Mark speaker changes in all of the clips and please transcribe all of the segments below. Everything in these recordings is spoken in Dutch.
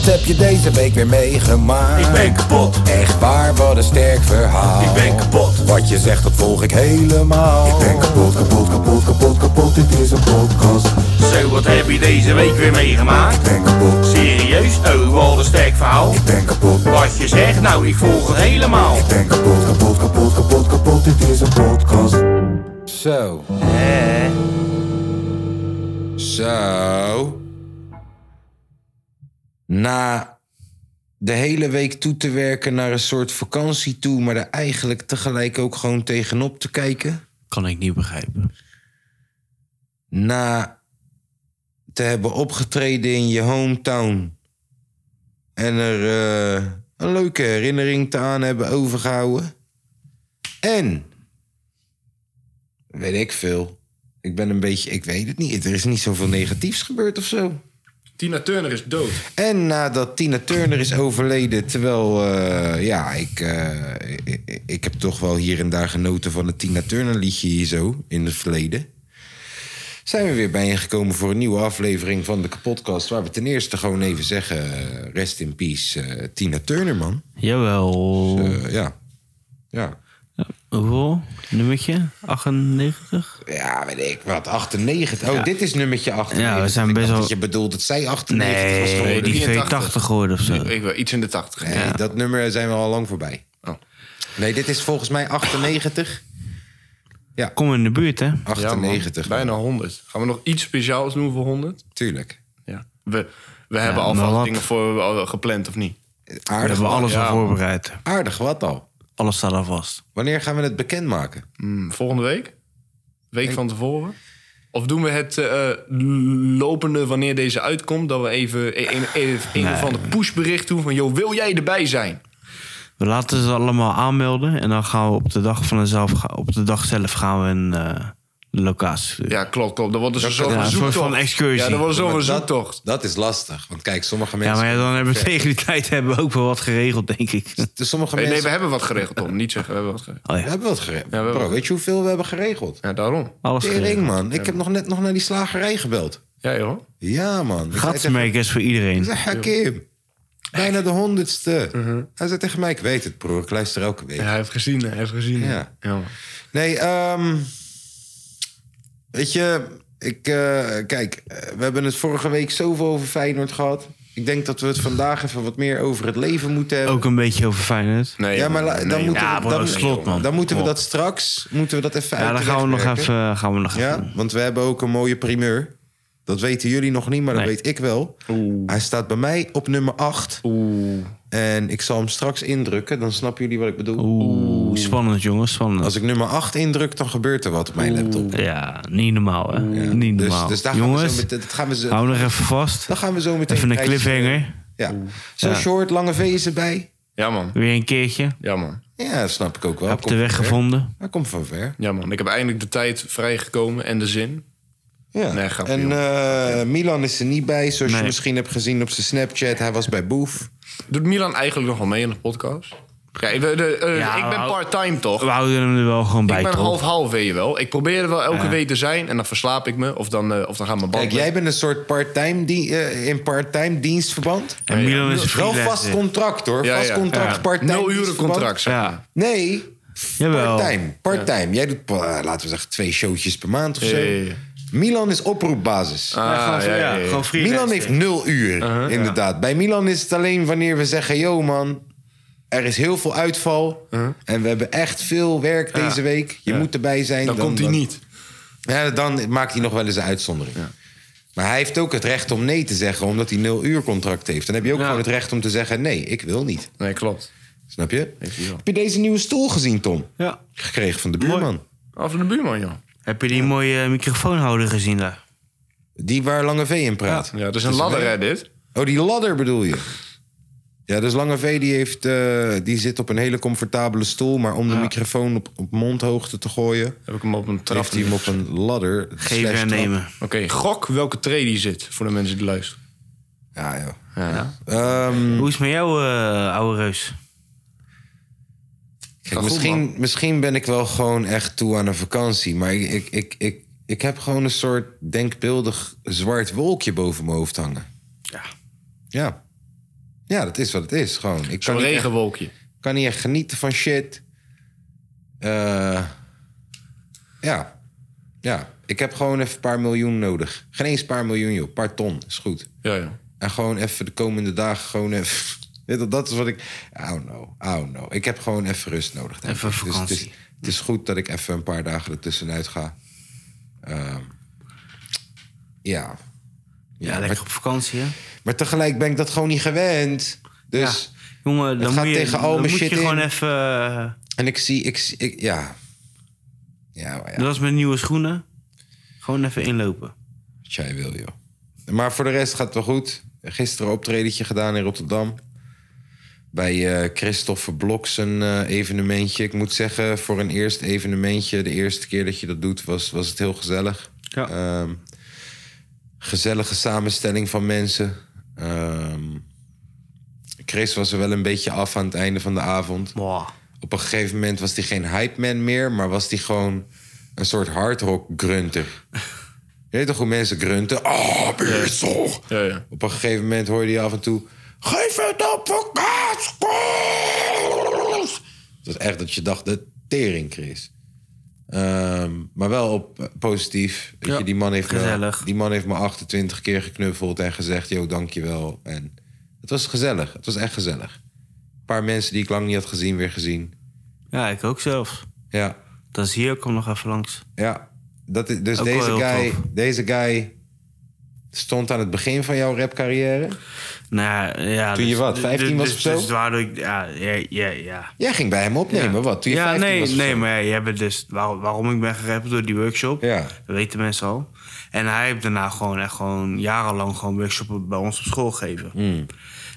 Speaker 1: heb je deze week weer meegemaakt?
Speaker 2: Ik ben kapot.
Speaker 1: Echt waar, wat een sterk verhaal.
Speaker 2: Ik ben kapot.
Speaker 1: Wat je zegt, dat volg ik helemaal.
Speaker 2: Ik ben kapot, kapot, kapot, kapot, kapot. Dit is een podcast. Zo, wat heb je deze week weer meegemaakt?
Speaker 1: Ik ben kapot.
Speaker 2: Serieus? Oh, wat een sterk verhaal.
Speaker 1: Ik ben kapot.
Speaker 2: Wat je zegt, nou, ik volg het helemaal.
Speaker 1: Ik ben kapot, kapot, kapot, kapot, kapot. Dit is een podcast. Zo. Zo. Na de hele week toe te werken naar een soort vakantie toe, maar er eigenlijk tegelijk ook gewoon tegenop te kijken.
Speaker 3: Kan ik niet begrijpen.
Speaker 1: Na te hebben opgetreden in je hometown en er eh, een leuke herinnering te aan hebben overgehouden. En weet ik veel. Ik ben een beetje, ik weet het niet. Er is niet zoveel negatiefs gebeurd of zo.
Speaker 4: Tina Turner is dood.
Speaker 1: En nadat Tina Turner is overleden, terwijl eh, ja, ik, eh, ik, ik heb toch wel hier en daar genoten van het Tina Turner liedje hier zo in het verleden. Zijn we weer bijeengekomen voor een nieuwe aflevering van de podcast. Waar we ten eerste gewoon even zeggen: eh, rest in peace, eh, Tina Turner, man.
Speaker 3: Jawel.
Speaker 1: Eh, ja. ja.
Speaker 3: Hoeveel? Nummertje? 98?
Speaker 1: Ja, weet ik wat. 98. Oh,
Speaker 3: Ja.
Speaker 1: dit is nummertje 98.
Speaker 3: Ja, we zijn
Speaker 1: Ik
Speaker 3: best
Speaker 1: dacht
Speaker 3: wel-
Speaker 1: dat je bedoelt dat zij 98 was
Speaker 3: Nee,
Speaker 1: geworden.
Speaker 3: die
Speaker 4: 83
Speaker 3: 280 geworden of zo.
Speaker 4: Ik wel, iets in de 80.
Speaker 1: Nee, dat nummer zijn we al lang voorbij.
Speaker 4: Oh.
Speaker 1: Nee, dit is volgens mij 98.
Speaker 3: Kom in de buurt, hè?
Speaker 4: Ja, man.
Speaker 1: 98,
Speaker 4: bijna 100. Gaan we nog iets speciaals doen voor 100?
Speaker 1: tuurlijk.
Speaker 4: Ja. We, we hebben
Speaker 3: maar
Speaker 4: alvast
Speaker 3: wat?
Speaker 4: dingen voor eh, gepland, of niet?
Speaker 3: We
Speaker 1: Aardig,
Speaker 3: hebben
Speaker 1: wat-
Speaker 3: alles
Speaker 4: ja.
Speaker 3: al voorbereid.
Speaker 1: aardig wat al.
Speaker 3: Alles staat al vast.
Speaker 1: Wanneer gaan we het bekendmaken?
Speaker 4: Mm, volgende week? Week van tevoren? Of doen we het eh, eh, lopende wanneer deze uitkomt? Dat we even een, een, een, een of ander pushbericht doen van... joh, wil jij erbij zijn?
Speaker 3: We laten ze allemaal aanmelden en dan gaan we op de dag, van zelf, ga- op de dag zelf gaan we een eh, locatie.
Speaker 4: Ja, klopt, klopt. Dat wordt dus
Speaker 3: ja,
Speaker 4: zo'n
Speaker 3: een soort
Speaker 4: zoektocht.
Speaker 3: van excursie.
Speaker 4: Ja, dat wordt zo'n
Speaker 1: Maar
Speaker 4: zoektocht.
Speaker 1: Dat, dat is lastig. Want kijk, sommige
Speaker 3: Ja,
Speaker 1: mensen...
Speaker 3: maar ja, dan hebben we tegen die tijd hebben we ook wel wat geregeld, denk ik.
Speaker 1: Dus sommige
Speaker 4: Nee, nee,
Speaker 1: mensen...
Speaker 4: we hebben wat geregeld, Tom. Niet zeggen, we hebben wat geregeld.
Speaker 3: Oh
Speaker 1: we
Speaker 3: ja,
Speaker 1: hebben wat geregeld.
Speaker 4: we hebben
Speaker 1: Bro,
Speaker 4: wat-
Speaker 1: weet je hoeveel we hebben geregeld?
Speaker 4: Ja, daarom.
Speaker 3: alles
Speaker 1: Tering,
Speaker 3: geregeld.
Speaker 1: man. Ik heb nog net nog naar die slagerij gebeld.
Speaker 4: Ja, joh.
Speaker 1: Ja, man. Ik zei tegen-
Speaker 3: Gatsenmerk is voor iedereen.
Speaker 1: Ik zei, Kim, bijna de honderdste.
Speaker 3: Mhm.
Speaker 1: Hij zei tegen mij, ik weet het, broer. Ik luister elke week.
Speaker 4: Ja, hij heeft gezien, hij heeft gezien.
Speaker 1: Ja.
Speaker 4: man.
Speaker 1: Nee, ehm, weet je, ik, eh, kijk, eh, we hebben het vorige week zoveel over Feyenoord gehad. Ik denk dat we het vandaag even wat meer over het leven moeten hebben.
Speaker 3: Ook een beetje over Feyenoord.
Speaker 4: Nee,
Speaker 1: ja, maar la-
Speaker 4: joh.
Speaker 1: dan
Speaker 4: Nee, joh.
Speaker 1: moeten
Speaker 3: Ja,
Speaker 1: we,
Speaker 3: bro,
Speaker 1: dan,
Speaker 3: slot, man.
Speaker 1: dan moeten we
Speaker 3: Kom
Speaker 1: dat straks, moeten we dat even
Speaker 3: Ja,
Speaker 1: uit
Speaker 3: dan
Speaker 1: de
Speaker 3: gaan we
Speaker 1: weg
Speaker 3: nog
Speaker 1: werken.
Speaker 3: even... eh, Gaan we nog even.
Speaker 1: Ja, want we hebben ook een mooie primeur. Dat weten jullie nog niet, maar dat
Speaker 3: Nee.
Speaker 1: weet ik wel. Hij staat bij mij op nummer 8.
Speaker 4: Oeh.
Speaker 1: En ik zal hem straks indrukken, dan snappen jullie wat ik bedoel.
Speaker 3: Oeh, spannend jongens, spannend.
Speaker 1: Als ik nummer 8 indruk, dan gebeurt er wat op mijn laptop.
Speaker 3: Ja, niet normaal hè. Niet
Speaker 1: Dus,
Speaker 3: normaal.
Speaker 1: dus daar gaan we zo
Speaker 3: jongens,
Speaker 1: meteen. Dat gaan we zo,
Speaker 3: hou nog even vast.
Speaker 1: dan gaan we zo meteen.
Speaker 3: Even een
Speaker 1: prijzen-
Speaker 3: cliffhanger.
Speaker 1: Ja. Zo
Speaker 3: Ja.
Speaker 1: short, lange V is erbij.
Speaker 4: Ja, man.
Speaker 3: Weer een keertje.
Speaker 4: Ja, man.
Speaker 1: Ja, dat snap ik ook wel.
Speaker 3: Heb
Speaker 1: Komt
Speaker 3: de weg
Speaker 1: van ver.
Speaker 3: gevonden.
Speaker 1: Hij komt van ver.
Speaker 4: Ja, man. Ik heb eindelijk de tijd vrijgekomen en de zin.
Speaker 1: Ja.
Speaker 4: Nee, grapje,
Speaker 1: en eh, Milan is er niet bij, zoals je
Speaker 3: Nee.
Speaker 1: misschien hebt gezien op zijn Snapchat. Hij was bij Boef.
Speaker 4: Doet Milan eigenlijk nog wel mee in de podcast? Ja, ik, de- de- eh,
Speaker 3: Ja,
Speaker 4: ik ben
Speaker 3: maar-
Speaker 4: part-time, toch?
Speaker 3: We houden hem er wel gewoon bij,
Speaker 4: ik ben
Speaker 3: toch?
Speaker 4: half-half, weet je wel. Ik probeer er wel elke week te zijn en dan verslaap ik me. Of dan, eh, of dan gaan mijn banden...
Speaker 1: Kijk, jij bent een soort part-time die, eh, in part-time dienstverband.
Speaker 3: En Milan is
Speaker 1: Wel
Speaker 3: freelancer.
Speaker 1: vast contract hoor.
Speaker 4: Ja,
Speaker 1: vast
Speaker 4: ja.
Speaker 1: contract,
Speaker 4: Ja.
Speaker 1: part-time.
Speaker 4: Nul uren
Speaker 1: dienstverband.
Speaker 4: contract, zeg maar.
Speaker 3: Ja,
Speaker 1: Nee,
Speaker 3: jawel.
Speaker 1: part-time. part-time. Jij doet, eh, laten we zeggen, twee showtjes per maand of zo.
Speaker 4: Ja, ja, ja.
Speaker 1: Milan is oproepbasis.
Speaker 3: Ja, gewoon,
Speaker 4: Ah, ja, ja, ja.
Speaker 3: gewoon freelancer.
Speaker 1: Milan heeft nul uur,
Speaker 4: Uh-huh,
Speaker 1: inderdaad. Bij Milan is het alleen wanneer we zeggen... yo man, er is heel veel uitval...
Speaker 4: Uh-huh.
Speaker 1: en we hebben echt veel werk deze week. Je moet erbij zijn.
Speaker 4: Dan, komt hij niet.
Speaker 1: Ja, dan maakt hij nog wel eens een uitzondering. Maar hij heeft ook het recht om nee te zeggen... omdat hij nul uur contract heeft. Dan heb je ook
Speaker 4: Ja.
Speaker 1: gewoon het recht om te zeggen... nee, ik wil niet.
Speaker 4: Nee, klopt.
Speaker 1: Snap je?
Speaker 4: Heeft hij wel.
Speaker 1: Heb je deze nieuwe stoel gezien, Tom?
Speaker 3: Ja.
Speaker 1: Gekregen van de buurman.
Speaker 4: Af van de buurman, joh.
Speaker 3: Heb je die mooie microfoonhouder gezien daar?
Speaker 1: Die waar Lange V in praat.
Speaker 4: Ja, dat is een ladder, hè, dit?
Speaker 1: Oh, die ladder bedoel je? Ja, dus Lange V die heeft, eh, die zit op een hele comfortabele stoel... maar om de microfoon op, op mondhoogte te gooien...
Speaker 4: Heb ik hem op een trap.
Speaker 1: heeft hij hem op een ladder.
Speaker 3: Geven
Speaker 1: slash
Speaker 3: en
Speaker 1: trap.
Speaker 3: nemen.
Speaker 4: Oké, gok welke tree die zit voor de mensen die luisteren.
Speaker 1: Ja, joh.
Speaker 4: Ja.
Speaker 1: Ehm,
Speaker 3: Hoe is het met jou, eh oude reus?
Speaker 1: kijk,
Speaker 4: goed,
Speaker 1: misschien, misschien ben ik wel gewoon echt toe aan een vakantie... maar ik, ik, ik, ik, ik heb gewoon een soort denkbeeldig zwart wolkje boven mijn hoofd hangen.
Speaker 3: Ja.
Speaker 1: Ja. Ja, dat is wat het is. Gewoon. Ik kan
Speaker 4: Zo'n
Speaker 1: niet, echt,
Speaker 4: regenwolkje.
Speaker 1: kan niet echt genieten van shit. Eh, ja. Ja. Ik heb gewoon even een paar miljoen nodig. Geen eens een paar miljoen, joh. Een paar ton is goed.
Speaker 4: Ja, ja.
Speaker 1: En gewoon even de komende dagen gewoon even... Weet je, Dat is wat ik... Oh no, oh no. Ik heb gewoon even rust nodig. denk
Speaker 3: Even
Speaker 1: ik. Dus het, is,
Speaker 3: vakantie.
Speaker 1: het is goed dat ik even een paar dagen ertussenuit ga. Ehm, ja.
Speaker 3: Ja, lekker op vakantie, hè?
Speaker 1: Maar tegelijk ben ik dat gewoon niet gewend. Dus...
Speaker 3: Jongen, dan
Speaker 1: gaat
Speaker 3: moet je,
Speaker 1: tegen al
Speaker 3: dan
Speaker 1: mijn
Speaker 3: moet
Speaker 1: shit
Speaker 3: je gewoon
Speaker 1: in.
Speaker 3: even... eh,
Speaker 1: En ik zie... Ik, zie- ik, ja. Ja, maar ja.
Speaker 3: Dat is met nieuwe schoenen. Gewoon even inlopen.
Speaker 1: Wat jij wil, joh. Maar voor de rest gaat het wel goed. Gisteren een optredentje gedaan in Rotterdam. Bij eh Christopher Blok zijn eh, evenementje. Ik moet zeggen, voor een eerst evenementje... de eerste keer dat je dat doet, was, was het heel gezellig.
Speaker 3: Ja.
Speaker 1: Ehm, gezellige samenstelling van mensen. Ehm, Chris was er wel een beetje af aan het einde van de avond.
Speaker 3: Wow.
Speaker 1: Op een gegeven moment was hij geen hype man meer, maar was hij gewoon een soort hardrock grunter. Je weet toch hoe mensen grunten? Ah, Bissel!
Speaker 4: Ja, ja.
Speaker 1: Op een gegeven moment hoorde je af en toe... Geef het op voor Kaaskoos! Dat was echt dat je dacht, de tering, Chris. Ehm, maar wel op eh, positief. Weet
Speaker 4: Ja,
Speaker 1: je, die, man heeft me,
Speaker 3: gezellig.
Speaker 1: die man heeft me 28 keer geknuffeld en gezegd... yo, dankjewel. En het was gezellig. Het was echt gezellig. Een paar mensen die ik lang niet had gezien, weer gezien.
Speaker 3: Ja, ik ook zelf.
Speaker 1: Ja,
Speaker 3: Dan zie je, kom nog even langs.
Speaker 1: ja. Dat is, dus
Speaker 3: Ook wel
Speaker 1: deze
Speaker 3: heel
Speaker 1: guy,
Speaker 3: tof.
Speaker 1: deze guy stond aan het begin van jouw rapcarrière.
Speaker 3: Nou, ja,
Speaker 1: Toen je wat, 15 was
Speaker 3: dus,
Speaker 1: of zo?
Speaker 3: Dus waardoor ik... Ja, ja, ja. ja.
Speaker 1: Jij ging bij hem opnemen,
Speaker 3: Ja.
Speaker 1: wat? Toen je
Speaker 3: ja,
Speaker 1: 15
Speaker 3: nee,
Speaker 1: was of
Speaker 3: nee,
Speaker 1: zo?
Speaker 3: maar ja, jij bent dus waar- waarom ik ben gerapt door die workshop.
Speaker 1: Ja.
Speaker 3: Dat weten mensen al. En hij heeft daarna gewoon echt gewoon jarenlang gewoon workshops bij ons op school gegeven.
Speaker 1: Hmm.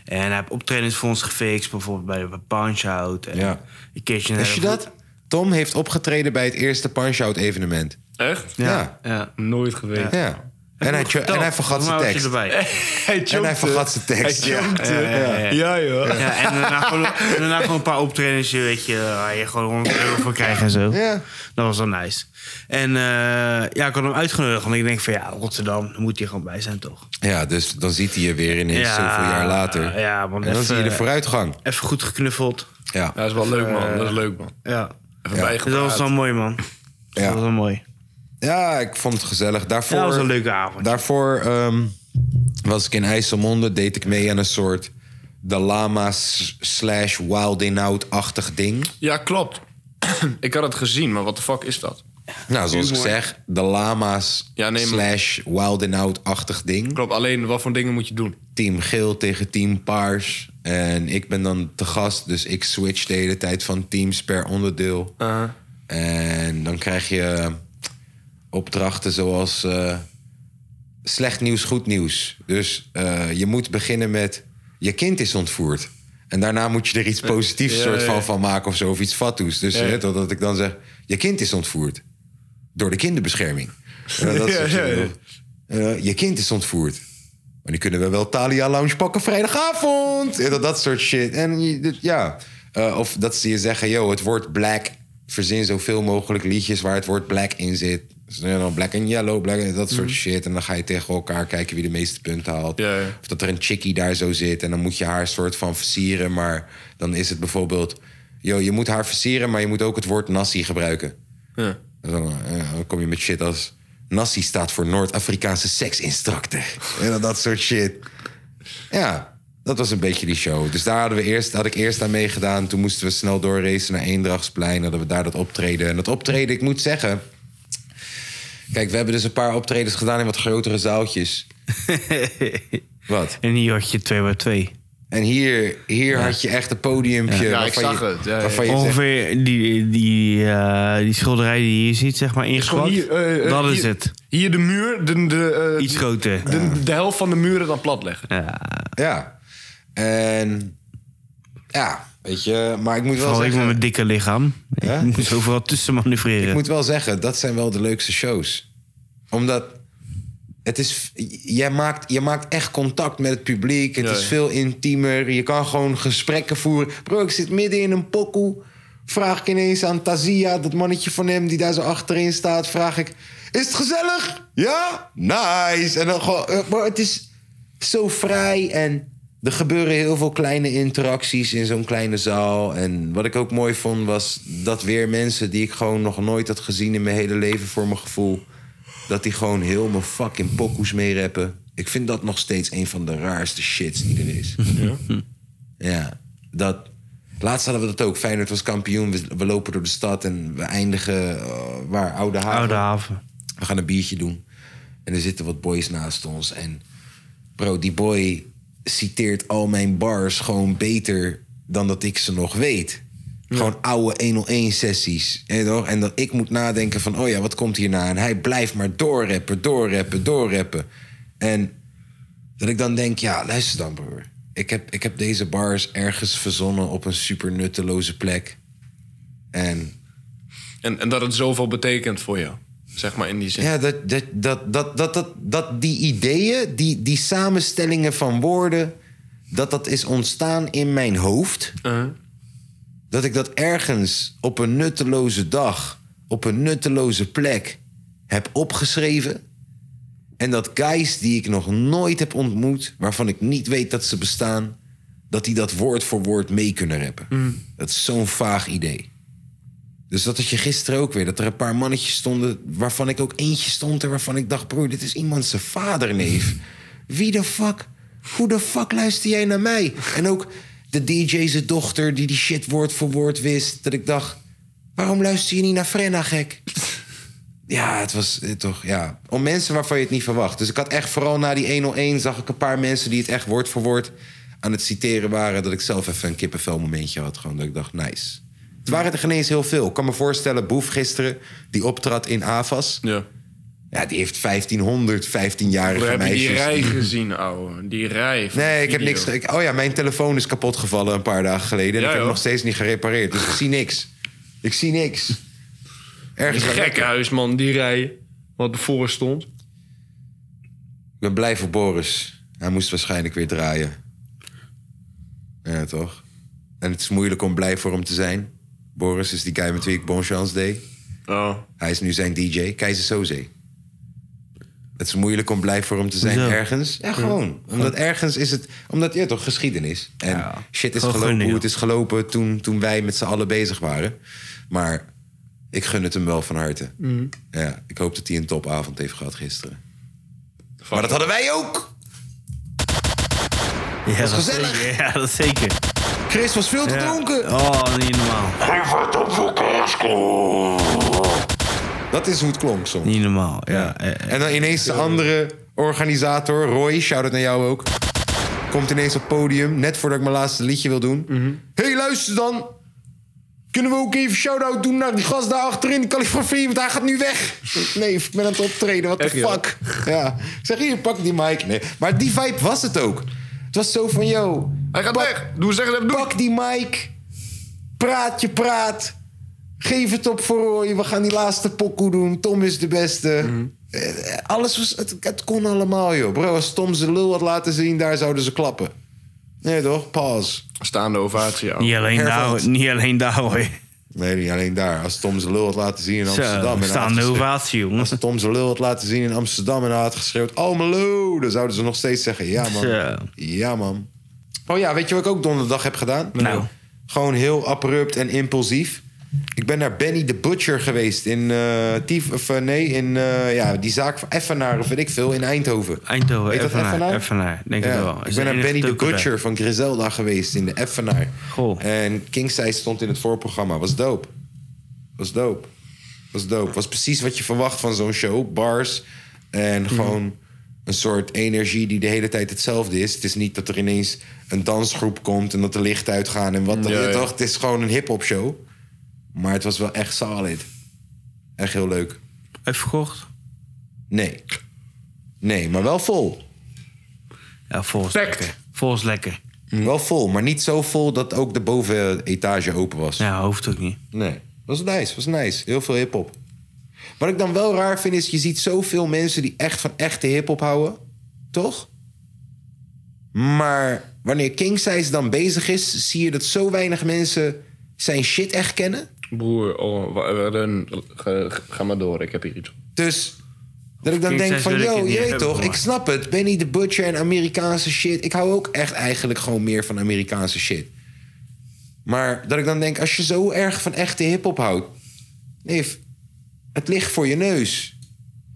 Speaker 3: En hij heeft optredens voor ons gefixt, bijvoorbeeld bij de Punch Out. En
Speaker 1: Ja.
Speaker 3: Een keertje naar
Speaker 1: Wist je
Speaker 3: de-
Speaker 1: dat? Tom heeft opgetreden bij het eerste punch-out evenement.
Speaker 4: Echt?
Speaker 1: Ja.
Speaker 3: Ja. ja.
Speaker 4: Nooit geweten.
Speaker 1: Ja. En, hij, tjo- en hij vergat zijn
Speaker 3: Volgens mij was je
Speaker 1: tekst.
Speaker 3: erbij.
Speaker 1: En hij vergat zijn tekst.
Speaker 4: Hij
Speaker 1: Ja.
Speaker 4: jokte. eh, Ja, joh.
Speaker 3: Ja, en daarna gewoon, en daarna gewoon een paar optredens, weet je, waar je gewoon 100 euro voor krijgt en zo.
Speaker 1: Ja.
Speaker 3: Dat was wel nice. En eh, ja, ik had hem uitgenodigd, want ik denk van ja, Rotterdam, daar moet hij gewoon bij zijn toch?
Speaker 1: ja, dus dan ziet hij je weer ineens
Speaker 3: Ja,
Speaker 1: zoveel jaar later.
Speaker 3: ja, man,
Speaker 1: en dan
Speaker 3: even-
Speaker 1: zie je de vooruitgang.
Speaker 3: Even goed geknuffeld.
Speaker 1: Ja.
Speaker 4: Dat is wel leuk, man. Dat is leuk, man.
Speaker 3: Ja.
Speaker 4: Even
Speaker 3: Dus dat was
Speaker 4: bijgepraat.
Speaker 3: wel mooi, man.
Speaker 1: Ja.
Speaker 3: Dat was wel mooi.
Speaker 1: ja, ik vond het gezellig.
Speaker 3: Ja,
Speaker 1: Daarvoor,
Speaker 3: dat was een leuke avond.
Speaker 1: Daarvoor ehm, was ik in IJsselmonde, deed ik mee aan een soort de lama's slash wild in out-achtig ding.
Speaker 4: Ja, klopt. ik had het gezien, maar wat de fuck is dat?
Speaker 1: Nou, zoals ik zeg, de lama's
Speaker 4: Ja, nee, maar-
Speaker 1: slash wild in out-achtig ding.
Speaker 4: Klopt, alleen wat voor dingen moet je doen?
Speaker 1: Team geel tegen team paars. En ik ben dan te gast, dus ik switch de hele tijd van teams per onderdeel.
Speaker 4: Uh-huh.
Speaker 1: En dan krijg je opdrachten zoals eh, slecht nieuws, goed nieuws. Dus eh, je moet beginnen met je kind is ontvoerd. En daarna moet je er iets positiefs
Speaker 4: Eh, Ja,
Speaker 1: soort
Speaker 4: ja,
Speaker 1: van,
Speaker 4: ja.
Speaker 1: van maken of zo, of iets fatsoens. Dus
Speaker 4: Ja.
Speaker 1: hè, dat, dat ik dan zeg, je kind is ontvoerd. Door de kinderbescherming. Ja, dat soort
Speaker 4: Ja, ja,
Speaker 1: dingen. Eh, je kind is ontvoerd. Maar nu kunnen we wel Thalia Lounge pakken vrijdagavond. Ja, dat, dat soort shit. En je- dit- ja. Eh, of dat ze je zeggen, yo, het woord black. Verzin zoveel mogelijk liedjes waar het woord black in zit. Dus dan dan black en yellow, black en dat soort shit. En dan ga je tegen elkaar kijken wie de meeste punten haalt.
Speaker 4: Mhm. Ja, ja.
Speaker 1: Of dat er een chickie daar zo zit. En dan moet je haar soort van versieren. Maar dan is het bijvoorbeeld... Yo, je moet haar versieren, maar je moet ook het woord nassi gebruiken.
Speaker 4: Ja.
Speaker 1: En Dan, eh, dan kom je met shit als... Nassi staat voor Noord-Afrikaanse seksinstructor. En dan dat soort shit. Ja, dat was een beetje die show. Dus daar hadden we eerst, had ik eerst aan meegedaan. Toen moesten we snel doorracen naar Eendrachtsplein. Hadden we daar dat optreden. En dat optreden, ik moet zeggen... Kijk, we hebben dus een paar optredens gedaan in wat grotere zaaltjes. Wat?
Speaker 3: en hier had je 2 bij 2
Speaker 1: En hier, hier had je echt een podiumpje.
Speaker 4: Ja, ik
Speaker 1: waarvan
Speaker 4: zag
Speaker 1: je-
Speaker 4: het. Ja, ja.
Speaker 1: waarvan je zegt,
Speaker 3: Ongeveer die, die, eh, die schilderij die je hier ziet, zeg maar, ingekwakt.
Speaker 4: eh, eh,
Speaker 3: dat is
Speaker 4: hier-
Speaker 3: het.
Speaker 4: Hier de muur, de, de, eh,
Speaker 3: Iets groter.
Speaker 4: de, de helft van de muren dan plat leggen.
Speaker 1: Ja. En ja, weet je, maar ik moet wel
Speaker 3: Vooral ik met
Speaker 1: zeggen,
Speaker 3: mijn dikke lichaam.
Speaker 1: Ja?
Speaker 3: Ik moest overal tussen manoeuvreren.
Speaker 1: ik moet wel zeggen, dat zijn wel de leukste shows. Omdat het is, jij maakt, je maakt echt contact met het publiek. Het
Speaker 4: Ja,
Speaker 1: is
Speaker 4: ja.
Speaker 1: veel intiemer. Je kan gewoon gesprekken voeren. Bro, ik zit midden in een pokoe. Vraag ik ineens aan Tazia, dat mannetje van hem die daar zo achterin staat. Vraag ik, is het gezellig? Ja? Nice. En dan gewoon, eh, bro, het is zo vrij en er gebeuren heel veel kleine interacties in zo'n kleine zaal. En wat ik ook mooi vond was dat weer mensen die ik gewoon nog nooit had gezien in mijn hele leven voor mijn gevoel. Dat die gewoon heel mijn fucking pokoes meerappen. Ik vind dat nog steeds een van de raarste shits die er is. Ja, dat. Laatst hadden we dat ook. Feyenoord was kampioen. We, we lopen door de stad en we eindigen eh, waar Oude Haven.
Speaker 3: Oude haven.
Speaker 1: We gaan een biertje doen. En er zitten wat boys naast ons. En bro, die boy citeert al mijn bars gewoon beter dan dat ik ze nog weet. Gewoon oude 101-sessies. En dat ik moet nadenken van, oh ja, wat komt hierna? En hij blijft maar doorrappen, doorrappen, doorrappen. En dat ik dan denk, ja, luister dan, broer. Ik heb, ik heb deze bars ergens verzonnen op een super nutteloze plek. En
Speaker 4: En, en dat het zoveel betekent voor jou. Zeg maar in die zin.
Speaker 1: Ja, dat, dat, dat, dat, dat, dat, dat die ideeën, die, die samenstellingen van woorden, dat dat is ontstaan in mijn hoofd.
Speaker 4: Uh-huh.
Speaker 1: Dat ik dat ergens op een nutteloze dag, op een nutteloze plek heb opgeschreven. En dat guys die ik nog nooit heb ontmoet, waarvan ik niet weet dat ze bestaan, dat die dat woord voor woord mee kunnen rappen. Dat is zo'n vaag idee. Dus dat had je gisteren ook weer. Dat er een paar mannetjes stonden, waarvan ik ook eentje stond er, waarvan ik dacht, broer, dit is iemand zijn vaderneef. Wie de fuck? Hoe de fuck luister jij naar mij? En ook de DJ zijn dochter die die shit woord voor woord wist. Dat ik dacht, waarom luister je niet naar Frenna, gek? Ja, het was eh, toch, ja. Om mensen waarvan je het niet verwacht. Dus ik had echt vooral na die 101 zag ik een paar mensen die het echt woord voor woord aan het citeren waren. Dat ik zelf even een kippenvel momentje had. Gewoon dat ik dacht, nice. Het waren er geen eens heel veel. Ik kan me voorstellen, Boef gisteren, die optrad in Avas.
Speaker 4: Ja.
Speaker 1: Ja, die heeft 1500
Speaker 4: We
Speaker 1: 15-jarige
Speaker 4: hebben die
Speaker 1: meisjes.
Speaker 4: rij gezien, ouwe. Die rij. van
Speaker 1: Nee,
Speaker 4: de
Speaker 1: ik heb
Speaker 4: video.
Speaker 1: niks. ge- Ik, oh ja, mijn telefoon is kapot gevallen een paar dagen geleden. En
Speaker 4: Ja,
Speaker 1: ik heb hem
Speaker 4: joh.
Speaker 1: nog steeds niet gerepareerd. Dus ik zie niks. Ik zie niks. Ergens waar-
Speaker 4: Gekkenhuis, man. Die rij. Wat ervoor stond.
Speaker 1: Ik ben blij voor Boris. Hij moest waarschijnlijk weer draaien. Ja, toch? En het is moeilijk om blij voor hem te zijn. Boris is die guy met wie ik Bonchance deed.
Speaker 4: Oh.
Speaker 1: Hij is nu zijn DJ, Keizer Soze. Het is moeilijk om blij voor hem te zijn
Speaker 3: Hoezo?
Speaker 1: ergens. Ja, gewoon. Omdat ergens is het... Omdat, ja toch, geschiedenis. En
Speaker 3: Ja.
Speaker 1: shit is
Speaker 3: Gewoon
Speaker 1: gelopen
Speaker 3: gunnen,
Speaker 1: hoe
Speaker 3: joh.
Speaker 1: het is gelopen toen, toen wij met z'n allen bezig waren. Maar ik gun het hem wel van harte. Ja, ik hoop dat hij een topavond heeft gehad gisteren. Maar dat hadden wij ook!
Speaker 3: Ja, dat,
Speaker 1: gezellig.
Speaker 3: zeker. Ja, dat zeker.
Speaker 1: Chris was veel te
Speaker 3: Ja.
Speaker 1: dronken.
Speaker 3: Oh, niet normaal.
Speaker 1: Dat is hoe het klonk soms.
Speaker 3: Niet normaal, ja. eh, eh.
Speaker 1: En dan ineens de andere organisator, Roy, shout-out naar jou ook. Komt ineens op het podium, net voordat ik mijn laatste liedje wil doen.
Speaker 3: Mhm.
Speaker 1: hey, luister dan. Kunnen we ook even shout-out doen naar die gast daar achterin, die Californië, want hij gaat nu weg. Nee, ik ben aan het optreden, what the
Speaker 4: Echt, joh?
Speaker 1: fuck. Ja. Ik zeg, hier, pak die mic. Nee. Maar die vibe was het ook. Het was zo van, yo,
Speaker 4: Hij gaat weg. Doe zeggen dat doe.
Speaker 1: pak die mic. Praat je praat. Geef het op voor Roy. We gaan die laatste pokoe doen. Tom is de beste. Eh, eh, Alles was... Het, het kon allemaal, joh. Bro, als Tom zijn lul had laten zien, daar zouden ze klappen. Nee, toch? Pause.
Speaker 4: Staande ovatie, ouwe.
Speaker 3: Niet alleen,
Speaker 1: Herveld.
Speaker 3: daar, niet alleen daar, hoor.
Speaker 1: Nee, niet alleen daar. Als Tom zijn lul had laten zien in Amsterdam...
Speaker 3: Zo,
Speaker 1: en had
Speaker 3: staande
Speaker 1: geschreeuwd-
Speaker 3: ovatie, jongens.
Speaker 1: Als Tom zijn lul had laten zien in Amsterdam en hij had geschreeuwd... Almelo! Dan zouden ze nog steeds zeggen... Ja, man.
Speaker 3: Zo.
Speaker 1: Ja, man. Oh ja, weet je wat ik ook donderdag heb gedaan?
Speaker 3: Nou.
Speaker 1: Gewoon heel abrupt en impulsief. Ik ben naar Benny the Butcher geweest in eh Tief, of eh, nee, in eh, ja, die zaak van Effenaar of weet ik veel in Eindhoven.
Speaker 3: Eindhoven,
Speaker 1: Heet dat
Speaker 3: Effenaar,
Speaker 1: Effenaar?
Speaker 3: Effenaar, denk het
Speaker 1: Ja,
Speaker 3: wel. Is
Speaker 1: Ik
Speaker 3: de
Speaker 1: ben naar
Speaker 3: enige
Speaker 1: Benny the
Speaker 3: tokerij.
Speaker 1: Butcher van Griselda geweest in de Effenaar.
Speaker 3: Goh.
Speaker 1: En Kingside stond in het voorprogramma. Was dope. Was dope. Was dope. Was precies wat je verwacht van zo'n show. Bars
Speaker 3: Mhm.
Speaker 1: en gewoon een soort energie die de hele tijd hetzelfde is. Het is niet dat er ineens een dansgroep komt en dat de lichten uitgaan en wat dan
Speaker 4: Ja,
Speaker 1: ja,
Speaker 4: ja.
Speaker 1: toch? Het is gewoon een hip-hop show. Maar het was wel echt solid. Echt heel leuk.
Speaker 3: Uitverkocht?
Speaker 1: Nee. Nee, maar wel vol.
Speaker 3: Ja, volgens
Speaker 4: Packed.
Speaker 3: lekker. Volgens lekker.
Speaker 1: Wel vol, maar niet zo vol dat ook de bovenetage open was.
Speaker 3: Ja, hoeft ook niet.
Speaker 1: Nee. Was nice, was nice. Heel veel hip-hop. Wat ik dan wel raar vind is, je ziet zoveel mensen die echt van echte hip-hop houden. Toch? Maar wanneer King Size dan bezig is, zie je dat zo weinig mensen zijn shit echt kennen.
Speaker 4: Broer, oh, wa- wa- dan- ga, ga maar door. Ik heb hier iets.
Speaker 1: Dus Dat ik dan
Speaker 3: King
Speaker 1: denk
Speaker 3: size
Speaker 1: van,
Speaker 3: wil ik het
Speaker 1: yo,
Speaker 3: niet
Speaker 1: je weet
Speaker 3: hebben,
Speaker 1: toch,
Speaker 3: maar-
Speaker 1: ik snap het. Benny the Butcher en Amerikaanse shit. Ik hou ook echt eigenlijk gewoon meer van Amerikaanse shit. Maar dat ik dan denk, als je zo erg van echte hip-hop houdt. Nee, het ligt voor je neus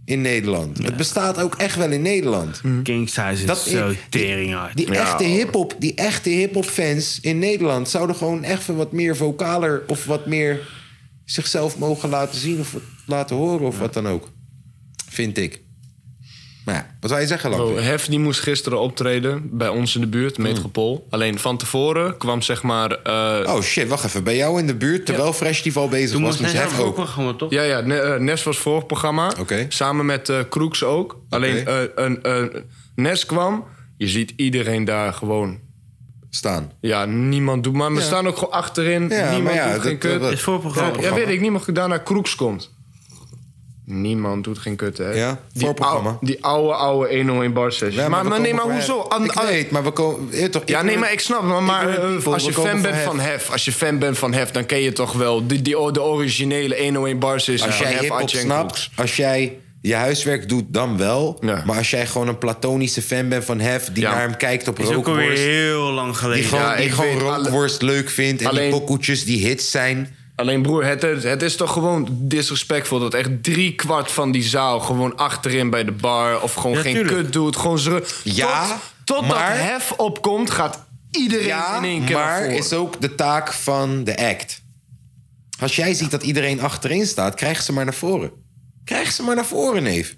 Speaker 1: in Nederland. Het bestaat ook echt wel in Nederland.
Speaker 3: King size
Speaker 1: Hm. Dat-
Speaker 3: is zo
Speaker 1: die-
Speaker 3: tering hard.
Speaker 1: Die echte hip-hop, die echte hip-hop fans in Nederland zouden gewoon echt wat meer vocaler of wat meer zichzelf mogen laten zien of wat laten horen of wat dan ook. Vind ik. Maar ja, wat zou je zeggen, Lamp?
Speaker 4: Oh, Hef die moest gisteren optreden bij ons in de buurt,
Speaker 1: Hmm.
Speaker 4: Metropool. Alleen van tevoren kwam zeg maar... eh,
Speaker 1: Oh shit, wacht even. Bij jou in de buurt, terwijl Festival bezig
Speaker 3: Toen
Speaker 1: was,
Speaker 3: moest
Speaker 1: moest
Speaker 3: hij
Speaker 1: Hef
Speaker 3: ook
Speaker 1: ook.
Speaker 3: wel gewoon toch?
Speaker 4: Ja, ja, Ne- eh, Nes was vorig programma.
Speaker 1: Oké.
Speaker 4: Samen met eh Kroeks ook. Alleen eh, een, eh, Nes kwam, je ziet iedereen daar gewoon...
Speaker 1: Staan.
Speaker 4: Ja, niemand doet maar. We staan ook gewoon achterin.
Speaker 1: Ja, maar
Speaker 4: niemand
Speaker 1: ja,
Speaker 4: doet geen
Speaker 1: dat- eh,
Speaker 4: kut.
Speaker 1: dat-
Speaker 3: Het is voorprogramma.
Speaker 4: ja, weet ik niet, maar daarna Kroeks komt. Niemand doet geen kut, hè?
Speaker 1: Ja,
Speaker 4: Die
Speaker 1: voorprogramma.
Speaker 4: ou- Die oude, oude 101 bar sessie.
Speaker 1: Ja,
Speaker 4: maar
Speaker 1: we
Speaker 4: maar nee,
Speaker 1: komen
Speaker 4: maar
Speaker 1: voor
Speaker 4: hoezo?
Speaker 1: Hef.
Speaker 4: An-
Speaker 1: Ik
Speaker 4: an-
Speaker 1: weet, maar we komen... Ja, toch,
Speaker 4: ja, nee, maar ik snap het. Maar, maar
Speaker 1: Ik bedoel,
Speaker 4: eh, als je
Speaker 1: we komen
Speaker 4: fan
Speaker 1: voor
Speaker 4: bent
Speaker 1: Hef.
Speaker 4: van Hef, als je fan bent van Hef, dan ken je toch wel die, die, de originele 101 bars is.
Speaker 1: Als
Speaker 4: van
Speaker 1: jij
Speaker 4: Hef,
Speaker 1: hip-hop
Speaker 4: Atje en
Speaker 1: snapt,
Speaker 4: Kroeks.
Speaker 1: als jij je huiswerk doet, dan wel.
Speaker 4: Ja.
Speaker 1: Maar als jij gewoon een platonische fan bent van Hef... die
Speaker 4: Ja.
Speaker 1: naar hem kijkt op
Speaker 3: is ook alweer
Speaker 1: rookworst...
Speaker 3: heel lang
Speaker 1: die
Speaker 3: geleden.
Speaker 1: gewoon,
Speaker 4: Ja,
Speaker 1: die
Speaker 4: ik
Speaker 1: gewoon
Speaker 4: weet alle-
Speaker 1: rookworst leuk vindt... en
Speaker 4: Alleen-
Speaker 1: die pokoetjes die hits zijn.
Speaker 4: Alleen broer, het, het is toch gewoon disrespectvol dat echt drie kwart van die zaal gewoon achterin bij de bar of gewoon
Speaker 3: Ja,
Speaker 4: geen
Speaker 3: tuurlijk.
Speaker 4: kut doet. Gewoon zru-
Speaker 1: Ja,
Speaker 4: tot, totdat
Speaker 1: maar-
Speaker 4: hef opkomt, gaat iedereen in één keer
Speaker 1: maar
Speaker 4: naar voren.
Speaker 1: is ook de taak van de act. Als jij ziet dat iedereen achterin staat, krijg ze maar naar voren. Krijg ze maar naar voren, neef.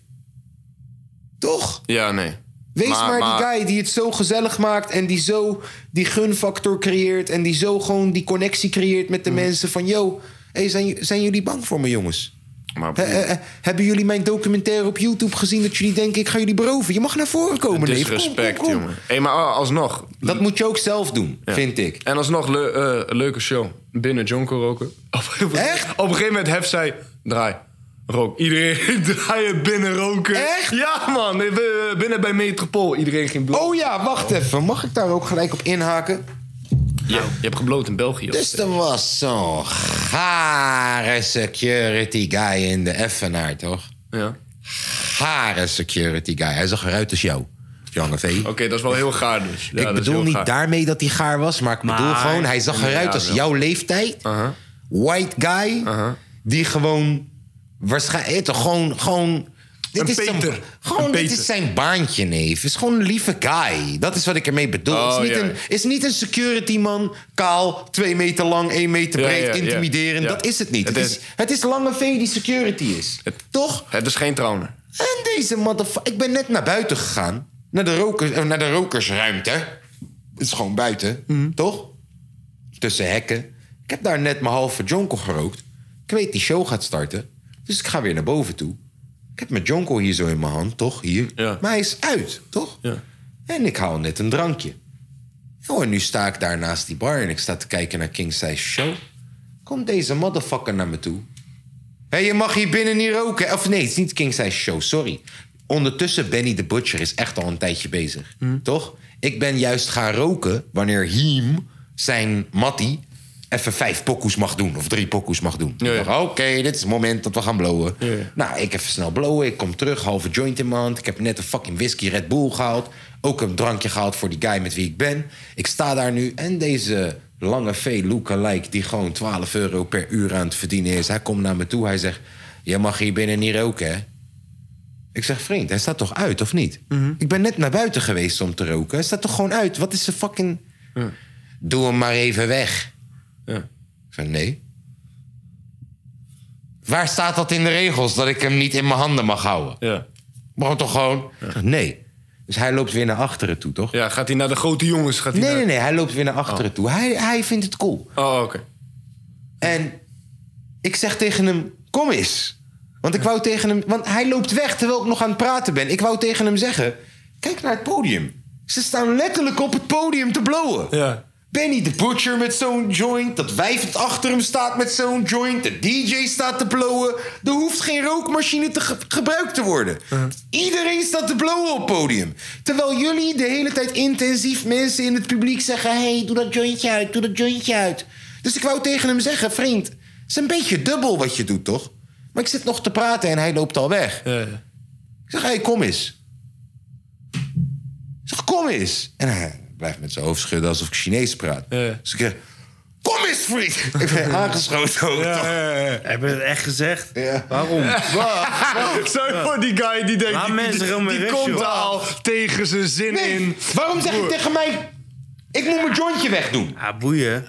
Speaker 1: Toch?
Speaker 4: Ja, nee.
Speaker 1: Wees maar, die guy die het zo gezellig maakt en die zo die gunfactor creëert en die zo gewoon die connectie creëert met de
Speaker 4: Mm.
Speaker 1: mensen van yo, hey, zijn, zijn jullie bang voor me jongens?
Speaker 4: Maar,
Speaker 1: He- he- he- hebben jullie mijn documentaire op YouTube gezien dat jullie denken ik ga jullie beroven? Je mag naar voren komen, neef. Kom, kom,
Speaker 4: disrespect,
Speaker 1: kom.
Speaker 4: jongen. Hé, maar ah, alsnog.
Speaker 1: Dat moet je ook zelf doen, vind ik.
Speaker 4: En alsnog, le- eh, een leuke show. Binnen Jonko roken. Op,
Speaker 1: Echt?
Speaker 4: Op een gegeven moment hef zij, draai. Rook. Iedereen ging draaien binnen roken.
Speaker 1: Echt?
Speaker 4: Ja, man. Eh, eh, Binnen bij Metropool. Iedereen ging bloot.
Speaker 1: Oh ja, wacht even. Mag ik daar ook gelijk op inhaken?
Speaker 4: Ja, je hebt gebloot in België. of
Speaker 1: Dus er was zo'n gare security guy in de Effenaar, toch?
Speaker 4: Ja. Oké,
Speaker 1: Gare security guy. Hij zag eruit als jou, E. Janne V.
Speaker 4: dat is wel heel gaar dus. Ja,
Speaker 1: ik
Speaker 4: dat is
Speaker 1: bedoel
Speaker 4: heel
Speaker 1: niet
Speaker 4: gaar.
Speaker 1: daarmee dat hij gaar was, maar ik bedoel
Speaker 3: Maar-
Speaker 1: gewoon, hij zag eruit als
Speaker 4: wel. Uh-huh.
Speaker 1: jouw leeftijd. White guy, die gewoon waarschijnlijk toch gewoon. gewoon dit
Speaker 4: Een
Speaker 1: is zijn-
Speaker 4: Peter.
Speaker 1: gewoon,
Speaker 4: Een
Speaker 1: dit
Speaker 4: Peter.
Speaker 1: is zijn baantje, neef. Het is gewoon een lieve guy. Dat is wat ik ermee bedoel.
Speaker 4: Oh,
Speaker 1: het is niet,
Speaker 4: ja.
Speaker 1: een, is niet een security man, kaal, twee meter lang, één meter
Speaker 4: Ja,
Speaker 1: breed,
Speaker 4: ja, ja.
Speaker 1: intimiderend.
Speaker 4: Ja.
Speaker 1: Dat is het niet. Het,
Speaker 4: Het
Speaker 1: is,
Speaker 4: is-
Speaker 1: het is lange V die security is. Toch?
Speaker 4: Het is geen trouwen.
Speaker 1: En deze motherfucker. Ik ben net naar buiten gegaan. Naar de, rokers, eh, naar de rokersruimte. Het is gewoon buiten,
Speaker 4: Mhm.
Speaker 1: toch? Tussen hekken. Ik heb daar net mijn halve jonkel gerookt. Ik weet die show gaat starten. Dus ik ga weer naar boven toe. Ik heb mijn jonkel hier zo in mijn hand, toch? Hier.
Speaker 4: Ja.
Speaker 1: Maar hij is uit, toch?
Speaker 4: Ja.
Speaker 1: En ik haal net een drankje. Oh, en nu sta ik daar naast die bar en ik sta te kijken naar King Size Show. Komt deze motherfucker naar me toe. Hé, je mag hier binnen niet roken. Of nee, het is niet King Size Show, sorry. Ondertussen, Benny de Butcher is echt al een tijdje bezig.
Speaker 4: Hmm.
Speaker 1: Toch? Ik ben juist gaan roken wanneer Hiem, zijn mattie... even vijf pokoes mag doen, of drie pokoes mag doen.
Speaker 4: Ja, ja.
Speaker 1: Ik dacht, Oké, dit is het moment dat we gaan blowen.
Speaker 4: Ja, ja.
Speaker 1: Nou, ik even snel blowen. Ik kom terug, halve joint in mijn hand. Ik heb net een fucking whisky Red Bull gehaald. Ook een drankje gehaald voor die guy met wie ik ben. Ik sta daar nu en deze lange V lookalike... die gewoon 12 euro per uur aan het verdienen is. Hij komt naar me toe, hij zegt... Jij mag hier binnen niet roken, hè? Ik zeg, vriend, hij staat toch uit, of niet?
Speaker 4: Mhm.
Speaker 1: Ik ben net naar buiten geweest om te roken. Hij staat toch gewoon uit? Wat is de fucking... Doe hem maar even weg.
Speaker 4: Ja.
Speaker 1: Ik zei, nee. Waar staat dat in de regels dat ik hem niet in mijn handen mag houden?
Speaker 4: Ja.
Speaker 1: Maar toch gewoon? Ik zeg, Nee. Dus hij loopt weer naar achteren toe, toch?
Speaker 4: ja, gaat hij naar de grote jongens? Gaat hij
Speaker 1: Nee, nee,
Speaker 4: naar-
Speaker 1: nee. Hij loopt weer naar achteren toe. Hij, hij vindt het cool.
Speaker 4: Oh, oké.
Speaker 1: En ik zeg tegen hem: Kom eens. Want ik wou tegen hem. Want hij loopt weg terwijl ik nog aan het praten ben. Ik wou tegen hem zeggen: Kijk naar het podium. Ze staan letterlijk op het podium te blowen.
Speaker 4: Ja.
Speaker 1: Benny de Butcher met zo'n joint. Dat wijf dat achter hem staat met zo'n joint. De DJ staat te blowen. Er hoeft geen rookmachine te ge- gebruikt te worden.
Speaker 4: Uh-huh.
Speaker 1: Iedereen staat te blowen op het podium. Terwijl jullie de hele tijd intensief mensen in het publiek zeggen... hey, doe dat jointje uit, doe dat jointje uit. Dus ik wou tegen hem zeggen, vriend... het is een beetje dubbel wat je doet, toch? Maar ik zit nog te praten en hij loopt al weg.
Speaker 4: Ja, ja.
Speaker 1: Ik zeg, hé, hey, kom eens. Ik zeg, kom eens. En hij blijft met zijn hoofd schudden alsof ik Chinees praat.
Speaker 4: Ja.
Speaker 1: Dus ik zeg, kom eens, vriend. Ik ben aangeschoten ook. toch?
Speaker 3: Hebben we het echt gezegd?
Speaker 1: Ja.
Speaker 3: Waarom?
Speaker 4: Stel je voor die guy die denkt,
Speaker 3: Laat
Speaker 4: die,
Speaker 3: mensen
Speaker 4: die,
Speaker 3: gewoon
Speaker 4: die
Speaker 3: met rust,
Speaker 4: komt
Speaker 3: joh.
Speaker 4: al tegen zijn zin in.
Speaker 1: Nee, waarom zeg je tegen mij... Ik moet mijn jointje wegdoen.
Speaker 3: Ah, boeien.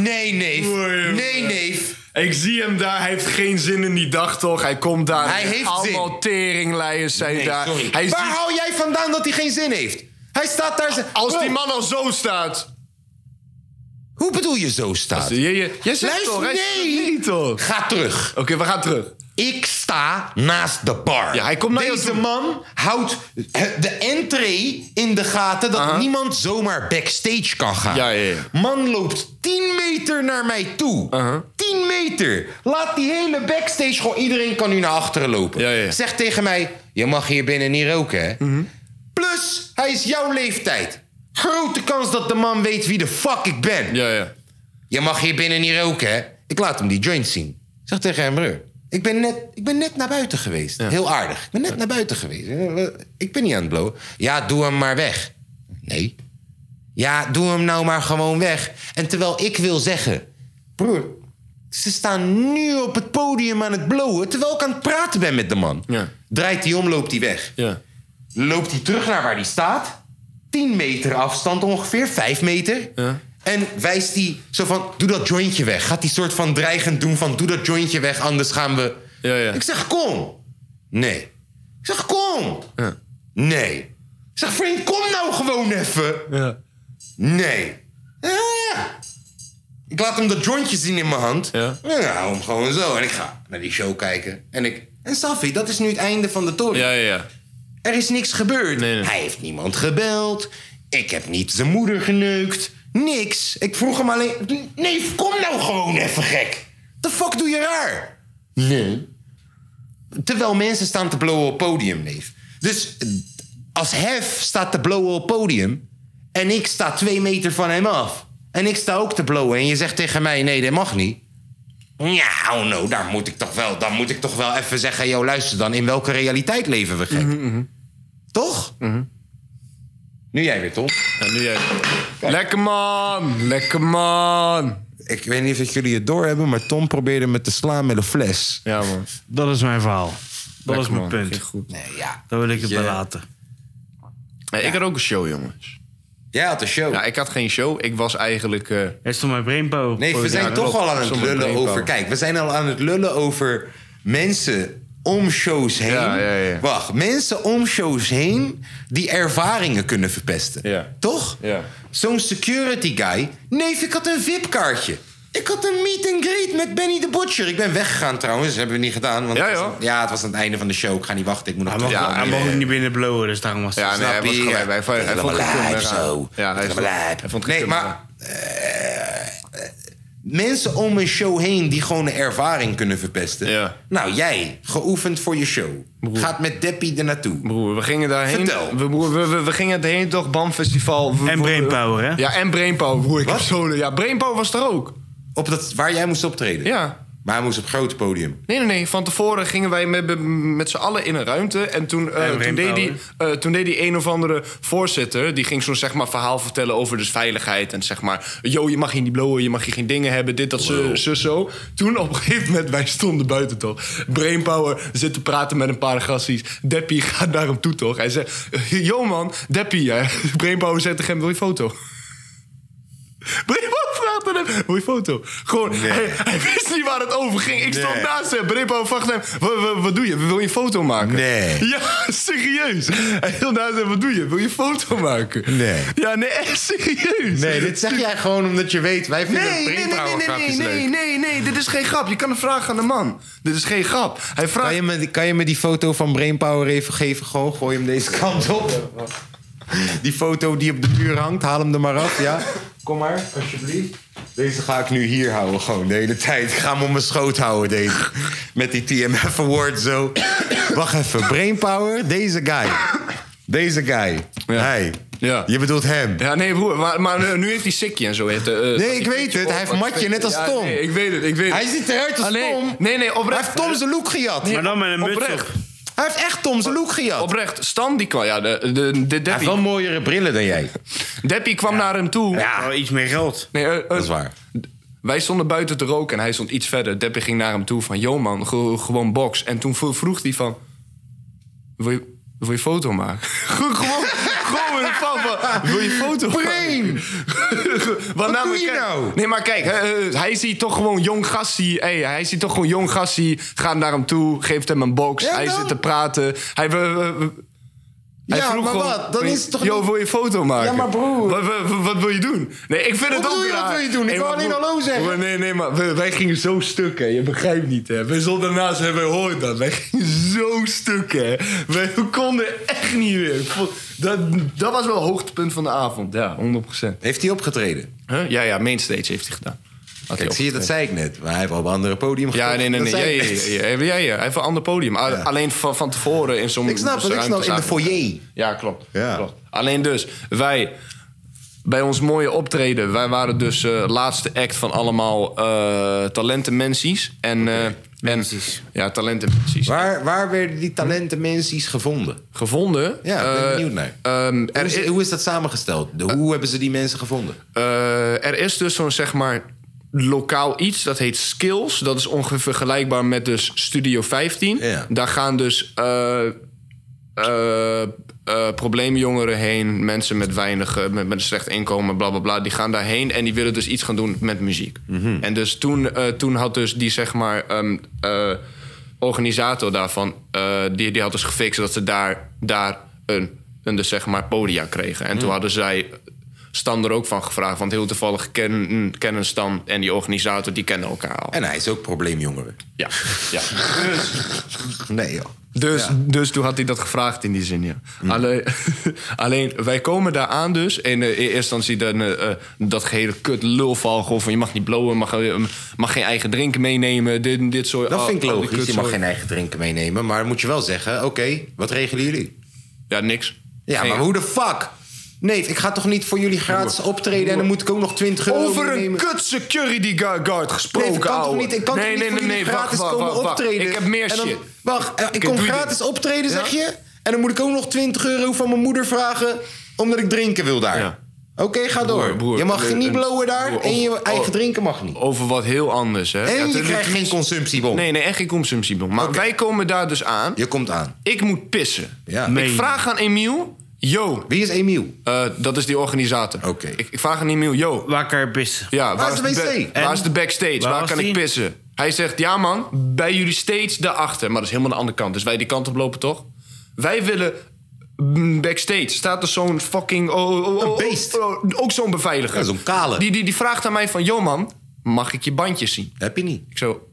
Speaker 1: Nee, neef. Nee, neef.
Speaker 4: Ik zie hem daar, hij heeft geen zin in die dag toch? Hij komt daar,
Speaker 1: Hij heeft
Speaker 4: allemaal
Speaker 1: zin.
Speaker 4: teringlijers zijn
Speaker 1: Nee,
Speaker 4: daar.
Speaker 1: sorry.
Speaker 4: Hij
Speaker 1: Waar
Speaker 4: ziet-
Speaker 1: hou jij vandaan dat hij geen zin heeft? Hij staat daar... ze-
Speaker 4: als
Speaker 1: Bro,
Speaker 4: die man al zo staat.
Speaker 1: Hoe bedoel je zo staat?
Speaker 4: Je, je, jij zegt
Speaker 1: Luister,
Speaker 4: toch, hij
Speaker 1: nee.
Speaker 4: zegt niet toch? Oké,
Speaker 1: Ga terug.
Speaker 4: we gaan terug.
Speaker 1: Ik sta naast de bar.
Speaker 4: Ja, hij komt naar jou
Speaker 1: Deze
Speaker 4: toe.
Speaker 1: man houdt de entree in de gaten dat
Speaker 4: Aha.
Speaker 1: niemand zomaar backstage kan gaan.
Speaker 4: Ja, ja, ja.
Speaker 1: Man loopt 10 meter naar mij toe. 10 meter. Laat die hele backstage gewoon iedereen kan nu naar achteren lopen.
Speaker 4: Ja, Mhm. ja, ja.
Speaker 1: Zegt tegen mij: Je mag hier binnen niet roken, hè? Plus, hij is jouw leeftijd. Grote kans dat de man weet wie de fuck ik ben.
Speaker 4: Ja, ja.
Speaker 1: Je mag hier binnen niet roken, hè? Ik laat hem die joint zien. Ik zeg tegen hem, broer. Ik ben net, ik ben net naar buiten geweest. Heel aardig. Ik ben net naar buiten geweest. Eh, Ik ben niet aan het blowen. Ja, doe hem maar weg. Nee. Ja, doe hem nou maar gewoon weg. En terwijl ik wil zeggen... Broer, ze staan nu op het podium aan het blowen... terwijl ik aan het praten ben met de man.
Speaker 4: Ja.
Speaker 1: Draait hij om, loopt hij weg
Speaker 4: ja.
Speaker 1: loopt hij terug naar waar hij staat. 10 meter afstand ongeveer, 5 meter.
Speaker 4: Ja.
Speaker 1: En wijst hij zo van, doe dat jointje weg. Gaat hij soort van dreigend doen van, doe dat jointje weg, anders gaan we...
Speaker 4: Ja, ja.
Speaker 1: Ik zeg, kom. Nee. Ik zeg, kom.
Speaker 4: Ja.
Speaker 1: Nee. Ik zeg, vriend, kom nou gewoon even.
Speaker 4: Ja.
Speaker 1: Nee. Ja, ja. Ik laat hem dat jointje zien in mijn hand.
Speaker 4: Ja.
Speaker 1: Ja, hou hem gewoon zo. En ik ga naar die show kijken. En ik... En Safi, dat is nu het einde van de toren.
Speaker 4: Ja, ja, ja.
Speaker 1: Er is niks gebeurd.
Speaker 4: Nee, nee.
Speaker 1: Hij heeft niemand gebeld. Ik heb niet zijn moeder geneukt. Niks. Ik vroeg hem alleen... Nee, kom nou gewoon even gek. The fuck doe je raar? Nee. Terwijl mensen staan te blowen op podium, neef. Dus eh, als Hef staat te blowen op podium... en ik sta twee meter van hem af... en ik sta ook te blowen en je zegt tegen mij... nee, dat mag niet. Ja, oh no, daar moet ik toch wel, dan moet ik toch wel even zeggen... joh, luister dan, in welke realiteit leven we gek? Toch? Mhm. Nu jij weer, Tom.
Speaker 4: En nu jij. Lekker man, lekker man.
Speaker 1: Ik weet niet of jullie het doorhebben, maar Tom probeerde me te slaan met een fles.
Speaker 4: Ja, man.
Speaker 3: Dat is mijn verhaal. Dat
Speaker 4: Lekker,
Speaker 3: is mijn
Speaker 4: man.
Speaker 3: punt.
Speaker 4: Ging goed.
Speaker 1: Nee, ja.
Speaker 3: Daar wil ik het
Speaker 1: Ja.
Speaker 3: bij laten.
Speaker 4: Hey, Ik had ook een show, jongens.
Speaker 1: Jij had een show.
Speaker 4: Ja, ik had geen show. Ik was eigenlijk... eh,
Speaker 3: Hij is toch mijn brainpower?
Speaker 1: nee, we zijn
Speaker 4: ja,
Speaker 1: toch
Speaker 4: klopt.
Speaker 1: al aan het
Speaker 4: Zonder
Speaker 1: lullen
Speaker 4: brainpower.
Speaker 1: over... Kijk, we zijn al aan het lullen over mensen om shows heen.
Speaker 4: Ja, ja, ja.
Speaker 1: Wacht, mensen om shows heen die ervaringen kunnen verpesten.
Speaker 4: Ja.
Speaker 1: Toch?
Speaker 4: Ja.
Speaker 1: Zo'n security guy. Nee, ik had een VIP-kaartje. Ik had een meet and greet met Benny de Butcher. Ik ben weggegaan trouwens, dat hebben we niet gedaan. Want
Speaker 4: Ja,
Speaker 1: het was
Speaker 4: joh.
Speaker 1: aan- ja, het was aan het einde van de show. Ik ga niet wachten, ik moet nog
Speaker 3: Hij mag,
Speaker 1: terug.
Speaker 4: Ja,
Speaker 3: hij mag
Speaker 4: nee.
Speaker 3: ook niet binnen blowen, dus daarom was het.
Speaker 4: Ja, nee, hij was
Speaker 1: Snap je?
Speaker 4: gelijk. Hij, vond- hij
Speaker 1: Dat is
Speaker 4: vond het
Speaker 1: allemaal
Speaker 4: kut,
Speaker 1: lijp
Speaker 4: maar-
Speaker 1: zo.
Speaker 4: Ja, hij
Speaker 1: Dat is
Speaker 4: vond,
Speaker 1: allemaal lijp.
Speaker 4: hij vond het
Speaker 1: Nee,
Speaker 4: kut,
Speaker 1: maar... eh, Mensen om een show heen die gewoon een ervaring kunnen verpesten.
Speaker 4: Ja.
Speaker 1: Nou, jij, geoefend voor je show. Gaat met Deppie er naartoe.
Speaker 4: Broer, we gingen daarheen.
Speaker 1: Vertel.
Speaker 4: We, broer, we, we, we gingen daarheen toch, BAM Festival. We-
Speaker 3: En
Speaker 4: we-
Speaker 3: Brainpower, hè?
Speaker 4: Ja, en Brainpower. Broer, ik
Speaker 1: Wat?
Speaker 4: heb solo. Ja, Brainpower was er ook.
Speaker 1: Op dat, waar jij moest optreden.
Speaker 4: Ja.
Speaker 1: Maar hij moest op groot podium.
Speaker 4: Nee, nee, nee. Van tevoren gingen wij met, met z'n allen in een ruimte. En toen, eh, toen, deed
Speaker 3: Brainpower.
Speaker 4: die, eh, toen deed die een of andere voorzitter... die ging zo'n zeg maar, verhaal vertellen over dus veiligheid. En zeg maar, yo, je mag hier niet blowen, je mag hier geen dingen hebben. Dit, dat, zo, zo, zo. Toen op een gegeven moment, wij stonden buiten toch. Brainpower zit te praten met een paar gasties. Deppie gaat naar hem toe toch. Hij zegt, yo man, Deppie. hè. Brainpower zegt tegen hem, wil je foto? Brippo vraagt aan hem. Mooie foto. Gewoon, hij, hij wist niet waar het over ging. Ik stond
Speaker 1: Nee.
Speaker 4: naast hem. Brippo vraagt hem: "Wa- wa- Wat doe je? Wil je een foto maken?
Speaker 1: Nee.
Speaker 4: Ja, serieus. Hij stond naast hem: Wat doe je? Wil je een foto maken?
Speaker 1: Nee.
Speaker 4: Ja, nee, echt serieus.
Speaker 1: zeg jij gewoon omdat je weet. Wij
Speaker 4: Nee, nee, nee, nee, nee, nee, nee, nee, nee, dit is geen grap. Je kan een vraag aan de man. Dit is geen grap. Hij vraagt.
Speaker 1: Kan je, me, kan je me die foto van Brainpower even geven? Gewoon gooi hem deze kant op. Die foto die op de muur hangt, haal hem er maar af, ja? Kom maar, alsjeblieft. Deze ga ik nu hier houden, gewoon de hele tijd. Ik ga hem op mijn schoot houden, deze. Met die TMF Award zo. Wacht even, Brainpower, deze guy. Deze guy. Hij.
Speaker 4: Ja.
Speaker 1: Je bedoelt hem.
Speaker 4: Ja, nee, broer, maar, maar eh, nu heeft hij sikkie en zo. Heet, eh,
Speaker 1: Nee, ik weet het. Hij heeft matje, net als
Speaker 4: Ja,
Speaker 1: Tom.
Speaker 4: nee, ik weet het, ik weet het.
Speaker 1: Hij ziet eruit als
Speaker 4: Alleen-
Speaker 1: Tom.
Speaker 4: Nee, nee,
Speaker 1: Hij
Speaker 4: oprecht. Eh,
Speaker 1: heeft Tom zijn look gejat.
Speaker 3: Maar dan met een muts
Speaker 4: Oprecht.
Speaker 3: op.
Speaker 1: Hij Hij heeft echt Tom zijn look gejat.
Speaker 4: Oprecht, Stan die kwam. Ja, de, de, de
Speaker 1: Hij heeft
Speaker 4: Deppie,
Speaker 1: wel mooiere brillen dan jij.
Speaker 4: Deppie kwam naar hem toe.
Speaker 1: Ja.
Speaker 3: Wel iets meer geld.
Speaker 4: Nee, eh, eh,
Speaker 1: Dat is waar.
Speaker 4: Wij stonden buiten te roken en hij stond iets verder. Deppie ging naar hem toe van, yo man, ge- gewoon box. En toen vro- vroeg hij van, wil je, wil je foto maken? Ge- gewoon, gewoon een fan van, wil je foto
Speaker 1: Brain!
Speaker 4: maken? Wat
Speaker 1: doe je
Speaker 4: kijk-
Speaker 1: nou?
Speaker 4: Nee, maar kijk, eh, eh, hij ziet toch gewoon jong gassie. Hey, hij ziet toch gewoon jong gassie. Gaat naar hem toe, geeft hem een box.
Speaker 1: Ja,
Speaker 4: hij
Speaker 1: dan?
Speaker 4: zit te praten. Hij... eh, eh, eh, hij
Speaker 1: Ja,
Speaker 4: vroeg
Speaker 1: maar
Speaker 4: gewoon,
Speaker 1: wat? Dan
Speaker 4: wil je-
Speaker 1: is het toch
Speaker 4: Yo,
Speaker 1: niet-
Speaker 4: wil je een foto maken?
Speaker 1: Ja, maar broer.
Speaker 4: Wat, wat- wat wil je doen? Nee, ik vind het
Speaker 1: Wat
Speaker 4: ook
Speaker 1: bedoel je, wat
Speaker 4: raar.
Speaker 1: wil je doen? Ik
Speaker 4: Nee,
Speaker 1: wou
Speaker 4: maar
Speaker 1: alleen
Speaker 4: broer-
Speaker 1: hallo zeggen.
Speaker 4: broer, Nee, nee, maar we- wij gingen zo stuk, hè. Je begrijpt niet, hè. We stonden naast en wij hoorden dat. Wij gingen zo stuk, hè. Wij konden echt niet meer. Ik vond- Dat, dat was wel het hoogtepunt van de avond, ja, 100%.
Speaker 1: Heeft hij opgetreden?
Speaker 4: Huh? Ja, ja, Mainstage heeft hij gedaan. Had hij
Speaker 1: Kijk, zie je, dat zei ik net. Maar hij heeft al op een andere podium gestaan.
Speaker 4: ja, nee, nee,
Speaker 1: Dat
Speaker 4: nee. Ja,
Speaker 1: zei ik
Speaker 4: ja,
Speaker 1: net.
Speaker 4: ja, ja, ja, ja. Hij heeft een ander podium. A- Alleen van, van tevoren in zo'n
Speaker 1: Ik snap het, ik
Speaker 4: ruimte
Speaker 1: snap het. In de
Speaker 4: zaten.
Speaker 1: foyer.
Speaker 4: Ja, klopt.
Speaker 1: Ja.
Speaker 4: klopt. Alleen dus, wij bij ons mooie optreden, wij waren dus eh, laatste act van allemaal eh talentenmensies. En, eh, en ja, talentenmensies.
Speaker 1: Waar, waar werden die talentenmensies gevonden?
Speaker 4: Gevonden.
Speaker 1: Ja, ik ben
Speaker 4: eh,
Speaker 1: benieuwd naar.
Speaker 4: ehm,
Speaker 1: Hoe
Speaker 4: er,
Speaker 1: is,
Speaker 4: is,
Speaker 1: hoe is dat samengesteld? De- hoe hebben ze die mensen gevonden?
Speaker 4: eh, er is dus zo'n zeg maar lokaal iets dat heet skills. Dat is ongeveer vergelijkbaar met dus Studio 15.
Speaker 1: Ja.
Speaker 4: Daar gaan dus eh, eh, eh, probleemjongeren heen, mensen met weinig, eh, met, met een slecht inkomen, bla bla bla, die gaan daarheen en die willen dus iets gaan doen met muziek. En dus toen, eh, toen had dus die zeg maar ehm, eh, organisator daarvan, eh, die, die had dus gefixt dat ze daar, daar een, een dus zeg maar podia kregen. En toen hadden zij Stan er ook van gevraagd, want heel toevallig kennen, kennen Stan en die organisator, die kennen elkaar al.
Speaker 1: En hij is ook probleemjongeren.
Speaker 4: Ja, ja.
Speaker 1: Nee, joh.
Speaker 4: Dus, dus toen had hij dat gevraagd in die zin, ja.
Speaker 1: Hmm.
Speaker 4: Alleen, alleen, wij komen daar aan dus. En eh, in eerste instantie dan, eh, eh, dat gehele kut lulvalgel van... je mag niet blowen, mag, eh, mag geen eigen drinken meenemen, dit, en dit soort...
Speaker 1: Dat
Speaker 4: al-
Speaker 1: vind ik
Speaker 4: al Oh, die
Speaker 1: logisch. Je
Speaker 4: kutzooi.
Speaker 1: mag geen eigen drinken meenemen. Maar moet je wel zeggen, oké, wat regelen jullie?
Speaker 4: Ja, niks.
Speaker 1: Ja,
Speaker 4: Geen-
Speaker 1: maar hoe de fuck? Nee, ik ga toch niet voor jullie gratis optreden... en dan moet ik ook nog 20 euro
Speaker 4: Over een
Speaker 1: meenemen?
Speaker 4: kut security guard guard gesproken,
Speaker 1: Nee, ik kan toch
Speaker 4: ouwe.
Speaker 1: niet, ik kan toch
Speaker 4: nee,
Speaker 1: niet
Speaker 4: nee,
Speaker 1: voor
Speaker 4: nee,
Speaker 1: jullie
Speaker 4: nee, wacht,
Speaker 1: gratis
Speaker 4: wacht,
Speaker 1: komen
Speaker 4: wacht, wacht.
Speaker 1: optreden?
Speaker 4: Ik heb meer
Speaker 1: En dan-
Speaker 4: shit.
Speaker 1: Wacht, eh, ik
Speaker 4: Oké,
Speaker 1: kom
Speaker 4: doe je
Speaker 1: gratis
Speaker 4: dit.
Speaker 1: optreden, zeg
Speaker 4: Ja?
Speaker 1: je? En dan moet ik ook nog 20 euro van mijn moeder vragen... omdat ik drinken wil daar.
Speaker 4: Ja.
Speaker 1: Oké, ga door.
Speaker 4: broer,
Speaker 1: je mag
Speaker 4: een-
Speaker 1: niet
Speaker 4: een-
Speaker 1: blowen daar...
Speaker 4: broer,
Speaker 1: en je
Speaker 4: of-
Speaker 1: eigen
Speaker 4: of-
Speaker 1: drinken mag niet.
Speaker 4: Over wat heel anders, hè. Ja,
Speaker 1: En je
Speaker 4: tuurlijk,
Speaker 1: krijgt geen consumptiebon.
Speaker 4: Nee, nee, echt geen consumptiebon. Maar
Speaker 1: Oké.
Speaker 4: wij komen daar dus aan.
Speaker 1: Je komt aan.
Speaker 4: Ik moet pissen.
Speaker 1: Ja.
Speaker 4: Ik vraag aan Emiel... Yo,
Speaker 1: Wie is Emiel?
Speaker 4: Eh, dat is die organisator.
Speaker 1: Oké.
Speaker 4: Ik, ik vraag aan Emiel, yo,
Speaker 3: Waar kan je pissen?
Speaker 4: ja,
Speaker 1: Waar is de wc?
Speaker 4: ba- waar is de backstage?
Speaker 3: Waar
Speaker 4: Waar,
Speaker 3: was
Speaker 4: kan
Speaker 3: die?
Speaker 4: ik pissen? Hij zegt, ja man, bij jullie steeds daarachter. Maar dat is helemaal de andere kant. Dus wij die kant op lopen, toch? Wij willen mm, backstage. Staat er zo'n fucking... Oh, oh, oh, oh,
Speaker 1: beest.
Speaker 4: oh, ook zo'n beveiliger.
Speaker 1: Ja, zo'n kale.
Speaker 4: Die, die, die vraagt aan mij van, yo man, mag ik je bandjes zien?
Speaker 1: Heb je niet.
Speaker 4: Ik zo,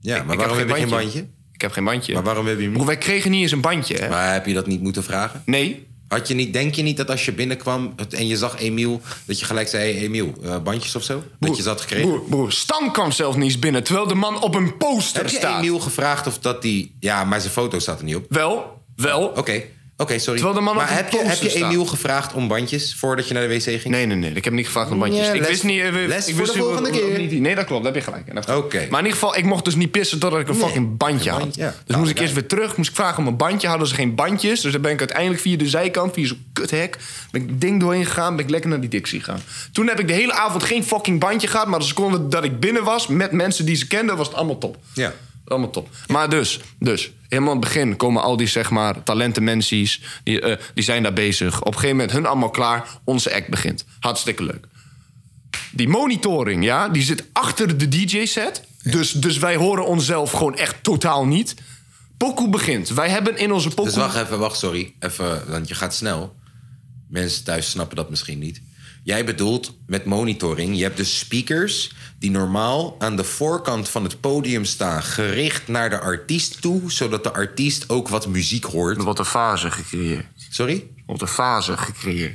Speaker 1: Ja, maar
Speaker 4: ik
Speaker 1: waarom
Speaker 4: heb
Speaker 1: heb je geen bandje?
Speaker 4: Ik heb geen bandje.
Speaker 1: Maar waarom heb je hem
Speaker 4: Broer,
Speaker 1: niet?
Speaker 4: wij kregen niet eens een bandje, hè?
Speaker 1: Maar heb je dat niet moeten vragen?
Speaker 4: Nee,
Speaker 1: Had je niet, denk je niet dat als je binnenkwam het- en je zag Emiel... dat je gelijk zei, hey, Emiel, eh, bandjes of zo? dat je ze had gekregen?
Speaker 4: Broer, broer, Stan kwam zelf niet eens binnen, terwijl de man op een poster
Speaker 1: Heb je
Speaker 4: staat.
Speaker 1: Emiel gevraagd of dat die... Ja, maar zijn foto staat er niet op. Oké,
Speaker 4: Wel, wel.
Speaker 1: Oh, oké, sorry.
Speaker 4: Terwijl de man op
Speaker 1: maar
Speaker 4: een
Speaker 1: heb je, heb
Speaker 4: poster
Speaker 1: je Emiel gevraagd om bandjes voordat je naar de wc ging?
Speaker 4: Nee, nee, nee. Ik heb niet gevraagd om bandjes.
Speaker 1: Ja,
Speaker 4: ik
Speaker 1: les-
Speaker 4: wist niet... eh, we-
Speaker 1: les
Speaker 4: ik
Speaker 1: voor
Speaker 4: wist
Speaker 1: de
Speaker 4: niet hoe-
Speaker 1: volgende
Speaker 4: hoe- hoe-
Speaker 1: keer.
Speaker 4: niet- Nee, dat klopt. Daar heb je gelijk. in. Dat klopt.
Speaker 1: Oké.
Speaker 4: Maar in ieder geval, ik mocht dus niet pissen totdat ik een fucking bandje
Speaker 1: Een
Speaker 4: had.
Speaker 1: bandje, ja. Nou,
Speaker 4: Dus moest ik
Speaker 1: Ja.
Speaker 4: eerst weer terug. Moest ik vragen om een bandje. Hadden ze geen bandjes. Dus dan ben ik uiteindelijk via de zijkant, via zo'n kuthek... ben ik ding doorheen gegaan. Ben ik lekker naar die Dixie gegaan. Toen heb ik de hele avond geen fucking bandje gehad. Maar de seconde dat ik binnen was met mensen die ze kenden... was het allemaal top.
Speaker 1: Ja.
Speaker 4: Allemaal top. Maar dus, dus, helemaal aan het begin komen al die zeg maar talentenmensies, die, eh, die zijn daar bezig. Op een gegeven moment hun allemaal klaar, onze act begint. Hartstikke leuk. Die monitoring, ja, die zit achter de DJ-set. Dus, dus wij horen onszelf gewoon echt totaal niet. Pokoe begint. Wij hebben in onze pokoe...
Speaker 1: Dus wacht even, wacht, sorry. Even, want je gaat snel. Mensen thuis snappen dat misschien niet. Jij bedoelt met monitoring, je hebt dus speakers die normaal aan de voorkant van het podium staan, gericht naar de artiest toe, zodat de artiest ook wat muziek hoort.
Speaker 4: Wat een fase gecreëerd.
Speaker 1: Sorry?
Speaker 4: Wat een fase gecreëerd.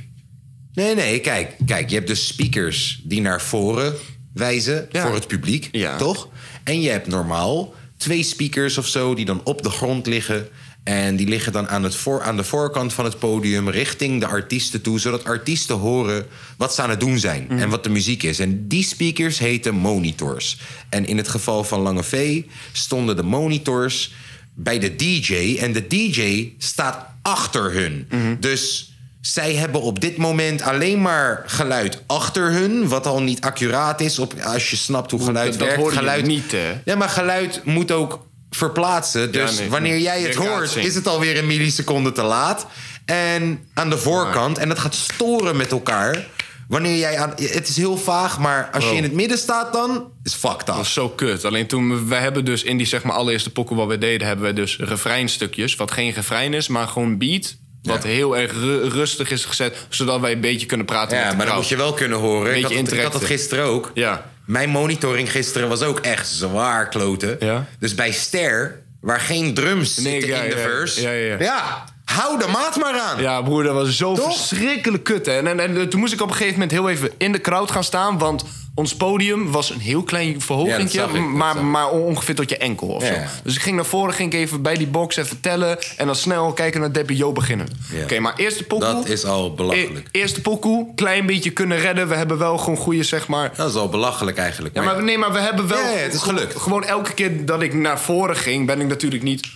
Speaker 1: Nee, nee, kijk, kijk, je hebt dus speakers die naar voren wijzen
Speaker 4: Ja.
Speaker 1: voor het publiek,
Speaker 4: Ja.
Speaker 1: toch? En je hebt normaal twee speakers of zo die dan op de grond liggen. En die liggen dan aan, het voor, aan de voorkant van het podium richting de artiesten toe, zodat artiesten horen wat ze aan het doen zijn
Speaker 4: Mhm.
Speaker 1: en wat de muziek is. En die speakers heten monitors. En in het geval van Lange V stonden de monitors bij de DJ. En de DJ staat achter hun.
Speaker 4: Mhm.
Speaker 1: Dus zij hebben op dit moment alleen maar geluid achter hun. Wat al niet accuraat is op, als je snapt hoe geluid
Speaker 4: dat
Speaker 1: werkt.
Speaker 4: hoor je
Speaker 1: geluid,
Speaker 4: niet, hè?
Speaker 1: Ja, maar geluid moet ook verplaatsen. Dus
Speaker 4: nee.
Speaker 1: wanneer jij het
Speaker 4: Weerkaatsing.
Speaker 1: hoort, is het alweer een milliseconde te laat. En aan de voorkant. En dat gaat storen met elkaar. Wanneer jij aan... Het is heel vaag, maar als je in het midden staat dan... Is fucked
Speaker 4: Dat
Speaker 1: up.
Speaker 4: was zo kut. Alleen toen, we hebben dus in die zeg maar allereerste pokken wat we deden... hebben we dus refreinstukjes, wat geen refrein is, maar gewoon beat... wat
Speaker 1: Ja.
Speaker 4: heel erg ru- rustig is gezet, zodat wij een beetje kunnen praten met
Speaker 1: Ja,
Speaker 4: de
Speaker 1: maar dat
Speaker 4: crowd.
Speaker 1: moet je wel kunnen horen. Ik had,
Speaker 4: Beetje
Speaker 1: het- ik had dat
Speaker 4: interaction.
Speaker 1: gisteren ook.
Speaker 4: Ja.
Speaker 1: Mijn monitoring gisteren was ook echt zwaar kloten.
Speaker 4: Ja.
Speaker 1: Dus bij Ster, waar geen drums
Speaker 4: Nee,
Speaker 1: zitten
Speaker 4: ja,
Speaker 1: in de
Speaker 4: ja,
Speaker 1: verse...
Speaker 4: ja, ja.
Speaker 1: hou de maat maar aan.
Speaker 4: Ja, broer, dat was zo
Speaker 1: Toch?
Speaker 4: verschrikkelijk kut. Hè? En, en, en toen moest ik op een gegeven moment heel even in de crowd gaan staan. Want ons podium was een heel klein
Speaker 1: Ja, dat zag
Speaker 4: verhoging,
Speaker 1: ik, dat zag
Speaker 4: maar,
Speaker 1: ik.
Speaker 4: maar on- ongeveer tot je enkel of
Speaker 1: Ja.
Speaker 4: zo. Dus ik ging naar voren, ging ik even bij die box even tellen. En dan snel kijken naar Debbie Jo beginnen.
Speaker 1: Ja.
Speaker 4: Oké, maar eerste pokoe...
Speaker 1: Dat is al belachelijk.
Speaker 4: e- eerste pokoe, klein beetje kunnen redden. We hebben wel gewoon goede, zeg maar...
Speaker 1: Dat is al belachelijk eigenlijk.
Speaker 4: Ja, maar, nee, maar we hebben wel...
Speaker 1: Ja, ja, het is
Speaker 4: ge-
Speaker 1: gelukt.
Speaker 4: Gewoon elke keer dat ik naar voren ging, ben ik natuurlijk niet...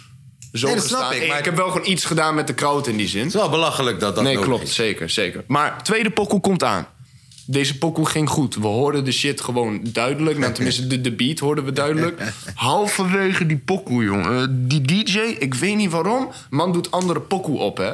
Speaker 4: Zo
Speaker 1: Nee, dat snap
Speaker 4: gestaan.
Speaker 1: ik,
Speaker 4: ik,
Speaker 1: maar-
Speaker 4: ik heb wel gewoon iets gedaan met de crowd in die zin.
Speaker 1: Het is wel belachelijk dat dat
Speaker 4: Nee,
Speaker 1: nodig
Speaker 4: klopt.
Speaker 1: is.
Speaker 4: Zeker, zeker. Maar tweede pokoe komt aan. Deze pokoe ging goed. We hoorden de shit gewoon duidelijk. Nou, tenminste, de, de beat hoorden we duidelijk. Halverwege die pokoe, jongen. Eh, Die DJ, ik weet niet waarom. Man doet andere pokoe op, hè.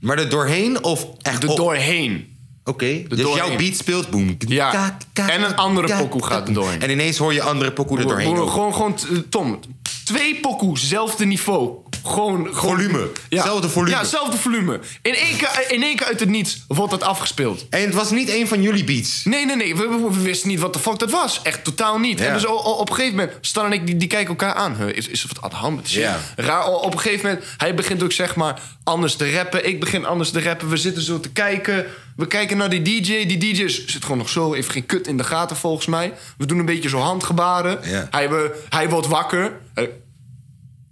Speaker 1: Maar er doorheen of echt
Speaker 4: Er
Speaker 1: op?
Speaker 4: doorheen.
Speaker 1: Oké, dus
Speaker 4: doorheen.
Speaker 1: jouw beat speelt boem.
Speaker 4: Ja.
Speaker 1: Kaak, kaak,
Speaker 4: En een andere
Speaker 1: kaak,
Speaker 4: pokoe gaat
Speaker 1: kaak.
Speaker 4: er doorheen.
Speaker 1: En ineens hoor je andere pokoe er doorheen.
Speaker 4: Gewoon,
Speaker 1: ook.
Speaker 4: gewoon, gewoon t- eh, Tom, twee pokoe, zelfde niveau. Gewoon, gewoon
Speaker 1: Volume. Zelfde volume.
Speaker 4: Ja, zelfde volume. In één keer, in één keer uit het niets wordt het afgespeeld.
Speaker 1: En het was niet een van jullie beats.
Speaker 4: Nee, nee, nee. We, we- we wisten niet wat de fuck dat was. Echt totaal niet.
Speaker 1: Ja.
Speaker 4: En dus o- o- op een gegeven moment, Stan en ik, die, die kijken elkaar aan. Huh, is, is er wat aan de hand met de shit?
Speaker 1: Ja.
Speaker 4: Raar, o- op een gegeven moment, hij begint ook zeg maar anders te rappen. Ik begin anders te rappen. We zitten zo te kijken. We kijken naar die DJ. Die DJ is- zit gewoon nog zo, heeft geen kut in de gaten volgens mij. We doen een beetje zo handgebaren.
Speaker 1: Ja.
Speaker 4: Hij, we, hij wordt wakker. Hij-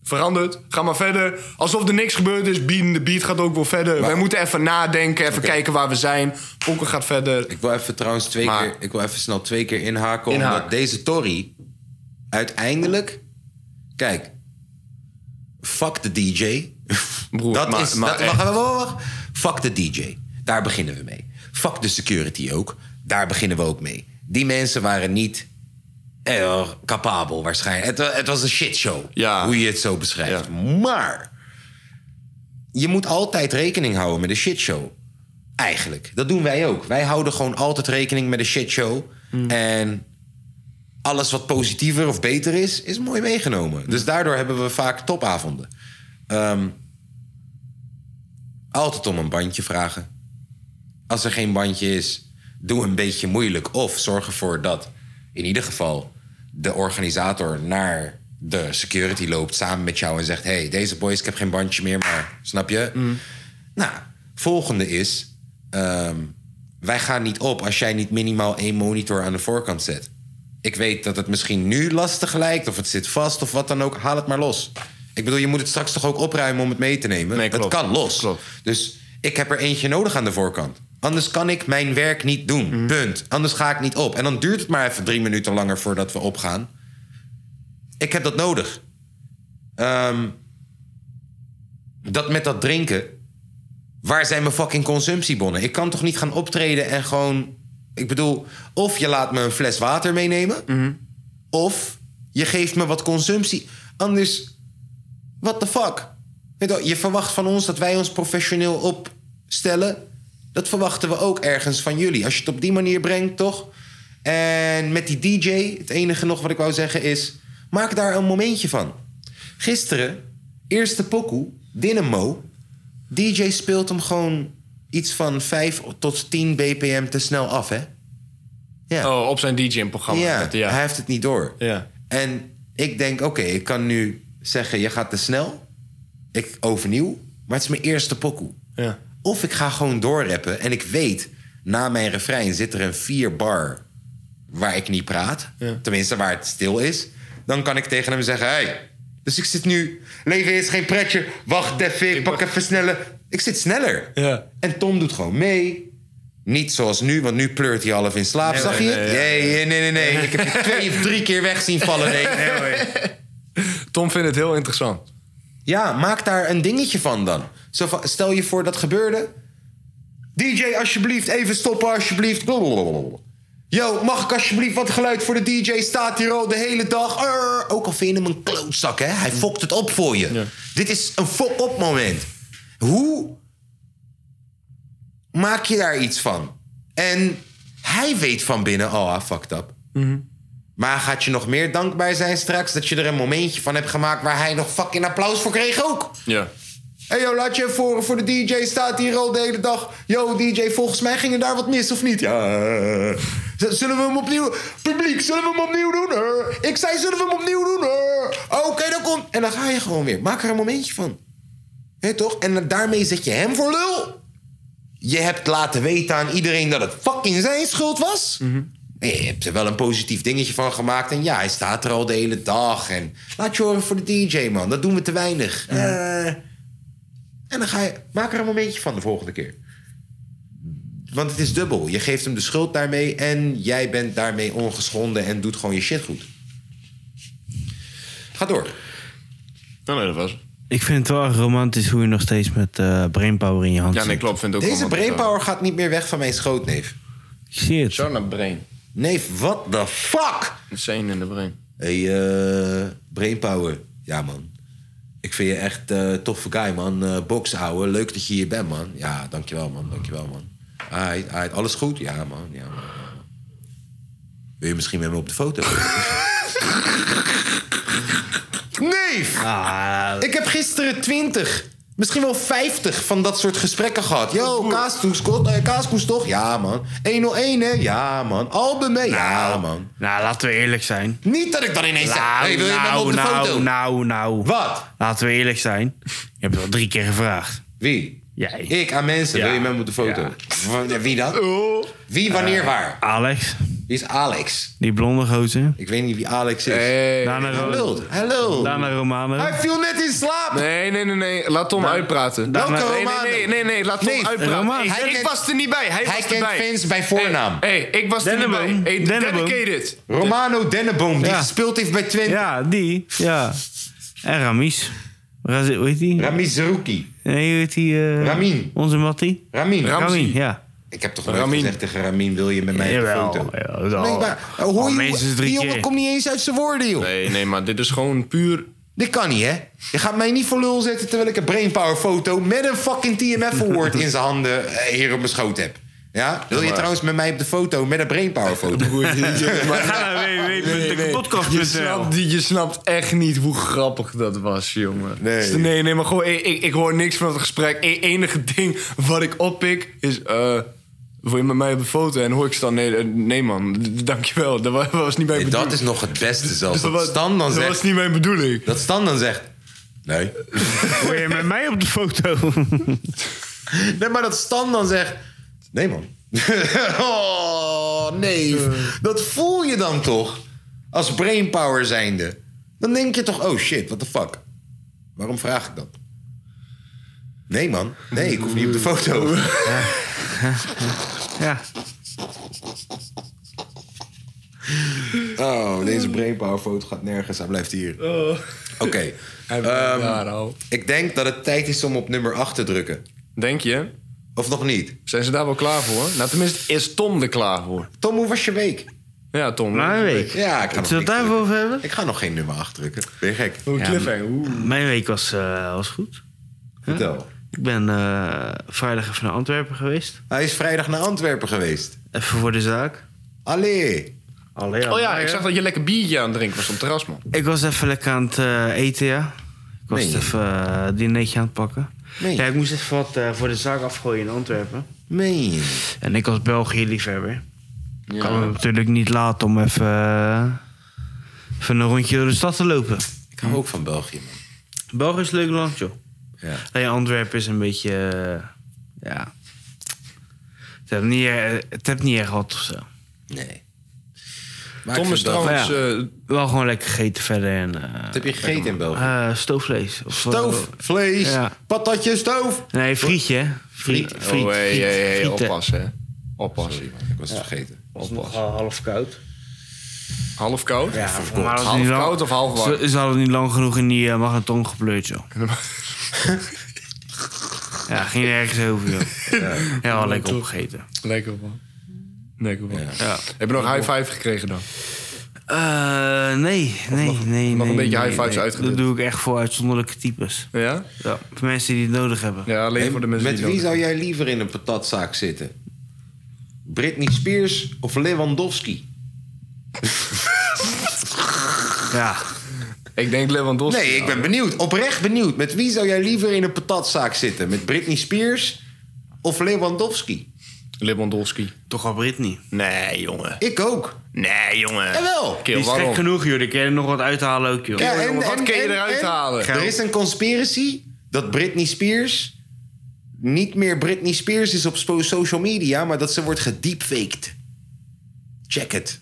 Speaker 4: Verandert, ga maar verder. Alsof er niks gebeurd is, beat, de beat gaat ook wel verder. Wij moeten even nadenken, even kijken waar we zijn. Pokken gaat verder.
Speaker 1: Ik wil even trouwens twee
Speaker 4: Maar-
Speaker 1: keer, ik wil even snel twee keer inhaken. Omdat
Speaker 4: Inhaken.
Speaker 1: deze Tory uiteindelijk. Kijk, fuck de DJ.
Speaker 4: Broer,
Speaker 1: dat
Speaker 4: maar-
Speaker 1: is.
Speaker 4: maar
Speaker 1: dat, wacht,
Speaker 4: echt.
Speaker 1: wacht, wacht, wacht. Fuck de DJ. Daar beginnen we mee. Fuck de security ook. Daar beginnen we ook mee. Die mensen waren niet. eh, capabel waarschijnlijk. Het, wa- het was een shitshow.
Speaker 4: Ja.
Speaker 1: Hoe je het zo beschrijft. Maar. Je moet altijd rekening houden met de shitshow. Eigenlijk. Dat doen wij ook. Wij houden gewoon altijd rekening met de shitshow. En alles wat positiever of beter is, is mooi meegenomen. Dus daardoor hebben we vaak topavonden. Ehm, altijd om een bandje vragen. Als er geen bandje is, doe een beetje moeilijk. Of zorg ervoor dat in ieder geval de organisator naar de security loopt samen met jou en zegt: hey, deze boys, ik heb geen bandje meer, maar snap je? Nou, volgende is: ehm, wij gaan niet op als jij niet minimaal één monitor aan de voorkant zet. Ik weet dat het misschien nu lastig lijkt, of het zit vast, of wat dan ook. Haal het maar los. Ik bedoel, je moet het straks toch ook opruimen om het mee te nemen.
Speaker 4: Nee, klopt.
Speaker 1: Het kan los.
Speaker 4: Klopt.
Speaker 1: Dus ik heb er eentje nodig aan de voorkant. Anders kan ik mijn werk niet doen.
Speaker 4: Mhm.
Speaker 1: Punt. Anders ga ik niet op. En dan duurt het maar even drie minuten langer voordat we opgaan. Ik heb dat nodig. Ehm, dat met dat drinken. Waar zijn mijn fucking consumptiebonnen? Ik kan toch niet gaan optreden en gewoon. Ik bedoel, of je laat me een fles water meenemen. Of je geeft me wat consumptie. Anders, what the fuck? Weet je wel, Je verwacht van ons dat wij ons professioneel opstellen. Dat verwachten we ook ergens van jullie. Als je het op die manier brengt, toch? En met die DJ, het enige nog wat ik wou zeggen is... maak daar een momentje van. Gisteren, eerste pokoe, Dynamo... DJ speelt hem gewoon iets van 5 tot 10 bpm te snel af, hè? Ja.
Speaker 4: Oh, op zijn DJ-programma.
Speaker 1: Ja,
Speaker 4: ja.
Speaker 1: hij heeft het niet door.
Speaker 4: Ja.
Speaker 1: En ik denk, oké, ik kan nu zeggen... je gaat te snel, ik overnieuw... maar het is mijn eerste pokoe.
Speaker 4: Ja.
Speaker 1: Of ik ga gewoon doorrappen en ik weet... na mijn refrein zit er een vier bar waar ik niet praat. Tenminste, waar het stil is. Dan kan ik tegen hem zeggen, Hey, dus ik zit nu... leven is geen pretje, wacht even, ik pak even sneller. Ik zit sneller.
Speaker 4: Ja.
Speaker 1: En Tom doet gewoon mee... Niet zoals nu, want nu pleurt hij half in slaap. Zag je
Speaker 4: nee,
Speaker 1: het? Nee, nee, nee, nee. Ik heb je twee of drie keer weg zien vallen. Nee, nee, nee.
Speaker 4: Tom vindt het heel interessant.
Speaker 1: Ja, maak daar een dingetje van dan. Zo van, stel je voor dat gebeurde. DJ, alsjeblieft, even stoppen, alsjeblieft. Blablabla. Yo, mag ik alsjeblieft wat geluid voor de DJ? Staat hier al de hele dag. Arr. ook al vind je hem een klootzak, hè? Hij fokt het op voor je. Dit is een fok-op moment. Hoe maak je daar iets van? En hij weet van binnen, oh, hij fucked up. Maar gaat je nog meer dankbaar zijn straks dat je er een momentje van hebt gemaakt waar hij nog fucking applaus voor kreeg ook?
Speaker 4: Ja.
Speaker 1: Hé hey yo, laat je even horen voor de DJ. Staat hier al de hele dag. Yo, DJ, volgens mij ging er daar wat mis, of niet? Ja. Z- Zullen we hem opnieuw... Publiek, zullen we hem opnieuw doen? Eh? Ik zei, zullen we hem opnieuw doen? Eh? Oké, dan komt... En dan ga je gewoon weer. Maak er een momentje van. Hé, toch? En daarmee zet je hem voor lul. Je hebt laten weten aan iedereen dat het fucking zijn schuld was. En Je hebt er wel een positief dingetje van gemaakt. En ja, hij staat er al de hele dag. En laat je horen voor de DJ, man. Dat doen we te weinig. Eh... En dan ga je, maak er een momentje van de volgende keer. Want het is dubbel. Je geeft hem de schuld daarmee en jij bent daarmee ongeschonden en doet gewoon je shit goed. Ga door.
Speaker 4: Nou, nee, dat was het.
Speaker 3: Ik vind het wel erg romantisch hoe je nog steeds met eh, brainpower in je hand
Speaker 4: Ja, nee,
Speaker 3: zit.
Speaker 4: klopt. Vind ik ook
Speaker 1: Deze
Speaker 4: wel wat-
Speaker 1: brainpower gaat niet meer weg van mijn schootneef.
Speaker 3: Ik zie het.
Speaker 4: Zo naar brain.
Speaker 1: Neef, what the fuck?
Speaker 4: Insane in de brain.
Speaker 1: Hé, hey, eh, brainpower. Ja, man. Ik vind je echt eh toffe guy, man. Eh Boks, ouwe. Leuk dat je hier bent, man. Ja, dankjewel, man. Dankjewel, man. Aight, aight. Alles goed? Ja, man. Ja, man. Ja, man. Wil je misschien met me op de foto? Neef! Ik heb gisteren 20, misschien wel 50 van dat soort gesprekken gehad. Yo, kaaskoes, kot- eh, kaaskoes toch? Ja, man. 101, hè? Ja, man. Album, hè? Ja, man.
Speaker 3: Nou, laten we eerlijk zijn.
Speaker 1: Niet dat ik dan ineens zeg,
Speaker 3: Nou,
Speaker 1: hey, wil je met me op
Speaker 3: nou,
Speaker 1: de
Speaker 3: nou,
Speaker 1: foto?
Speaker 3: nou, nou.
Speaker 1: Wat?
Speaker 3: Laten we eerlijk zijn. Je hebt het al drie keer gevraagd.
Speaker 1: Wie?
Speaker 3: Jij.
Speaker 1: Ik aan mensen,
Speaker 3: Ja. Oh. Eh.
Speaker 1: wil je met me op de foto? W- Wie dan? Wie, wanneer, waar?
Speaker 3: Alex,
Speaker 1: Wie is Alex?
Speaker 3: die blonde gozer. Nou,
Speaker 1: Ik weet niet wie Alex is.
Speaker 3: Eh,
Speaker 4: Hey.
Speaker 3: Daarna,
Speaker 1: Hij
Speaker 3: Ro-
Speaker 1: lult. Hij lult.
Speaker 3: daarna Romano.
Speaker 1: Hij viel net in slaap.
Speaker 4: Nee, nee, nee, nee. Laat Tom uitpraten.
Speaker 1: Welke
Speaker 3: Nee,
Speaker 4: Nee,
Speaker 1: Romano?
Speaker 4: nee, nee, nee, nee, laat Tom
Speaker 1: Nee,
Speaker 4: uitpraten.
Speaker 3: Romano.
Speaker 4: Ik-
Speaker 1: Hij
Speaker 4: ik
Speaker 1: kent-
Speaker 4: was er niet bij. Hij,
Speaker 1: Hij
Speaker 4: was
Speaker 1: kent
Speaker 4: erbij.
Speaker 1: Vince bij voornaam.
Speaker 4: Hey, hey, ik was er niet bij.
Speaker 3: Denneboom.
Speaker 4: Hey,
Speaker 3: Denneboom.
Speaker 4: dedicated.
Speaker 1: Romano Denneboom, die
Speaker 3: Ja.
Speaker 1: gespeeld heeft bij Twente.
Speaker 3: Ja, die. Ja. En Ramis. Raz- hoe heet die?
Speaker 1: Ramin Zerouki.
Speaker 3: Nee, hoe heet die? eh,
Speaker 1: Ramin.
Speaker 3: Onze Mattie.
Speaker 1: Ramin.
Speaker 4: Ramzi.
Speaker 3: Ramin, ja.
Speaker 1: Ik heb toch nooit
Speaker 4: Ramin.
Speaker 1: gezegd tegen Ramin, wil je met mij op de
Speaker 3: Jawel.
Speaker 1: foto?
Speaker 3: jawel, dat is al-
Speaker 1: Nee, maar hoor
Speaker 3: al
Speaker 1: je,
Speaker 3: minstens
Speaker 1: die
Speaker 3: drie
Speaker 1: jongen
Speaker 3: keer.
Speaker 1: komt niet eens uit zijn woorden, joh.
Speaker 4: Nee, nee, maar dit is gewoon puur...
Speaker 1: Dit kan niet, hè? Je gaat mij niet voor lul zetten terwijl ik een brainpower foto met een fucking TMF award in zijn handen eh, hier op mijn schoot heb. Ja? Wil je trouwens met mij op de foto met een brainpower foto?
Speaker 3: Ga naar
Speaker 4: Je
Speaker 3: www.podcast.nl.
Speaker 4: snapt, je snapt echt niet hoe grappig dat was, jongen.
Speaker 1: Nee.
Speaker 4: Dus nee, nee, maar gewoon, ik, ik, ik hoor niks van het gesprek. E enige ding wat ik oppik is... eh wil je met mij op de foto? En hoor ik dan... Nee, eh, nee man, d- dankjewel. Dat wa- was niet mijn
Speaker 1: Nee,
Speaker 4: bedoeling.
Speaker 1: dat is nog het beste zelfs.
Speaker 4: Dat
Speaker 1: Dat
Speaker 4: was-
Speaker 1: Stan dan
Speaker 4: Dat
Speaker 1: zegt...
Speaker 4: was niet mijn bedoeling.
Speaker 1: Dat Stan dan zegt... Nee.
Speaker 3: Wil je met mij op de foto?
Speaker 1: Nee, maar dat Stan dan zegt... Nee, man. oh, nee. Dat voel je dan toch? Als brainpower zijnde. Dan denk je toch... Oh, shit, what the fuck? Waarom vraag ik dat? Nee, man. Nee, ik hoef niet op de foto.
Speaker 3: ja.
Speaker 1: Oh, deze brainpowerfoto gaat nergens. Hij blijft hier. Oh. Oké.
Speaker 4: Ja,
Speaker 1: Ehm,
Speaker 4: nou.
Speaker 1: ik denk dat het tijd is om op nummer 8 te drukken.
Speaker 4: Denk je?
Speaker 1: Of nog niet?
Speaker 4: Zijn ze daar wel klaar voor? Nou, tenminste is Tom er klaar voor.
Speaker 1: Tom, hoe was je week?
Speaker 4: Ja, Tom.
Speaker 3: Mijn week.
Speaker 1: Ja, ik ga nog
Speaker 3: Zullen we het
Speaker 1: niks
Speaker 3: daarover
Speaker 1: drukken.
Speaker 3: hebben?
Speaker 1: Ik ga nog geen nummer 8 drukken. Ben je gek?
Speaker 4: Hoe
Speaker 3: Ja,
Speaker 4: cliffhanger. Oeh.
Speaker 3: Mijn week was, eh, was goed.
Speaker 1: Vertel.
Speaker 3: Ik ben eh, vrijdag even naar Antwerpen geweest.
Speaker 1: Hij is vrijdag naar Antwerpen geweest.
Speaker 3: Even voor de zaak.
Speaker 1: Allee.
Speaker 3: Allee,
Speaker 4: Oh ja,
Speaker 3: allee,
Speaker 4: ik zag
Speaker 3: hè.
Speaker 4: dat je lekker biertje aan het drinken was op het terras, man.
Speaker 3: Ik was even lekker aan het eh, eten, ja. Ik was
Speaker 1: Meen je?
Speaker 3: even eh, het dinertje aan het pakken.
Speaker 1: Meen je?
Speaker 3: Ja, ik moest even wat eh, voor de zaak afgooien in Antwerpen.
Speaker 1: Meen je?
Speaker 3: En ik als België-liefhebber... kan me natuurlijk niet laten om even, eh, even een rondje door de stad te lopen.
Speaker 1: Ik hou ook van België, man.
Speaker 3: België is een leuk land, joh.
Speaker 1: Ja.
Speaker 3: Alleen Antwerpen is een beetje... eh, ja... Het heeft niet, eh, het heeft niet erg wat of zo.
Speaker 1: Nee. Maar ik
Speaker 4: Tom
Speaker 1: vind
Speaker 4: is trouwens...
Speaker 3: wel-
Speaker 4: eh,
Speaker 3: Wel gewoon lekker gegeten verder en... eh,
Speaker 1: Wat heb je gegeten in België?
Speaker 3: eh, stoofvlees. Of,
Speaker 1: Stoof, vlees,
Speaker 3: Ja.
Speaker 1: patatje, stoof.
Speaker 3: Nee, frietje. hè? Friet, friet,
Speaker 4: oh, hey,
Speaker 3: friet,
Speaker 4: hey, hey,
Speaker 3: frieten.
Speaker 4: oppassen, hè. Oppassen.
Speaker 1: Ik was het vergeten.
Speaker 3: Het is nogal half koud.
Speaker 4: Half koud?
Speaker 3: Ja,
Speaker 4: Half
Speaker 3: maar dat is
Speaker 4: koud
Speaker 3: niet lang-
Speaker 4: of half warm?
Speaker 3: Ze, ze hadden niet lang genoeg in die eh, magnetron gepleurd, joh. ja, ging ergens over, joh. Ja, wel lekker opgegeten.
Speaker 4: Lekker man. Lekker man.
Speaker 3: Ja.
Speaker 4: Heb je nog high five gekregen dan?
Speaker 3: Eh, nee, nee, nee.
Speaker 4: nog een
Speaker 3: nee,
Speaker 4: beetje
Speaker 3: nee,
Speaker 4: high fives
Speaker 3: nee.
Speaker 4: uitgedeeld?
Speaker 3: Dat doe ik echt voor uitzonderlijke types.
Speaker 4: Ja?
Speaker 3: Ja, voor mensen die het nodig hebben.
Speaker 4: Ja, alleen voor de mensen
Speaker 1: Met
Speaker 4: die
Speaker 1: wie
Speaker 4: dat-
Speaker 1: zou jij liever in een patatzaak zitten? Britney Spears of Lewandowski?
Speaker 3: Ja.
Speaker 4: Ik denk Lewandowski.
Speaker 1: Nee, ik ben benieuwd. Oprecht benieuwd. Met wie zou jij liever in een patatzaak zitten? Met Britney Spears of Lewandowski?
Speaker 4: Lewandowski.
Speaker 3: Toch al Britney.
Speaker 4: Nee, jongen.
Speaker 1: Ik ook.
Speaker 4: Nee, jongen.
Speaker 1: Jawel.
Speaker 4: Kill,
Speaker 3: Die is gek
Speaker 4: waarom?
Speaker 3: genoeg, joh. Daar kun je er nog wat uithalen ook, joh.
Speaker 4: Ja, jongen, wat kun je eruit halen?
Speaker 1: Er is een conspiracy dat Britney Spears niet meer Britney Spears is op spo- social media, maar dat ze wordt gedeepfaked. Check het.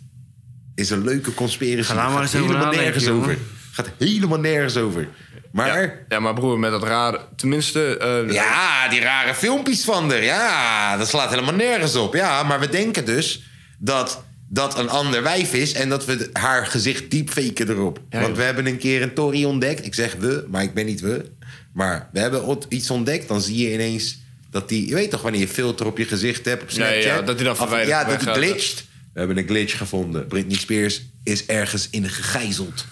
Speaker 1: Is een leuke conspiracy.
Speaker 3: Ga daar maar
Speaker 1: Gaat
Speaker 3: eens over
Speaker 1: helemaal
Speaker 3: nadenken,
Speaker 1: nergens
Speaker 3: jongen.
Speaker 1: over. Gaat helemaal nergens over. Maar ja,
Speaker 4: Ja, maar broer, met dat rare... Tenminste... eh,
Speaker 1: die rare filmpjes van haar. Ja, dat slaat helemaal nergens op. Ja, maar we denken dus dat dat een ander wijf is en dat we d- haar gezicht deepfaken erop. Want
Speaker 4: joh.
Speaker 1: we hebben een keer een Tory ontdekt. Ik zeg we, maar ik ben niet we. Maar we hebben ont- iets ontdekt, dan zie je ineens dat die... Je weet toch wanneer je filter op je gezicht hebt op Snapchat?
Speaker 4: ja, dat die dan
Speaker 1: Af-
Speaker 4: verwijderd
Speaker 1: Ja, dat het
Speaker 4: weggaat.
Speaker 1: glitcht. We hebben een glitch gevonden. Britney Spears is ergens in gegijzeld.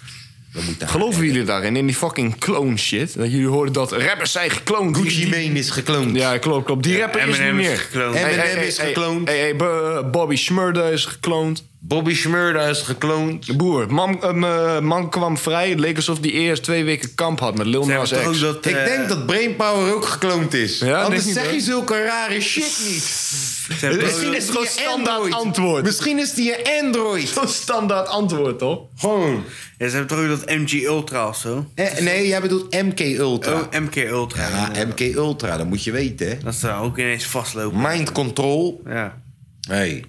Speaker 1: We moeten haar-
Speaker 4: Geloven jullie daarin? In die fucking clone shit? Dat jullie hoorden dat rappers zijn gekloond.
Speaker 1: Gucci
Speaker 4: Die- die-
Speaker 1: Mane is gekloond.
Speaker 4: Ja, klopt, klopt. Die rapper is niet
Speaker 3: Eminem is
Speaker 4: meer.
Speaker 3: gekloond.
Speaker 4: Hey,
Speaker 1: Eminem
Speaker 4: hey, hey,
Speaker 1: is
Speaker 4: hey,
Speaker 1: gekloond.
Speaker 4: hey, hey, Bo- Bobby Shmurda is gekloond.
Speaker 1: Bobby Shmurda is gekloond.
Speaker 4: Boer, man, eh, m- man kwam vrij. Het leek alsof die eerst twee weken kamp had met Lil
Speaker 3: Zeg maar
Speaker 4: Nas
Speaker 3: toch ook
Speaker 4: X.
Speaker 3: dat,
Speaker 1: Ik
Speaker 3: eh,
Speaker 1: denk dat Brainpower ook gekloond is.
Speaker 4: denk
Speaker 1: Anders
Speaker 4: niet,
Speaker 1: zeg
Speaker 4: hè?
Speaker 1: je zulke rare shit niet.
Speaker 3: ze hebben ook
Speaker 1: Misschien
Speaker 4: dat
Speaker 1: is
Speaker 4: is
Speaker 1: die
Speaker 4: gewoon
Speaker 1: een
Speaker 4: standaard
Speaker 1: Android.
Speaker 4: antwoord.
Speaker 1: Misschien is die een Android.
Speaker 4: Zo'n standaard antwoord, toch?
Speaker 1: Gewoon.
Speaker 3: Ja, ze hebben toch ook dat MG Ultra of zo?
Speaker 1: Eh, nee, jij bedoelt MK Ultra.
Speaker 3: Oh, MK Ultra.
Speaker 1: ja, MK Ultra, dat moet je weten. hè.
Speaker 3: Dat ze ook ineens vastlopen.
Speaker 1: Mind control.
Speaker 3: Ja.
Speaker 1: Hey.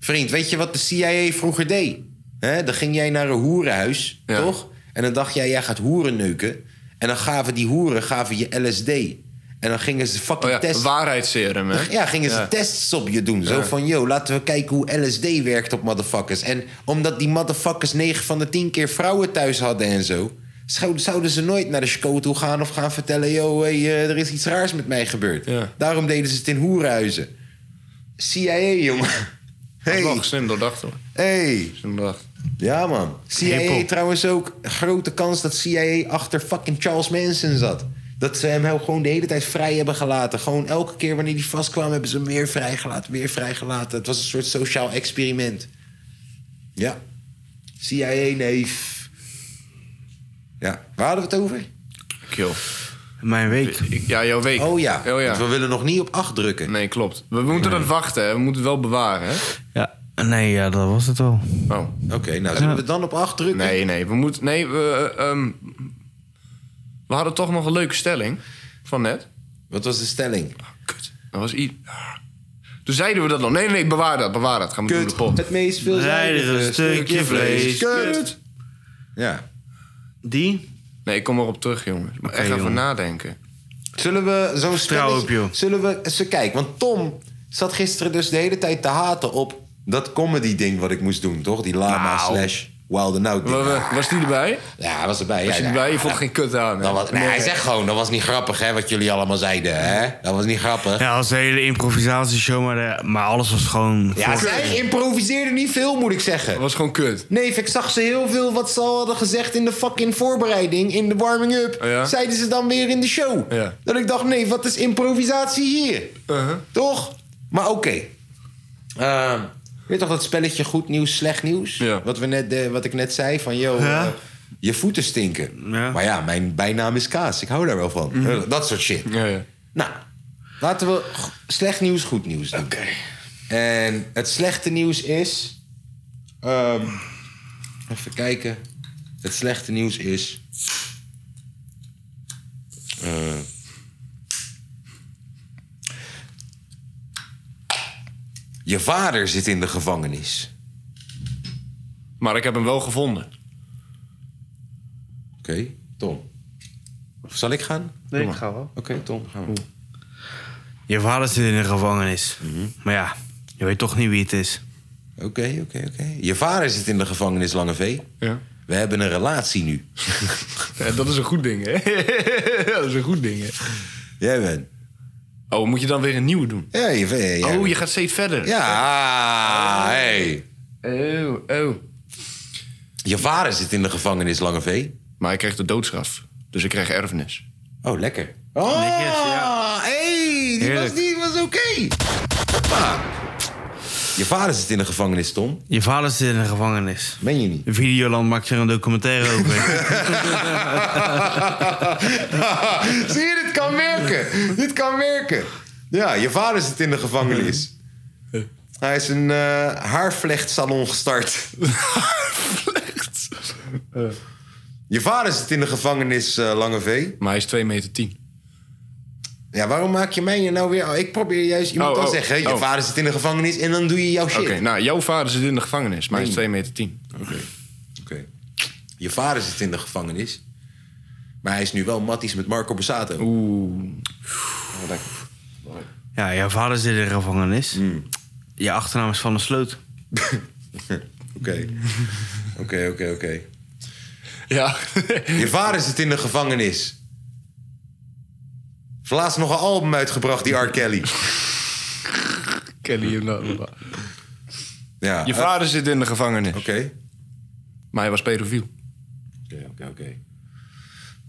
Speaker 1: Vriend, weet je wat de CIA vroeger deed? Hè, dan ging jij naar een hoerenhuis,
Speaker 4: Ja.
Speaker 1: toch? En dan dacht jij, jij gaat hoeren neuken. En dan gaven die hoeren gaven je LSD. En dan gingen ze fucking
Speaker 4: Oh ja,
Speaker 1: testen.
Speaker 4: waarheidsserum, hè?
Speaker 1: Ja, gingen ze
Speaker 4: Ja.
Speaker 1: tests op je doen. Zo van, yo, laten we kijken hoe LSD werkt op motherfuckers. En omdat die motherfuckers 9 van de 10 keer vrouwen thuis hadden en zo... schou- zouden ze nooit naar de school toe gaan of gaan vertellen... yo, hey, eh, er is iets raars met mij gebeurd.
Speaker 4: Ja.
Speaker 1: Daarom deden ze het in hoerhuizen. CIA, jongen.
Speaker 4: Dat is wel
Speaker 1: Hey,
Speaker 4: slim doordacht, hoor.
Speaker 1: hey.
Speaker 4: Slim doordacht.
Speaker 1: Ja, man. CIA
Speaker 4: Hiphop.
Speaker 1: trouwens ook. Grote kans dat CIA achter fucking Charles Manson zat. Dat ze hem heel- gewoon de hele tijd vrij hebben gelaten. Gewoon elke keer wanneer hij vastkwam, hebben ze hem weer vrijgelaten, weer vrijgelaten. Het was een soort sociaal experiment. Ja. CIA, neef. Ja. Waar hadden we het over?
Speaker 4: Kill.
Speaker 3: Mijn week.
Speaker 4: Ik- Ja, jouw week.
Speaker 1: Oh ja.
Speaker 4: Oh, ja.
Speaker 1: Want we willen nog niet op acht drukken.
Speaker 4: Nee, klopt. We moeten dat wachten, hè. We moeten het wel bewaren, hè?
Speaker 3: Ja. Nee, ja, dat was het al.
Speaker 4: Oh.
Speaker 1: Oké, nou zullen we dan op acht drukken?
Speaker 4: Nee, nee, we moeten. Nee, we. eh, ehm, we hadden toch nog een leuke stelling van net.
Speaker 1: Wat was de stelling?
Speaker 4: Kut. Dat was iets. Toen zeiden we dat nog. Nee, nee, bewaar dat, bewaar dat. Gaan we doen de pot.
Speaker 1: Het meest
Speaker 3: Rijdige
Speaker 1: veelzijdige
Speaker 3: stukje vlees.
Speaker 1: Kut. Ja.
Speaker 3: Die?
Speaker 4: Nee, ik kom erop terug, jongen. Maar echt even
Speaker 3: jongen.
Speaker 4: nadenken.
Speaker 1: Zullen we zo'n
Speaker 3: Vertrouw
Speaker 1: spelletje-
Speaker 3: op, joh.
Speaker 1: Zullen we eens kijken? Want Tom zat gisteren dus de hele tijd te haten op dat comedy ding wat ik moest doen, toch? Die lama
Speaker 4: Nou.
Speaker 1: slash wild and out
Speaker 4: Wa-
Speaker 1: ding.
Speaker 4: wa- Was die erbij?
Speaker 1: Ja, hij was erbij.
Speaker 4: Was
Speaker 1: ja,
Speaker 4: die
Speaker 1: ja.
Speaker 4: erbij? Je vond geen kut aan. hè?
Speaker 1: Dat was, nee, hij zegt gewoon, dat was niet grappig, hè, wat jullie allemaal zeiden. Hè? Dat was niet grappig. Ja,
Speaker 3: Ja, als een hele improvisatieshow, maar, de- maar alles was gewoon... voor-
Speaker 1: zij improviseerde niet veel, moet ik zeggen.
Speaker 4: Dat was gewoon kut.
Speaker 1: Nee, ik zag ze heel veel wat ze al hadden gezegd in de fucking voorbereiding, in de warming-up.
Speaker 4: Oh ja?
Speaker 1: Zeiden ze dan weer in de show.
Speaker 4: Ja.
Speaker 1: Dat ik dacht, nee, wat is improvisatie hier?
Speaker 4: Uh-huh.
Speaker 1: Toch? Maar oké. Ehm, weet toch dat spelletje goed nieuws, slecht nieuws?
Speaker 4: Ja.
Speaker 1: Wat, we net, eh, wat ik net zei van, yo,
Speaker 3: Ja.
Speaker 1: eh, je voeten stinken.
Speaker 3: Ja.
Speaker 1: Maar ja, mijn bijnaam is Kaas. Ik hou daar wel van. Eh, Dat soort shit.
Speaker 4: Ja, ja.
Speaker 1: Nou, laten we g- slecht nieuws, goed nieuws doen. Oké. En het slechte nieuws is... ehm, even kijken. Het slechte nieuws is... eh, je vader zit in de gevangenis.
Speaker 4: Maar ik heb hem wel gevonden.
Speaker 1: Oké, Tom. Of zal ik gaan?
Speaker 3: Nee, ik ga wel.
Speaker 1: Oké, Tom, gaan we.
Speaker 3: Mhm. Je vader zit in de gevangenis. Maar ja, je weet toch niet wie het is.
Speaker 1: Oké, oké, oké. Je vader zit in de gevangenis, Lange V.
Speaker 4: Ja.
Speaker 1: We hebben een relatie nu.
Speaker 4: Ja, dat is een goed ding, hè? dat is een goed ding, hè?
Speaker 1: Jij bent.
Speaker 4: Oh, moet je dan weer een nieuwe doen?
Speaker 1: Ja, je, ja, ja.
Speaker 4: Oh, je gaat steeds verder.
Speaker 1: Ja, hey.
Speaker 4: Oh, oh.
Speaker 1: Je vader zit in de gevangenis, Lange V.
Speaker 4: Maar ik kreeg de doodstraf. Dus ik kreeg erfenis.
Speaker 1: Oh, lekker. Oh,
Speaker 3: Netjes, ja.
Speaker 1: hey, die
Speaker 3: Heerlijk.
Speaker 1: was, die was oké. Hoppa. Je vader zit in de gevangenis, Tom.
Speaker 3: Je vader zit in de gevangenis.
Speaker 1: Meen je niet?
Speaker 3: Videoland maakt er een documentaire over.
Speaker 1: Zie je, dit kan werken. dit kan werken. Ja, je vader zit in de gevangenis. Hij is een eh haarvlechtsalon gestart. Je vader zit in de gevangenis, eh, Lange V.
Speaker 4: Maar hij is 2 meter 10.
Speaker 1: Ja, waarom maak je mij hier nou weer... oh, Ik probeer juist iemand
Speaker 4: Oh,
Speaker 1: te
Speaker 4: oh,
Speaker 1: zeggen... je
Speaker 4: oh.
Speaker 1: vader zit in de gevangenis en dan doe je jouw shit.
Speaker 4: Oké, nou, jouw vader zit in de gevangenis, maar hij is 2 meter 10.
Speaker 1: Oké. Je vader zit in de gevangenis. Maar hij is nu wel matties met Marco Borsato.
Speaker 3: ja, je vader zit in de gevangenis. Je achternaam is Van der Sloot.
Speaker 1: Oké. Oké, oké, oké.
Speaker 4: Ja.
Speaker 1: Je vader zit in de gevangenis. Heeft Laatst nog een album uitgebracht, die R. Kelly.
Speaker 4: Kelly, you know.
Speaker 1: Ja.
Speaker 4: Je
Speaker 1: eh,
Speaker 4: vader zit in de gevangenis,
Speaker 1: Oké.
Speaker 4: maar hij was pedofiel.
Speaker 1: Oké, oké, oké.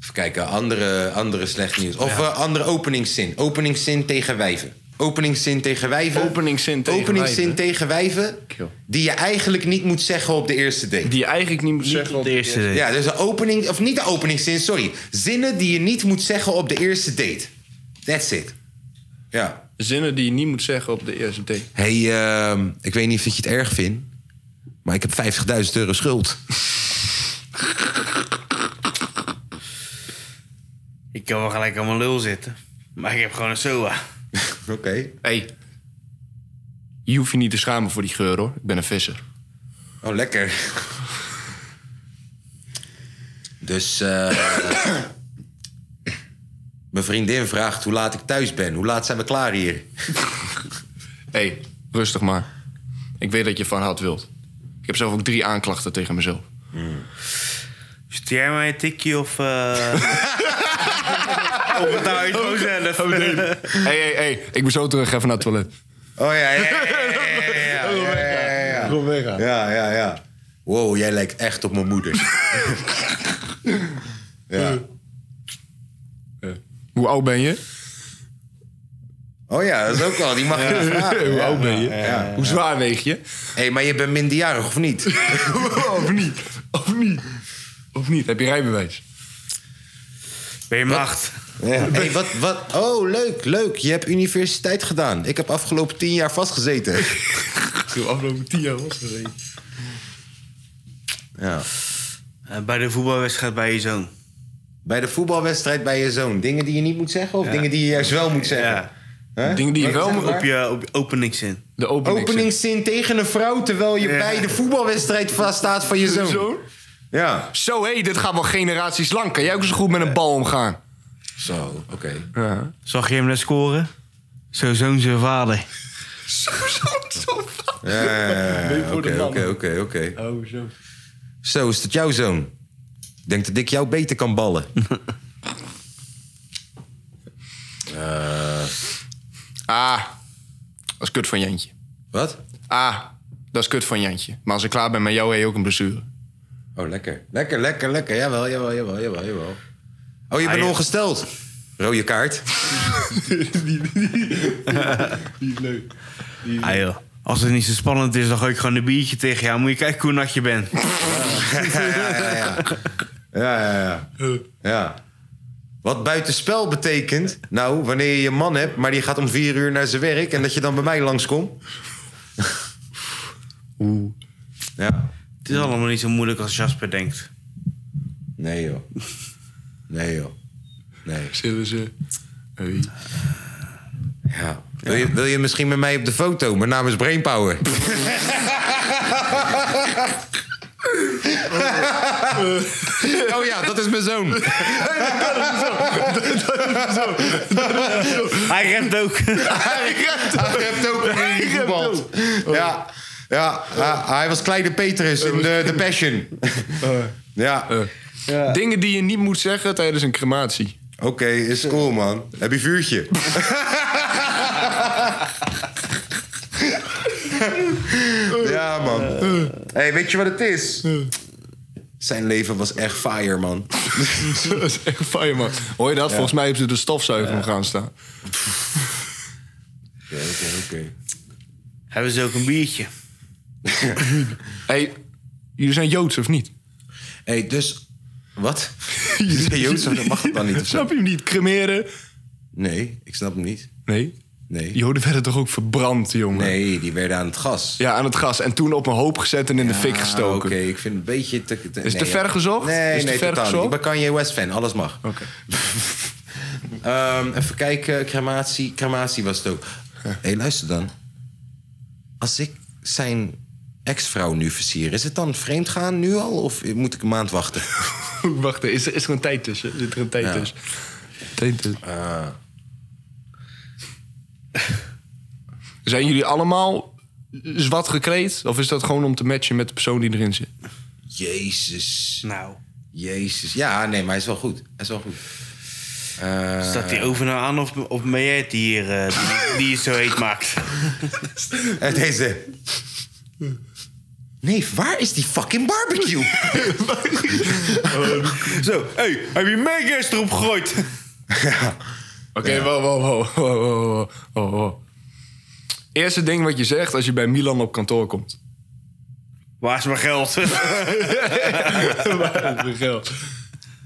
Speaker 1: Even kijken, andere, andere slecht nieuws. Of eh, andere openingszin. Openingszin tegen wijven. Openingszin tegen wijven.
Speaker 4: Openingszin tegen
Speaker 1: Openingszin
Speaker 4: wijven.
Speaker 1: tegen wijven.
Speaker 4: Kill.
Speaker 1: Die je eigenlijk niet moet zeggen op de eerste date.
Speaker 4: Die je eigenlijk niet moet zeggen.
Speaker 3: Op de eerste date.
Speaker 1: Ja, dus een opening, of niet de openingszin, sorry. Zinnen die je niet moet zeggen op de eerste date. That's it. Ja.
Speaker 4: Zinnen die je niet moet zeggen op de eerste date.
Speaker 1: Hey, ehm, ik weet niet of dat je het erg vindt, maar ik heb 50.000 euro schuld.
Speaker 3: Ik kan wel gelijk aan mijn lul zitten. Maar ik heb gewoon een SOA.
Speaker 1: Oké.
Speaker 4: hey. je hoeft je niet te schamen voor die geur, hoor. Ik ben een visser.
Speaker 1: Oh, lekker. Dus, eh, mijn vriendin vraagt hoe laat ik thuis ben. Hoe laat zijn we klaar hier?
Speaker 4: hey, rustig maar. Ik weet dat je van hout wilt. Ik heb zelf ook drie aanklachten tegen mezelf.
Speaker 3: Stuur jij mij een tikje of... eh of het Oh, nou iets gewoon zelf.
Speaker 4: hey, hey, hey, ik moet zo terug even naar het toilet.
Speaker 1: Oh ja, ja, ja, ja, ja, ja, ja, ja, ja. Ja, ja, ja. Oh Wow, jij lijkt echt op mijn moeder. ja.
Speaker 4: Hoe oud ben je?
Speaker 1: Oh ja, dat is ook wel. Die mag je niet vragen.
Speaker 4: Hoe oud ben je? Hoe zwaar weeg je?
Speaker 1: Hé, maar je bent minderjarig of niet?
Speaker 4: of niet? Of niet? Of niet? Heb je rijbewijs?
Speaker 3: Ben je macht?
Speaker 1: Ja. Hé, wat, wat? Oh, leuk, leuk. Je hebt universiteit gedaan. Ik heb afgelopen tien jaar vastgezeten.
Speaker 4: Ik heb afgelopen tien jaar losgereden.
Speaker 1: Ja.
Speaker 3: Eh, bij de voetbalwedstrijd bij je zoon.
Speaker 1: Bij de voetbalwedstrijd bij je zoon. Dingen die je niet moet zeggen of dingen die je juist wel moet zeggen?
Speaker 3: Ja.
Speaker 1: Hè?
Speaker 4: Dingen die je
Speaker 1: Wat
Speaker 4: wel
Speaker 1: zeg
Speaker 4: moet-
Speaker 1: maar?
Speaker 3: Op je, op je openingszin.
Speaker 4: De opening.
Speaker 1: Openingszin tegen een vrouw terwijl je
Speaker 3: Ja.
Speaker 1: bij de voetbalwedstrijd vaststaat van je zoon.
Speaker 4: Zo?
Speaker 1: Ja.
Speaker 4: Zo, hé, dit gaat wel generaties lang. Kan jij ook zo goed met een bal omgaan?
Speaker 1: Zo, oké.
Speaker 4: Ja.
Speaker 3: Zag je hem net scoren? Zo zoon zijn vader.
Speaker 4: Zo, zo, zo.
Speaker 1: Ja, ja, ja,
Speaker 4: Nee,
Speaker 1: ja.
Speaker 4: voor de
Speaker 1: Oké,
Speaker 4: mannen.
Speaker 1: oké, oké, oké.
Speaker 4: Oh, zo.
Speaker 1: Zo, is dat jouw zoon? Ik denk dat ik jou beter kan ballen.
Speaker 4: Ah, dat is kut van Jantje.
Speaker 1: Wat?
Speaker 4: Ah, dat is kut van Jantje. Maar als ik klaar ben met jou, heb je ook een blessure.
Speaker 1: Oh, lekker. Lekker, lekker, lekker. Jawel, jawel, jawel, jawel, jawel. Oh, je bent
Speaker 3: ja.
Speaker 1: ongesteld. Rode kaart.
Speaker 3: Ah joh. Als het niet zo spannend is, dan gooi ik gewoon een biertje tegen jou. Moet je kijken hoe nat je bent.
Speaker 1: Ja, ja, ja. Ja. Wat buitenspel betekent, nou, wanneer je je man hebt, maar die gaat om vier uur naar zijn werk en dat je dan bij mij langskomt. Oeh. Ja.
Speaker 3: Het is allemaal niet zo moeilijk als Jasper denkt.
Speaker 1: Nee, joh. Nee, joh. Nee.
Speaker 4: Zullen ze...
Speaker 1: Ja. Wil, je, wil je misschien met mij op de foto? Mijn naam is Brainpower. oh ja, dat is mijn zoon.
Speaker 3: Hij rent ook.
Speaker 1: Hij hebt ook een voetbal. Ja. Ja, ja, hij was kleine Petrus in de, de Passion. ja,
Speaker 4: Oh.
Speaker 1: oké,
Speaker 4: Eh. Dingen die je niet moet zeggen tijdens een crematie.
Speaker 1: is cool, man. Heb je vuurtje? ja, man. hey, weet je wat het is? Zijn leven was echt fire, man.
Speaker 4: dat is echt fijn, man. Hoor je dat? Volgens mij hebben ze de stofzuiger om gaan staan.
Speaker 1: Oké, oké, oké.
Speaker 3: Hebben ze ook een biertje?
Speaker 4: hey, jullie zijn Joods of niet?
Speaker 1: hey, dus... Wat? Je bent Joods, dat mag dat dan niet? of zo?
Speaker 4: Snap je hem niet? Cremeren?
Speaker 1: Nee, ik snap hem niet.
Speaker 4: Nee.
Speaker 1: Nee.
Speaker 4: Joden werden toch ook verbrand, jongen?
Speaker 1: Nee, die werden aan het gas.
Speaker 4: Ja, aan het gas. En toen op een hoop gezet en in de fik
Speaker 1: Ah,
Speaker 4: gestoken.
Speaker 1: Oké, ik vind het een beetje te... te-
Speaker 4: het te ver gezocht?
Speaker 1: Nee,
Speaker 4: Is het
Speaker 1: nee,
Speaker 4: te ver
Speaker 1: totaal niet.
Speaker 4: gezocht?
Speaker 1: Ik ben Kanye West fan, alles mag.
Speaker 4: Oké.
Speaker 1: Ehm, even kijken, crematie. Crematie was het ook. Hé, hey, luister dan. Als ik zijn ex-vrouw nu versier, is het dan vreemd gaan nu al? Of moet ik een maand wachten?
Speaker 4: Wacht, is er, is er een tijd tussen? Zit er een tijd
Speaker 1: Ja. Eh.
Speaker 4: tussen? Tijd tussen. Zijn jullie allemaal zwart gekleed? Of is dat gewoon om te matchen met de persoon die erin zit?
Speaker 1: Jezus.
Speaker 3: Nou,
Speaker 1: Jezus. Ja, nee, maar hij is wel goed. Hij is wel goed. Eh,
Speaker 3: staat die over nou aan of, of ben jij het die hier eh, die, die het zo heet maakt?
Speaker 1: en Eh, deze... Nee, waar is die fucking barbecue?
Speaker 3: Zo, hé, hey, heb je meekerst erop gegooid?
Speaker 4: Oké, wow, wow, wow, wow, wow, wow, wow. Eerste ding wat je zegt als je bij Milan op kantoor komt.
Speaker 3: Waar is mijn geld?
Speaker 4: Geld.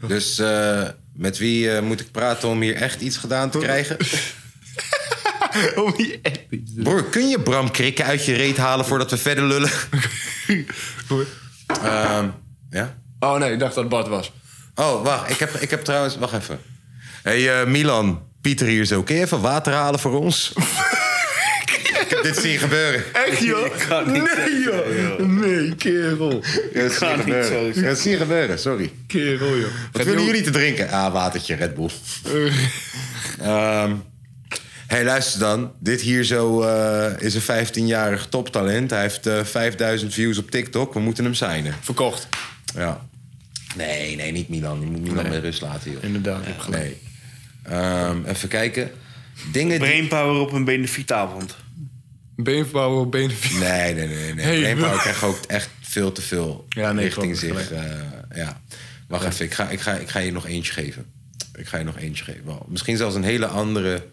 Speaker 1: Dus eh, met wie eh, moet ik praten om hier echt iets gedaan te krijgen?
Speaker 4: Om je echt iets te
Speaker 1: Broer, kun je Bram Krikken uit je reet halen voordat we verder lullen?
Speaker 4: doen.
Speaker 1: Ehm, ja?
Speaker 4: Oh nee, ik dacht dat Bart was.
Speaker 1: Oh, wacht. Ik heb, ik heb trouwens... Wacht even. Hé, hey, eh, Milan. Pieter hier zo. Kun je even water halen voor ons? ik heb dit zien gebeuren.
Speaker 4: Echt joh? Nee joh. Nee, kerel.
Speaker 1: Ik heb dit zien
Speaker 3: kan niet
Speaker 1: gebeuren.
Speaker 3: zo
Speaker 1: Ik heb dit zien gebeuren, sorry.
Speaker 4: Kerel joh.
Speaker 1: Wat willen jullie te drinken? Ah, watertje, Red Bull. Ehm hey, luister dan. Dit hier zo eh, is een 15-jarig toptalent. Hij heeft eh, 5000 views op TikTok. We moeten hem signen.
Speaker 4: Verkocht.
Speaker 1: Ja. Nee, nee, niet Milan. Je moet Milan met rust laten, joh.
Speaker 4: Inderdaad, ik heb gelijk.
Speaker 1: Nee. Ehm, even kijken. Dingen die...
Speaker 3: Brainpower op een benefietavond.
Speaker 4: Beenvouwen op benen.
Speaker 1: Nee, nee, nee. nee.
Speaker 4: Hey,
Speaker 1: Brainpower
Speaker 4: bro.
Speaker 1: krijgt ook echt veel te veel
Speaker 4: Ja, nee,
Speaker 1: richting
Speaker 4: klopt,
Speaker 1: zich. eh, ja. Wacht even, ik ga, ik, ga, ik ga je nog eentje geven. Ik ga je nog eentje geven. Wel, misschien zelfs een hele andere...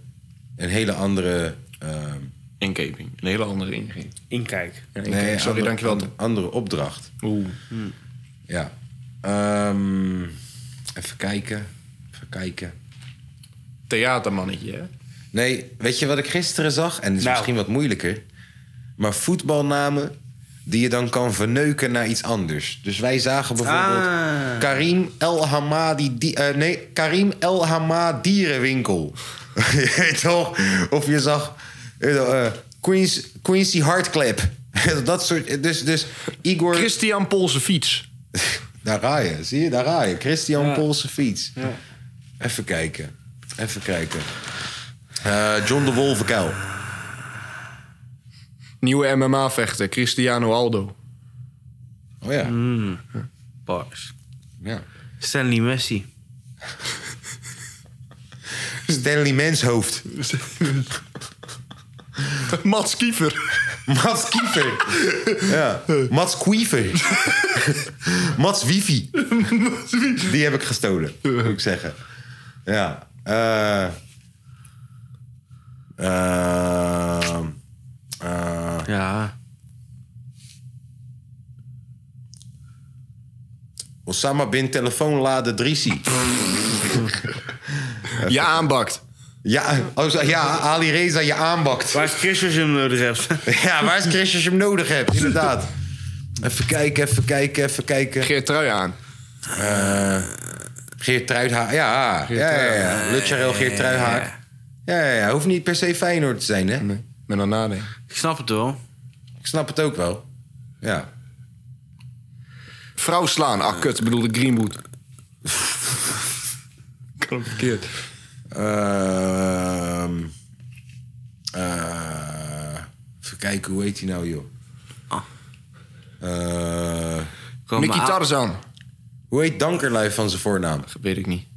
Speaker 1: Een hele andere... ehm,
Speaker 4: Inkeping. Een hele andere ingeving.
Speaker 3: Inkijk.
Speaker 1: nee,
Speaker 4: sorry,
Speaker 1: andere-
Speaker 4: dankjewel.
Speaker 1: Andere, andere opdracht.
Speaker 4: Oeh.
Speaker 1: Ja. Ehm, even kijken. Even kijken.
Speaker 4: Theatermannetje, hè?
Speaker 1: Nee, weet je wat ik gisteren zag? En het is
Speaker 3: Nou.
Speaker 1: misschien wat moeilijker. Maar voetbalnamen die je dan kan verneuken naar iets anders. Dus wij zagen bijvoorbeeld
Speaker 3: Ah.
Speaker 1: Karim El Hamadi... Di- eh, nee, Karim El Hamad Dierenwinkel. je weet toch? Of je zag je weet toch, eh, Queens, Quincy Hardclap. Dat soort... Dus, dus Igor...
Speaker 4: Christian Poolse fiets.
Speaker 1: Daar ga je, zie je, daar ga je. Christian Poolse fiets. Even kijken, even kijken. Eh, John de Wolvenkuil.
Speaker 4: Nieuwe MMA-vechter, Cristiano Aldo.
Speaker 1: Oh ja,
Speaker 3: Bars.
Speaker 1: ja.
Speaker 3: Stanley Messi.
Speaker 1: Stanley Menshoofd.
Speaker 4: Mats Kiefer.
Speaker 1: Mats Kiefer. ja. Mats Quiever. Mats Wifi. Die heb ik gestolen, moet ik zeggen. Ja. eh eh, eh,
Speaker 3: Ja.
Speaker 1: Osama bin telefoonladen Drissi.
Speaker 4: Je aanbakt.
Speaker 1: Ja, oh, zo- ja, Ali Reza je aanbakt.
Speaker 3: Waar is Christus hem nodig hebt?
Speaker 1: Ja, waar is Chris als je hem nodig hebt? Inderdaad. Even kijken, even kijken, even kijken.
Speaker 4: Geert Trui aan.
Speaker 1: Geert Truidhaak. Ja, ja, ja. ja. Lucharel Geert Truidhaak. Ja, ja, ja. Hoeft niet per se Feyenoord te zijn, hè?
Speaker 4: Nee, ben aan nadenken.
Speaker 3: Ik snap het wel.
Speaker 1: Ik snap het ook wel. Ja.
Speaker 4: Vrouw slaan. Ah, kut, ik bedoelde Greenwood. kan verkeerd.
Speaker 1: Ehm, eh, even kijken, hoe heet hij nou, joh?
Speaker 3: Ah.
Speaker 1: Eh,
Speaker 3: Komen
Speaker 4: Mickey
Speaker 3: aan-
Speaker 4: Tarzan.
Speaker 1: hoe heet Dankerlui van zijn voornaam?
Speaker 4: Weet ik niet.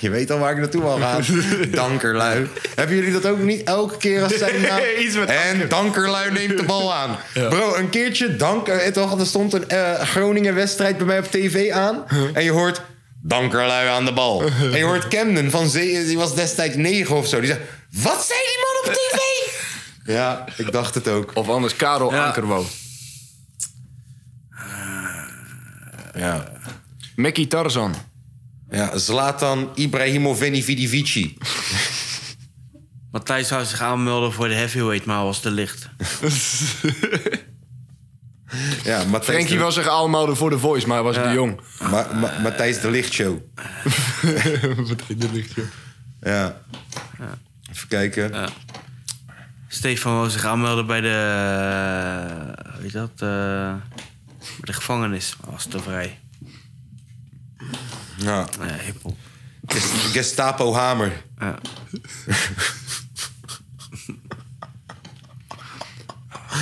Speaker 1: Je weet al waar ik naartoe wil gaan. Dankerlui. Hebben jullie dat ook niet elke keer als zijn naam?
Speaker 4: Iets met
Speaker 1: en Dankerlui neemt de bal aan. Bro, een keertje dank, eh, toch, er stond een eh, Groningen-wedstrijd bij mij op tv aan. En je hoort Dankerlui aan de bal. En je hoort Camden van Zee, die was destijds negen of zo. Die zegt, wat zei die man op tv? Ja, ik dacht het ook.
Speaker 4: Of anders Karel
Speaker 3: Ja.
Speaker 4: Ankerwo.
Speaker 1: Ja.
Speaker 4: Mickey Tarzan.
Speaker 1: Ja, Zlatan Ibrahimovic.
Speaker 3: Matthijs zou zich aanmelden voor de heavyweight, maar was te licht.
Speaker 1: Ja, Matthijs
Speaker 4: Frankie
Speaker 1: de-
Speaker 4: was zich aanmelden voor de voice, maar hij was te jong.
Speaker 1: Ma- Ma- Matthijs de Lichtshow. Ja. Even kijken.
Speaker 3: Stefan wou zich aanmelden bij de. eh, Hoe heet dat? eh, bij de gevangenis. Maar was te vrij.
Speaker 1: Ja.
Speaker 3: Nou ja, hiphop.
Speaker 1: Ges- Gestapo Hamer.
Speaker 3: Ja.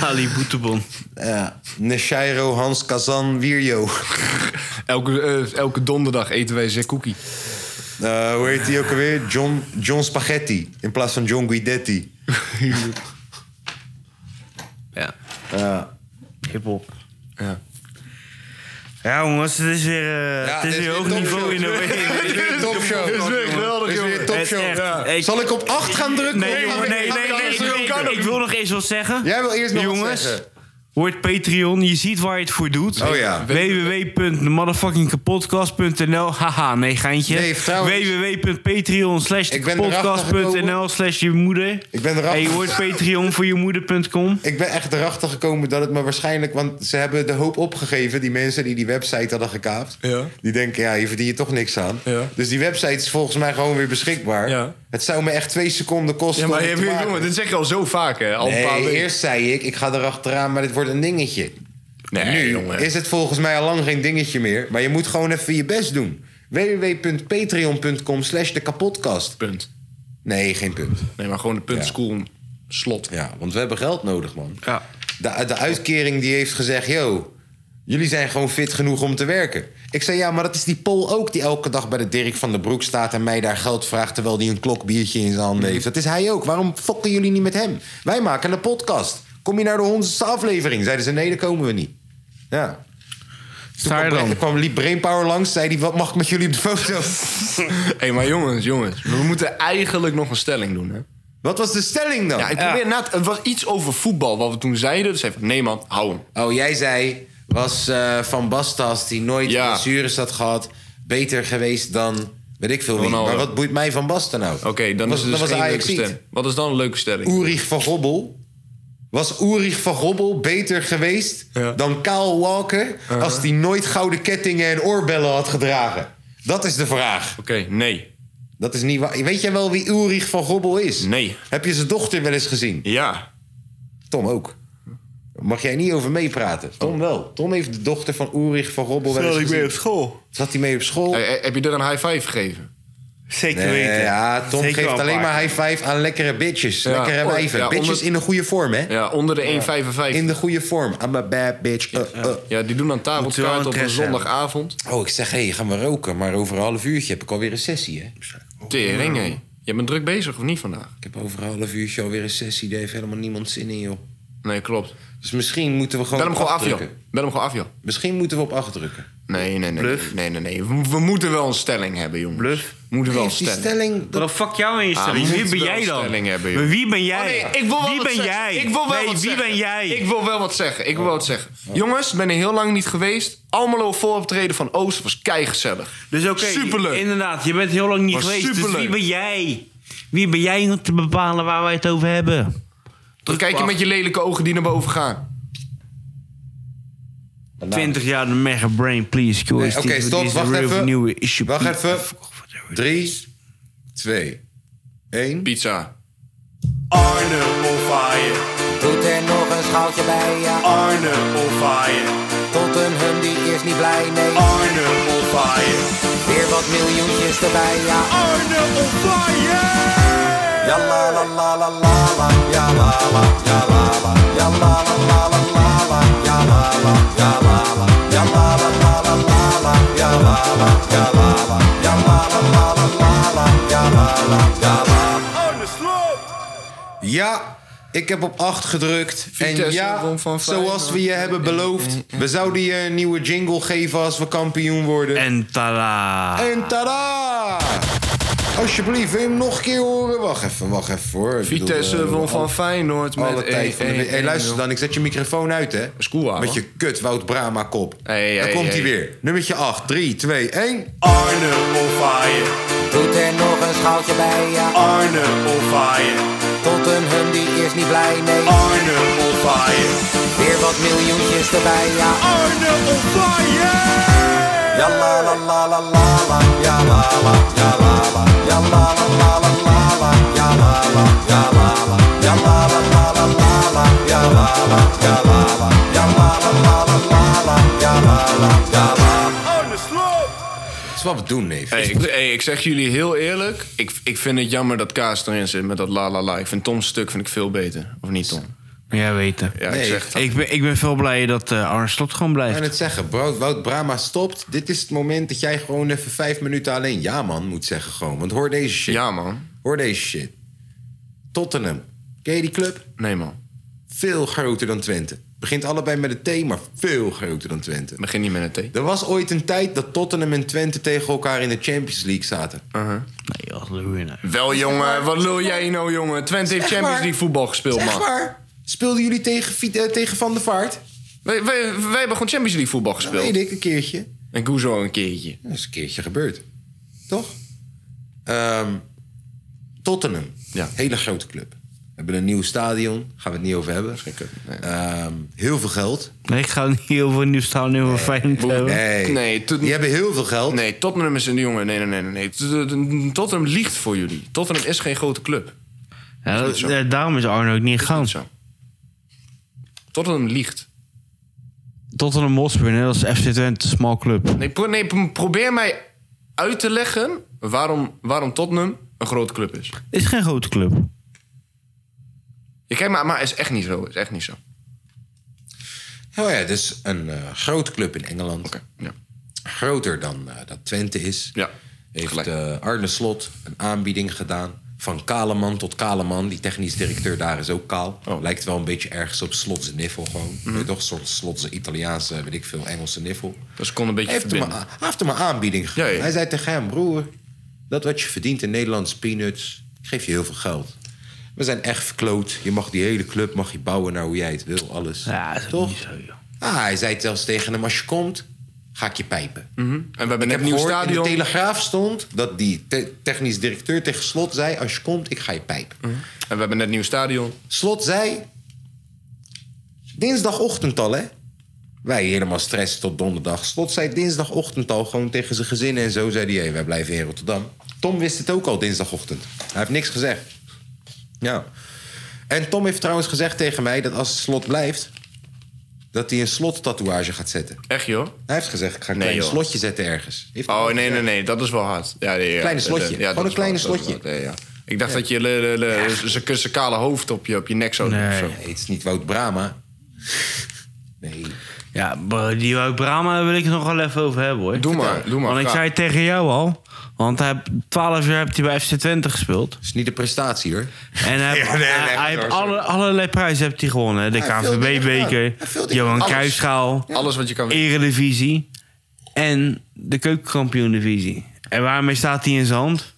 Speaker 3: Ali Boetebon.
Speaker 1: Ja. Neshairo Hans Kazan Wierjo.
Speaker 4: Elke, eh, elke donderdag eten wij zijn cookie.
Speaker 1: Eh, hoe heet die ook alweer? John, John Spaghetti. In plaats van John Guidetti.
Speaker 3: Ja.
Speaker 1: Ja.
Speaker 3: Hiphop.
Speaker 4: Ja.
Speaker 3: Ja, jongens, het is weer, eh, het is weer hoog niveau in de
Speaker 1: Het is weer een topshow. Het
Speaker 4: is weer geweldig,
Speaker 1: is weer een
Speaker 4: jongen.
Speaker 1: topshow.
Speaker 3: Het is
Speaker 1: Ja.
Speaker 3: echt- ik-
Speaker 1: Zal ik op 8 gaan drukken?
Speaker 3: Nee,
Speaker 1: Of
Speaker 3: jongen,
Speaker 1: gaan we-
Speaker 3: nee,
Speaker 1: gaan we
Speaker 3: nee, nee.
Speaker 1: eerst
Speaker 3: nee,
Speaker 1: drukken?
Speaker 3: ik, ik wil nog eens wat zeggen.
Speaker 1: Jij wil eerst nog wat
Speaker 3: Jongens,
Speaker 1: zeggen.
Speaker 3: Word Patreon, je ziet waar je het voor doet.
Speaker 1: Oh ja.
Speaker 3: www.motherfuckingpodcast.nl Haha, nee, geintje.
Speaker 1: Nee, trouwens.
Speaker 3: www.patreon slash
Speaker 1: Ik ben erachter
Speaker 3: podcast.nl slash je moeder.
Speaker 1: Ik ben erachter.
Speaker 3: En je wordt Patreon voor je moeder.com.
Speaker 1: Ik ben echt erachter gekomen dat het me waarschijnlijk... want ze hebben de hoop opgegeven, die mensen die die website hadden gekaapt.
Speaker 4: Ja.
Speaker 1: Die denken, ja, hier verdien je toch niks aan.
Speaker 4: Ja.
Speaker 1: Dus die website is volgens mij gewoon weer beschikbaar.
Speaker 4: Ja.
Speaker 1: Het zou me echt twee seconden kosten
Speaker 4: Ja, maar
Speaker 1: om het
Speaker 4: je,
Speaker 1: te maken.
Speaker 4: jongen, dit zeg je al zo vaak, hè? Al een paar
Speaker 1: Nee,
Speaker 4: weken.
Speaker 1: eerst zei ik, ik ga erachteraan, maar dit wordt een dingetje.
Speaker 4: Nee,
Speaker 1: nu
Speaker 4: jongen.
Speaker 1: is het volgens mij al lang geen dingetje meer. Maar je moet gewoon even je best doen. www.patreon.com slash de kapotkast.
Speaker 4: Punt.
Speaker 1: Nee, geen punt.
Speaker 4: Nee, maar gewoon de punt
Speaker 1: Ja.
Speaker 4: is cool. Slot.
Speaker 1: Ja, want we hebben geld nodig, man.
Speaker 3: Ja.
Speaker 1: De, de uitkering die heeft gezegd, yo, jullie zijn gewoon fit genoeg om te werken. Ik zei, ja, maar dat is die Pol ook die elke dag bij de Dirk van den Broek staat... en mij daar geld vraagt terwijl hij een klokbiertje in zijn
Speaker 4: Mhm.
Speaker 1: handen heeft. Dat is hij ook. Waarom fokken jullie niet met hem? Wij maken een podcast. Kom je naar de honderdste aflevering? Zeiden ze, nee, daar komen we niet. Ja.
Speaker 3: Sta je
Speaker 1: Er
Speaker 3: dan?
Speaker 1: kwam Liep Brainpower langs, zei hij, wat mag ik met jullie op de foto?
Speaker 4: Hé, maar jongens, jongens. We moeten eigenlijk nog een stelling doen, hè?
Speaker 1: wat was de stelling dan?
Speaker 4: Ja, ik probeer na te- Het was iets over voetbal wat we toen zeiden. Dus even, nee man, hou hem.
Speaker 1: Oh, jij zei, was eh, Van Bastas, die nooit
Speaker 4: Ja.
Speaker 1: blessures had gehad... beter geweest dan, weet ik veel wie.
Speaker 4: Ronaldo.
Speaker 1: Maar wat boeit mij Van Basten nou?
Speaker 4: Oké, dan is het dus
Speaker 1: dat
Speaker 4: geen leuke
Speaker 1: Ajaxiet.
Speaker 4: stelling. Wat is dan een leuke stelling?
Speaker 1: Ulrich van Gobbel. Was Ulrich van Gobbel beter geweest
Speaker 4: Ja. Uh-huh.
Speaker 1: dan Kyle Walker... als hij nooit gouden kettingen en oorbellen had gedragen? Dat is de vraag.
Speaker 4: Oké, nee.
Speaker 1: Dat is niet waar. Weet jij wel wie Ulrich van Gobbel is?
Speaker 4: Nee.
Speaker 1: Heb je zijn dochter wel eens gezien?
Speaker 4: Ja.
Speaker 1: Tom ook. Mag jij niet over meepraten?
Speaker 4: Oh.
Speaker 1: Tom wel. Tom heeft de dochter van Ulrich van Robbel wel eens gezien.
Speaker 3: school.
Speaker 1: Zat hij mee op school?
Speaker 4: Hey, hey, Eh, heb je er een high five gegeven?
Speaker 3: Zeker
Speaker 1: Nee,
Speaker 3: weten.
Speaker 1: ja, Tom
Speaker 3: Zeker
Speaker 1: geeft
Speaker 3: wel
Speaker 1: alleen
Speaker 3: een
Speaker 1: maar
Speaker 3: paar.
Speaker 1: high five aan lekkere bitches.
Speaker 4: Ja,
Speaker 1: Lekkere
Speaker 4: oh,
Speaker 1: wijven.
Speaker 4: ja,
Speaker 1: bitches
Speaker 4: onder-
Speaker 1: in de goede vorm, hè?
Speaker 4: Ja, onder de 1,55.
Speaker 1: In de goede vorm. I'm a bad bitch. Uh, uh.
Speaker 4: Ja, die doen dan
Speaker 3: Moeten we wel
Speaker 4: tafelkaart
Speaker 3: een
Speaker 4: op een
Speaker 3: test hebben.
Speaker 4: zondagavond.
Speaker 1: Oh, ik zeg, hé, hey, gaan we roken. Maar over een half uurtje heb ik alweer een sessie, hè?
Speaker 4: Tering, hé. Je bent druk bezig of niet vandaag?
Speaker 1: Ik heb over een half uurtje alweer een sessie. Daar heeft helemaal niemand zin in, joh.
Speaker 4: Nee,
Speaker 3: Oh,
Speaker 4: klopt.
Speaker 1: Dus misschien moeten we gewoon
Speaker 4: Bel hem
Speaker 1: op
Speaker 4: gewoon
Speaker 1: acht
Speaker 4: af, joh.
Speaker 1: drukken.
Speaker 4: Bel hem gewoon af, joh.
Speaker 1: Misschien moeten we op acht drukken.
Speaker 4: Nee, nee, nee.
Speaker 3: Bluff.
Speaker 4: Nee, nee, nee. We, we moeten wel een stelling hebben, jongens.
Speaker 3: Bluff.
Speaker 4: We moeten wel een
Speaker 1: Heeft die
Speaker 4: stelling.
Speaker 1: stelling...
Speaker 3: Wat
Speaker 1: dat-
Speaker 3: de fuck jou in je stelling?
Speaker 4: Ah,
Speaker 3: wie
Speaker 4: moet
Speaker 3: ben
Speaker 4: wel
Speaker 3: jij dan?
Speaker 4: stelling hebben, joh.
Speaker 3: maar wie ben jij?
Speaker 4: Oh, nee, ik wil wel
Speaker 3: wie
Speaker 4: wat
Speaker 3: ben
Speaker 4: zeggen.
Speaker 3: jij?
Speaker 4: Ik wil wel
Speaker 3: nee,
Speaker 4: wat
Speaker 3: wie
Speaker 4: zeggen.
Speaker 3: ben jij?
Speaker 4: Ik wil wel wat zeggen. Ik wil wel wat zeggen. Jongens, ik ben er heel lang niet geweest. Almelo vooroptreden van Oost was keigezellig.
Speaker 3: Dus oké,
Speaker 4: Superleuk.
Speaker 3: inderdaad, je bent heel lang niet
Speaker 4: Was
Speaker 3: geweest. Dus
Speaker 4: superleuk.
Speaker 3: wie ben jij? Wie ben jij om te bepalen waar wij het over hebben?
Speaker 4: Dan kijk je met je lelijke ogen die naar boven gaan.
Speaker 3: 20 jaar de mega brain, please. Oké,
Speaker 1: Nee, oké, stop, wacht even.
Speaker 3: Nieuwe issue,
Speaker 1: Wacht
Speaker 3: please.
Speaker 1: even.
Speaker 3: nou
Speaker 1: Drie, twee, één.
Speaker 4: Pizza.
Speaker 2: Arne on fire,
Speaker 5: Doet er nog een schaaltje bij, ja.
Speaker 2: Arne on fire,
Speaker 5: Tottenham die is niet blij, nee.
Speaker 2: Arne on fire,
Speaker 5: Weer wat miljoentjes erbij, ja.
Speaker 2: Arne on fire!
Speaker 5: Ja,
Speaker 1: Ja, ik heb op 8 gedrukt. en
Speaker 4: Vitesse
Speaker 1: ja,
Speaker 4: won van
Speaker 1: zoals we je
Speaker 4: Feyenoord.
Speaker 1: hebben beloofd, we zouden je een nieuwe jingle geven als we kampioen worden. En,
Speaker 3: En tada.
Speaker 1: tada! Alsjeblieft, wil je hem nog een keer horen? Wacht even, wacht even hoor. Ik bedoel, eh,
Speaker 4: Vitesse won van Feyenoord met
Speaker 1: alle tijd van de week. Hey, luister dan, ik zet je microfoon uit, hè?
Speaker 4: is cool, ouwe.
Speaker 1: Met je kut Wout Brama kop.
Speaker 4: Hey,
Speaker 1: Daar
Speaker 4: hey,
Speaker 1: komt hij
Speaker 4: hey.
Speaker 1: weer. Nummertje 8, 3, 2, 1.
Speaker 2: Arne on fire,
Speaker 5: Doet er nog een schaaltje bij, ja.
Speaker 2: Arne on fire,
Speaker 5: Tottenham die is niet blij, nee.
Speaker 2: Arne on fire,
Speaker 5: Weer wat miljoentjes erbij, ja.
Speaker 2: Arne on fire!
Speaker 5: Ja la la la la la la, ja la la, ja la la, ja la la la la la la, ja la la, ja la la, ja la la la la la la, ja la la, ja la la, ja la la la la la la, ja la la, ja la la.
Speaker 1: Dat is wat we doen, neef.
Speaker 4: Hey, ik, hey, ik zeg jullie heel eerlijk. Ik, ik vind het jammer dat Kaas erin zit met dat la la la. Ik vind Tom's stuk vind ik veel beter. Of niet, Tom?
Speaker 3: Jij weet het.
Speaker 4: Ja,
Speaker 1: Nee,
Speaker 4: ik zeg het.
Speaker 3: Ik ben, ik ben veel blij dat eh Arne Slot gewoon
Speaker 1: Ik
Speaker 3: blijft.
Speaker 1: kan het zeggen, Wout, Wout Brama stopt. Dit is het moment dat jij gewoon even vijf minuten alleen ja man moet zeggen gewoon. Want hoor deze shit.
Speaker 4: Ja, man.
Speaker 1: Hoor deze shit. Tottenham. Ken je die club?
Speaker 4: Nee, man.
Speaker 1: Veel groter dan Twente. Begint allebei met het T, maar veel groter dan Twente.
Speaker 4: Begin niet met een T.
Speaker 1: Er was ooit een tijd dat Tottenham en Twente tegen elkaar in de Champions League zaten.
Speaker 4: Uh-huh.
Speaker 3: Nee, wat lul je nou.
Speaker 4: Wel, jongen. Wat lul jij nou, jongen? Twente heeft Champions
Speaker 1: maar.
Speaker 4: League voetbal gespeeld,
Speaker 1: Echt
Speaker 4: man.
Speaker 1: waar? Speelden jullie tegen, Fiet- eh, tegen Van der Vaart?
Speaker 4: Wij, wij, wij hebben gewoon Champions League voetbal gespeeld.
Speaker 1: Weet ik, een keertje.
Speaker 4: En Guzo een keertje.
Speaker 1: Dat is een keertje gebeurd. Toch? Ehm, Tottenham.
Speaker 4: Ja.
Speaker 1: Hele grote club. We hebben een nieuw stadion. Gaan we het niet over hebben.
Speaker 4: cup, nee.
Speaker 1: Ehm, heel veel geld.
Speaker 3: Nee, ik ga niet heel veel nieuws staan nu over Feyenoord hebben.
Speaker 1: Nee.
Speaker 4: Nee, tot-
Speaker 1: Die hebben heel veel geld.
Speaker 4: Nee, Tottenham is een jongen. Nee, nee, nee, nee, nee. Tot- tot- Tottenham liegt voor jullie. Tottenham is geen grote club.
Speaker 3: Ja, dat- eh, daarom is Arne ook niet gegaan.
Speaker 4: Goed zo. Tottenham liegt.
Speaker 3: Tottenham Hotspur, net als FC Twente, een small club.
Speaker 4: Nee, pro- nee, pro- probeer mij uit te leggen waarom, waarom Tottenham een grote club is.
Speaker 3: Is geen grote club.
Speaker 4: Je kijkt maar, maar is echt niet zo. Is echt niet zo.
Speaker 1: Oh ja, dus een eh, grote club in Engeland.
Speaker 4: Ja.
Speaker 1: Groter dan eh, dat Twente is.
Speaker 4: Ja,
Speaker 1: Heeft
Speaker 4: gelijk.
Speaker 1: eh, Arne Slot een aanbieding gedaan. Van Kaleman tot Kaleman. Die technisch directeur daar is ook kaal.
Speaker 4: Oh.
Speaker 1: Lijkt wel een beetje ergens op Slotse Niffel gewoon.
Speaker 4: Mhm.
Speaker 1: Weet je toch? Een soort Slotse Italiaanse, weet ik veel, Engelse Niffel.
Speaker 4: Dus ik kon een beetje
Speaker 1: Hij heeft, hem,
Speaker 4: verbinden.
Speaker 1: hij heeft hem een aanbieding gedaan.
Speaker 4: Ja, ja.
Speaker 1: Hij zei tegen hem, broer, dat wat je verdient in Nederlandse peanuts, ik geef je heel veel geld. We zijn echt verkloot. Je mag die hele club mag je bouwen naar hoe jij het wil, alles.
Speaker 3: Ja, dat is
Speaker 1: Toch?
Speaker 3: niet zo, joh.
Speaker 1: Ah, hij zei zelfs tegen hem, als je komt, ga ik je pijpen.
Speaker 4: En we hebben
Speaker 1: Ik
Speaker 4: net
Speaker 1: heb
Speaker 4: een nieuw
Speaker 1: gehoord, in
Speaker 4: stadion.
Speaker 1: de Telegraaf stond dat die te- technisch directeur tegen Slot zei... als je komt, ik ga je pijpen.
Speaker 4: En we hebben net een nieuw stadion.
Speaker 1: Slot zei... Dinsdagochtend al, hè? Wij helemaal stress tot donderdag. Slot zei dinsdagochtend al gewoon tegen zijn gezin en zo. Zei hij, hey, wij blijven in Rotterdam. Tom wist het ook al dinsdagochtend. Hij heeft niks gezegd. Ja. En Tom heeft trouwens gezegd tegen mij dat als Slot blijft... dat hij een Slot-tatoeage gaat zetten.
Speaker 4: Echt joh?
Speaker 1: Hij heeft gezegd, ik ga een
Speaker 4: Nee,
Speaker 1: klein
Speaker 4: joh.
Speaker 1: slotje zetten ergens. Heeft hij
Speaker 4: Oh
Speaker 1: al
Speaker 4: nee,
Speaker 1: gezegd.
Speaker 4: nee, nee. Dat is wel hard. Ja, nee, ja,
Speaker 1: Kleine slotje.
Speaker 4: dat-
Speaker 1: Gewoon
Speaker 4: dat
Speaker 1: een
Speaker 4: is
Speaker 1: kleine
Speaker 4: wel- dat is
Speaker 1: slotje.
Speaker 4: wel- ja, ja. Ik dacht dat je le, le, le- ze- ze kale hoofd op je, op je nek zou doen. of
Speaker 3: Nee.
Speaker 4: zo.
Speaker 1: Nee, het is niet Wout Brama. Nee.
Speaker 3: Ja, bro, die Wout Brama daar wil ik het nog wel even over hebben hoor.
Speaker 4: Doe maar, doe maar.
Speaker 3: Want ik
Speaker 4: graag.
Speaker 3: zei het tegen jou al, want hij, 12 jaar heeft hij bij FC Twente gespeeld.
Speaker 1: Het is niet de prestatie hoor.
Speaker 3: En hij,
Speaker 1: nee, nee,
Speaker 3: hij-
Speaker 1: nee,
Speaker 3: hij heeft
Speaker 1: sorry.
Speaker 3: alle, allerlei prijzen heeft hij gewonnen. hè. De
Speaker 1: heeft veel dingen
Speaker 3: KNVB-beker,
Speaker 1: gedaan. Hij heeft veel dingen
Speaker 3: Johan
Speaker 1: gedaan. Alles.
Speaker 3: Cruijffschaal,
Speaker 4: Alles wat je kan
Speaker 3: Eredivisie en de Keukenkampioen-divisie. En waarmee staat hij in zijn hand?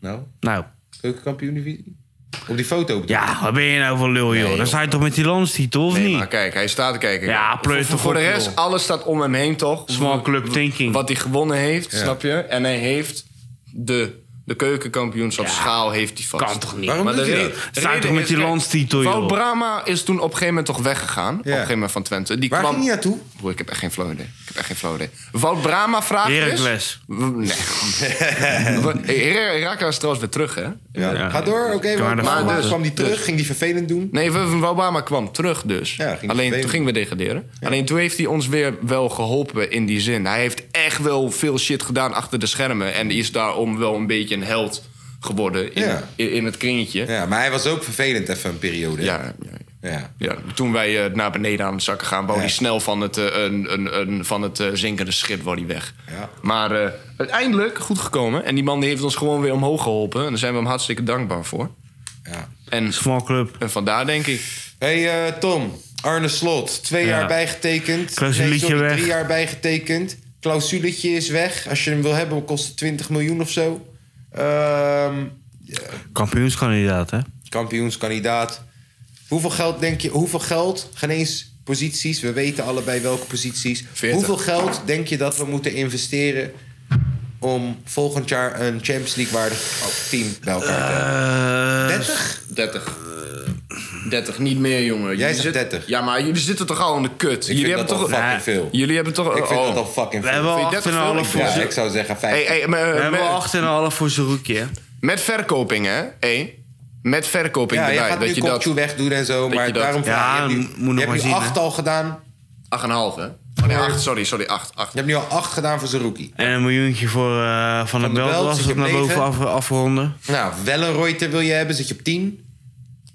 Speaker 1: Nou,
Speaker 3: Nou,
Speaker 1: keukenkampioen-divisie? Op die foto bedoel
Speaker 3: ja, wat ben je nou voor lul, joh? Dan
Speaker 1: joh.
Speaker 3: sta je toch met die landstitel, of
Speaker 4: Nee,
Speaker 3: niet?
Speaker 4: maar Ah, kijk, hij staat te kijken.
Speaker 3: Ja,
Speaker 4: Voor-
Speaker 3: pleut
Speaker 4: voor,
Speaker 3: toch
Speaker 4: voor de
Speaker 3: op,
Speaker 4: rest,
Speaker 3: joh.
Speaker 4: alles staat om hem heen, toch?
Speaker 3: Small club thinking.
Speaker 4: Wat hij gewonnen heeft, snap je? En hij heeft de, de keukenkampioenschapschaal heeft hij vast.
Speaker 3: Kan toch niet?
Speaker 1: Waarom doet
Speaker 4: de
Speaker 1: hij
Speaker 4: re-
Speaker 1: dat?
Speaker 4: de
Speaker 3: Staat
Speaker 4: reden
Speaker 3: toch met
Speaker 4: is,
Speaker 3: die
Speaker 4: kijk,
Speaker 3: landstitel, joh.
Speaker 4: Wout Brama is toen op een gegeven moment toch weggegaan. Op een gegeven moment van Twente. Die
Speaker 1: Waar
Speaker 4: kwam...
Speaker 1: ging hij naartoe?
Speaker 4: Broer, ik heb echt geen flow idee. Ik heb echt geen flow idee. Wout Brama vraagt is-
Speaker 3: Heracles.
Speaker 4: W- Nee. Hey, Her- Heracles is trouwens weer terug, hè?
Speaker 1: Ja.
Speaker 3: Ja.
Speaker 1: Ga door, oké.
Speaker 3: Kan
Speaker 1: maar
Speaker 3: maar
Speaker 1: maar
Speaker 4: ervan.
Speaker 1: dus, kwam die terug,
Speaker 4: Dus.
Speaker 1: ging die vervelend doen.
Speaker 4: Nee, we- we- Obama kwam terug dus.
Speaker 1: Ja, ging die
Speaker 4: Alleen
Speaker 1: spelen.
Speaker 4: toen gingen we degraderen. Alleen toen heeft hij ons weer wel geholpen in die zin. Hij heeft echt wel veel shit gedaan achter de schermen. En is daarom wel een beetje een held geworden in,
Speaker 1: Ja.
Speaker 4: in, in het kringetje. Ja.
Speaker 1: Ja, maar hij was ook vervelend even een periode.
Speaker 4: Ja,
Speaker 1: ja.
Speaker 4: ja. toen wij eh, naar beneden aan het zakken gaan, wou
Speaker 1: Ja.
Speaker 4: hij snel van het, eh, een, een, een, van het eh, zinkende schip wou die weg.
Speaker 1: Ja.
Speaker 4: Maar eh, uiteindelijk goed gekomen. En die man die heeft ons gewoon weer omhoog geholpen. En daar zijn we hem hartstikke dankbaar voor.
Speaker 1: ja.
Speaker 4: En,
Speaker 3: Small club.
Speaker 4: en vandaar denk ik.
Speaker 1: Hey eh, Tom, Arne Slot, twee
Speaker 3: Ja.
Speaker 1: jaar bijgetekend.
Speaker 3: Clausuletje
Speaker 1: sorry,
Speaker 3: weg.
Speaker 1: drie jaar bijgetekend. Clausuletje is weg. Als je hem wil hebben, kost het 20 miljoen of zo. Ehm,
Speaker 3: Kampioenskandidaat, hè?
Speaker 1: kampioenskandidaat. Hoeveel geld denk je, hoeveel geld, geen eens posities, we weten allebei welke posities.
Speaker 4: 40.
Speaker 1: Hoeveel geld denk je dat we moeten investeren om volgend jaar een Champions League waardig team bij elkaar te hebben?
Speaker 3: Eh,
Speaker 1: 30?
Speaker 4: 30. 30, niet meer jongen. Jij
Speaker 1: zegt 30.
Speaker 4: Ja, maar jullie zitten toch al in de kut.
Speaker 1: Ik
Speaker 4: jullie
Speaker 1: vind dat al
Speaker 4: toch
Speaker 1: fucking
Speaker 3: Nee.
Speaker 1: veel.
Speaker 4: Jullie hebben toch
Speaker 1: Ik vind
Speaker 4: oh.
Speaker 1: dat al fucking
Speaker 3: we
Speaker 1: veel.
Speaker 3: hebben al
Speaker 4: Vind je
Speaker 3: 8,5
Speaker 4: 30 veel?
Speaker 3: voor
Speaker 1: Ja,
Speaker 3: Zeroekje.
Speaker 1: ik zou zeggen 50.
Speaker 4: Hey, hey, maar, eh,
Speaker 3: We hebben
Speaker 4: met-
Speaker 3: al 8,5 voor Zeroekje. hè?
Speaker 4: Met verkoping, hè? Hé? Met verkoping
Speaker 1: ja, jij
Speaker 4: erbij.
Speaker 1: gaat
Speaker 4: Dat
Speaker 1: nu
Speaker 4: je dat... 8,5,
Speaker 1: Kopchu wegdoen en zo, maar
Speaker 4: je dat-
Speaker 1: daarom vraag
Speaker 3: Ja,
Speaker 1: ik- je.
Speaker 3: moet
Speaker 1: hebt nu- je
Speaker 3: nog maar
Speaker 1: hebt nu
Speaker 3: zien, hè.
Speaker 1: acht al gedaan.
Speaker 4: hè? Oh nee, 8, sorry, sorry, 8. 8.
Speaker 1: Je hebt nu al acht gedaan voor Zerouki.
Speaker 3: En een miljoentje voor eh, Van der
Speaker 1: de Belt
Speaker 3: Belt
Speaker 1: zit
Speaker 3: als
Speaker 1: je
Speaker 3: we
Speaker 1: op
Speaker 3: naar
Speaker 1: negen.
Speaker 3: boven af, afronden.
Speaker 1: Nou, Wellenreuter wil je hebben, zit je op 10.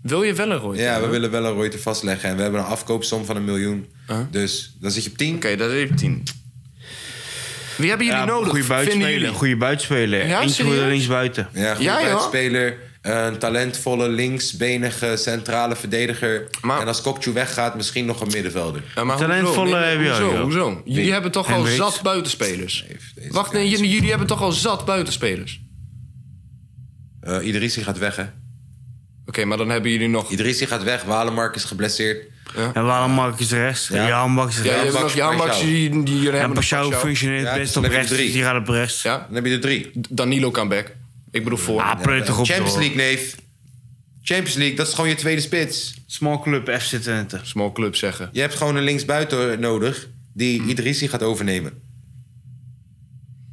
Speaker 4: Wil je wel een rooi?
Speaker 1: Ja,
Speaker 4: Oké,
Speaker 1: we willen wel een Reuter vastleggen. En we hebben een afkoopsom van een miljoen. Dus dan zit je op 10.
Speaker 4: dat is even 10. Wie hebben jullie nodig?
Speaker 3: Goede
Speaker 4: Vinden
Speaker 3: buitenspeler.
Speaker 4: jullie?
Speaker 3: Goede buitenspeler.
Speaker 4: Ja,
Speaker 3: Eentje voor de
Speaker 4: serieus?
Speaker 3: linksbuiten.
Speaker 1: Ja, goede
Speaker 4: Ja, joh.
Speaker 1: buitenspeler. Een talentvolle linksbenige centrale verdediger.
Speaker 4: Maar-
Speaker 1: En als Kokchu weggaat, misschien nog een middenvelder.
Speaker 4: Ja, maar
Speaker 3: Talentvolle
Speaker 4: hoezo? Nee, nee,
Speaker 3: heb je ook,
Speaker 4: hoezo?
Speaker 3: joh.
Speaker 4: hoezo? Jullie
Speaker 1: Wie?
Speaker 4: hebben toch al
Speaker 3: Hendricks?
Speaker 4: zat buitenspelers?
Speaker 1: deze
Speaker 4: Wacht, nee,
Speaker 1: guy
Speaker 4: jullie, jullie hebben toch al zat buitenspelers? Oké,
Speaker 1: Eh Idrissi gaat weg, hè?
Speaker 4: maar dan hebben jullie nog...
Speaker 1: Idrissi gaat weg. Walemark is geblesseerd.
Speaker 3: En waarom Mark is rechts?
Speaker 1: Ja.
Speaker 3: Ja, ja Mark is
Speaker 4: Ja, je
Speaker 3: rechts.
Speaker 4: hebt nog
Speaker 1: Jan
Speaker 4: Jan
Speaker 1: Baks,
Speaker 4: Baks, die, die jullie
Speaker 3: en
Speaker 4: hebben nog
Speaker 3: Pashao
Speaker 4: Pashao.
Speaker 3: functioneert
Speaker 1: Ja,
Speaker 3: best
Speaker 1: dat
Speaker 3: op
Speaker 1: is lekker
Speaker 3: rechts,
Speaker 1: drie.
Speaker 3: dus die gaat op rechts.
Speaker 4: Ja.
Speaker 1: Dan heb je er drie. Eh,
Speaker 4: Danilo kan back. Ik bedoel voor.
Speaker 3: Ah, prettig op
Speaker 1: Champions
Speaker 3: joh.
Speaker 1: League, neef. Champions League, dat is gewoon je tweede spits.
Speaker 3: Small club FC Twente.
Speaker 4: Small club zeggen.
Speaker 1: Je hebt gewoon een linksbuiten nodig die
Speaker 4: Hmm.
Speaker 1: Idrissi gaat overnemen.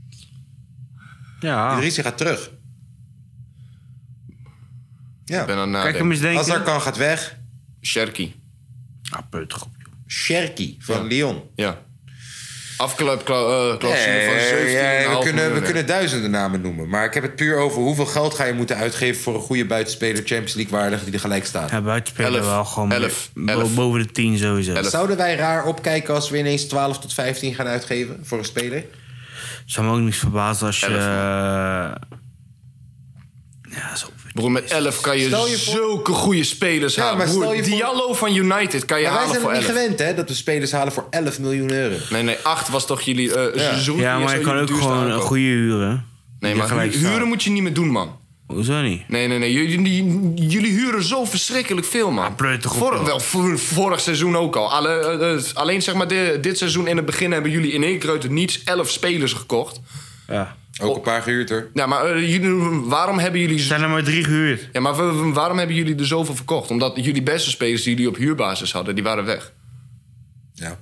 Speaker 4: Ah.
Speaker 3: Ja.
Speaker 1: Idrissi gaat terug. Ja.
Speaker 4: Ik ben aan het
Speaker 3: Kijk hem
Speaker 4: nadenken.
Speaker 3: eens denken.
Speaker 1: Azarkan gaat weg.
Speaker 4: Sherky.
Speaker 3: Ah, prettig op joh.
Speaker 1: Sherky van Lyon.
Speaker 4: Ja. Afklaar uh, van 17.
Speaker 1: Nee, Eh, we, kunnen, we
Speaker 4: miljoen.
Speaker 1: kunnen duizenden namen noemen. Maar ik heb het puur over hoeveel geld ga je moeten uitgeven... voor een goede buitenspeler Champions League waardig die er gelijk staat.
Speaker 3: Ja, buitenspeler
Speaker 4: Elf.
Speaker 3: wel gewoon
Speaker 4: Elf.
Speaker 3: bo-
Speaker 4: Elf.
Speaker 3: boven de 10 sowieso.
Speaker 4: Elf.
Speaker 1: Zouden wij raar opkijken als we ineens 12 tot 15 gaan uitgeven voor een speler?
Speaker 3: Zou me ook niks verbazen als je...
Speaker 4: Elf.
Speaker 3: eh, ja, zo.
Speaker 4: Broer, met 11 kan je,
Speaker 1: Stel je voor-
Speaker 4: zulke goede spelers
Speaker 1: Ja,
Speaker 4: halen.
Speaker 1: maar stel
Speaker 4: Broer,
Speaker 1: je voor-
Speaker 4: Diallo van United kan je
Speaker 1: Maar wij
Speaker 4: halen
Speaker 1: zijn
Speaker 4: voor
Speaker 1: het niet
Speaker 4: 11.
Speaker 1: gewend, hè? Dat we spelers halen voor 11 miljoen euro.
Speaker 4: Nee, nee, 8 was toch jullie eh
Speaker 1: Ja.
Speaker 4: seizoen?
Speaker 3: Ja,
Speaker 4: Die is
Speaker 3: maar je
Speaker 4: jullie
Speaker 3: kan ook
Speaker 4: duurste
Speaker 3: gewoon een
Speaker 4: aankoop.
Speaker 3: goede huren.
Speaker 4: Nee,
Speaker 3: Die
Speaker 4: maar
Speaker 3: gelijk
Speaker 4: hu- huren
Speaker 3: staat.
Speaker 4: moet je niet meer doen, man.
Speaker 3: Hoezo niet?
Speaker 4: Nee, nee, nee. Jullie, die- jullie huren zo verschrikkelijk veel, man.
Speaker 3: Ah, pleur toch op,
Speaker 4: Vor-
Speaker 3: joh.
Speaker 4: wel, vor- vorig seizoen ook al. Alle, eh, eh, alleen zeg maar de- dit seizoen in het begin hebben jullie in één keer uit het niets 11 spelers gekocht.
Speaker 3: Ja.
Speaker 1: Ook een paar gehuurd, hoor.
Speaker 4: Nou, maar eh, jullie, waarom hebben jullie
Speaker 3: Er zijn er maar drie gehuurd.
Speaker 4: Ja, maar wa- wa- waarom hebben jullie er zoveel verkocht? Omdat jullie beste spelers die jullie op huurbasis hadden, die waren weg.
Speaker 1: Ja.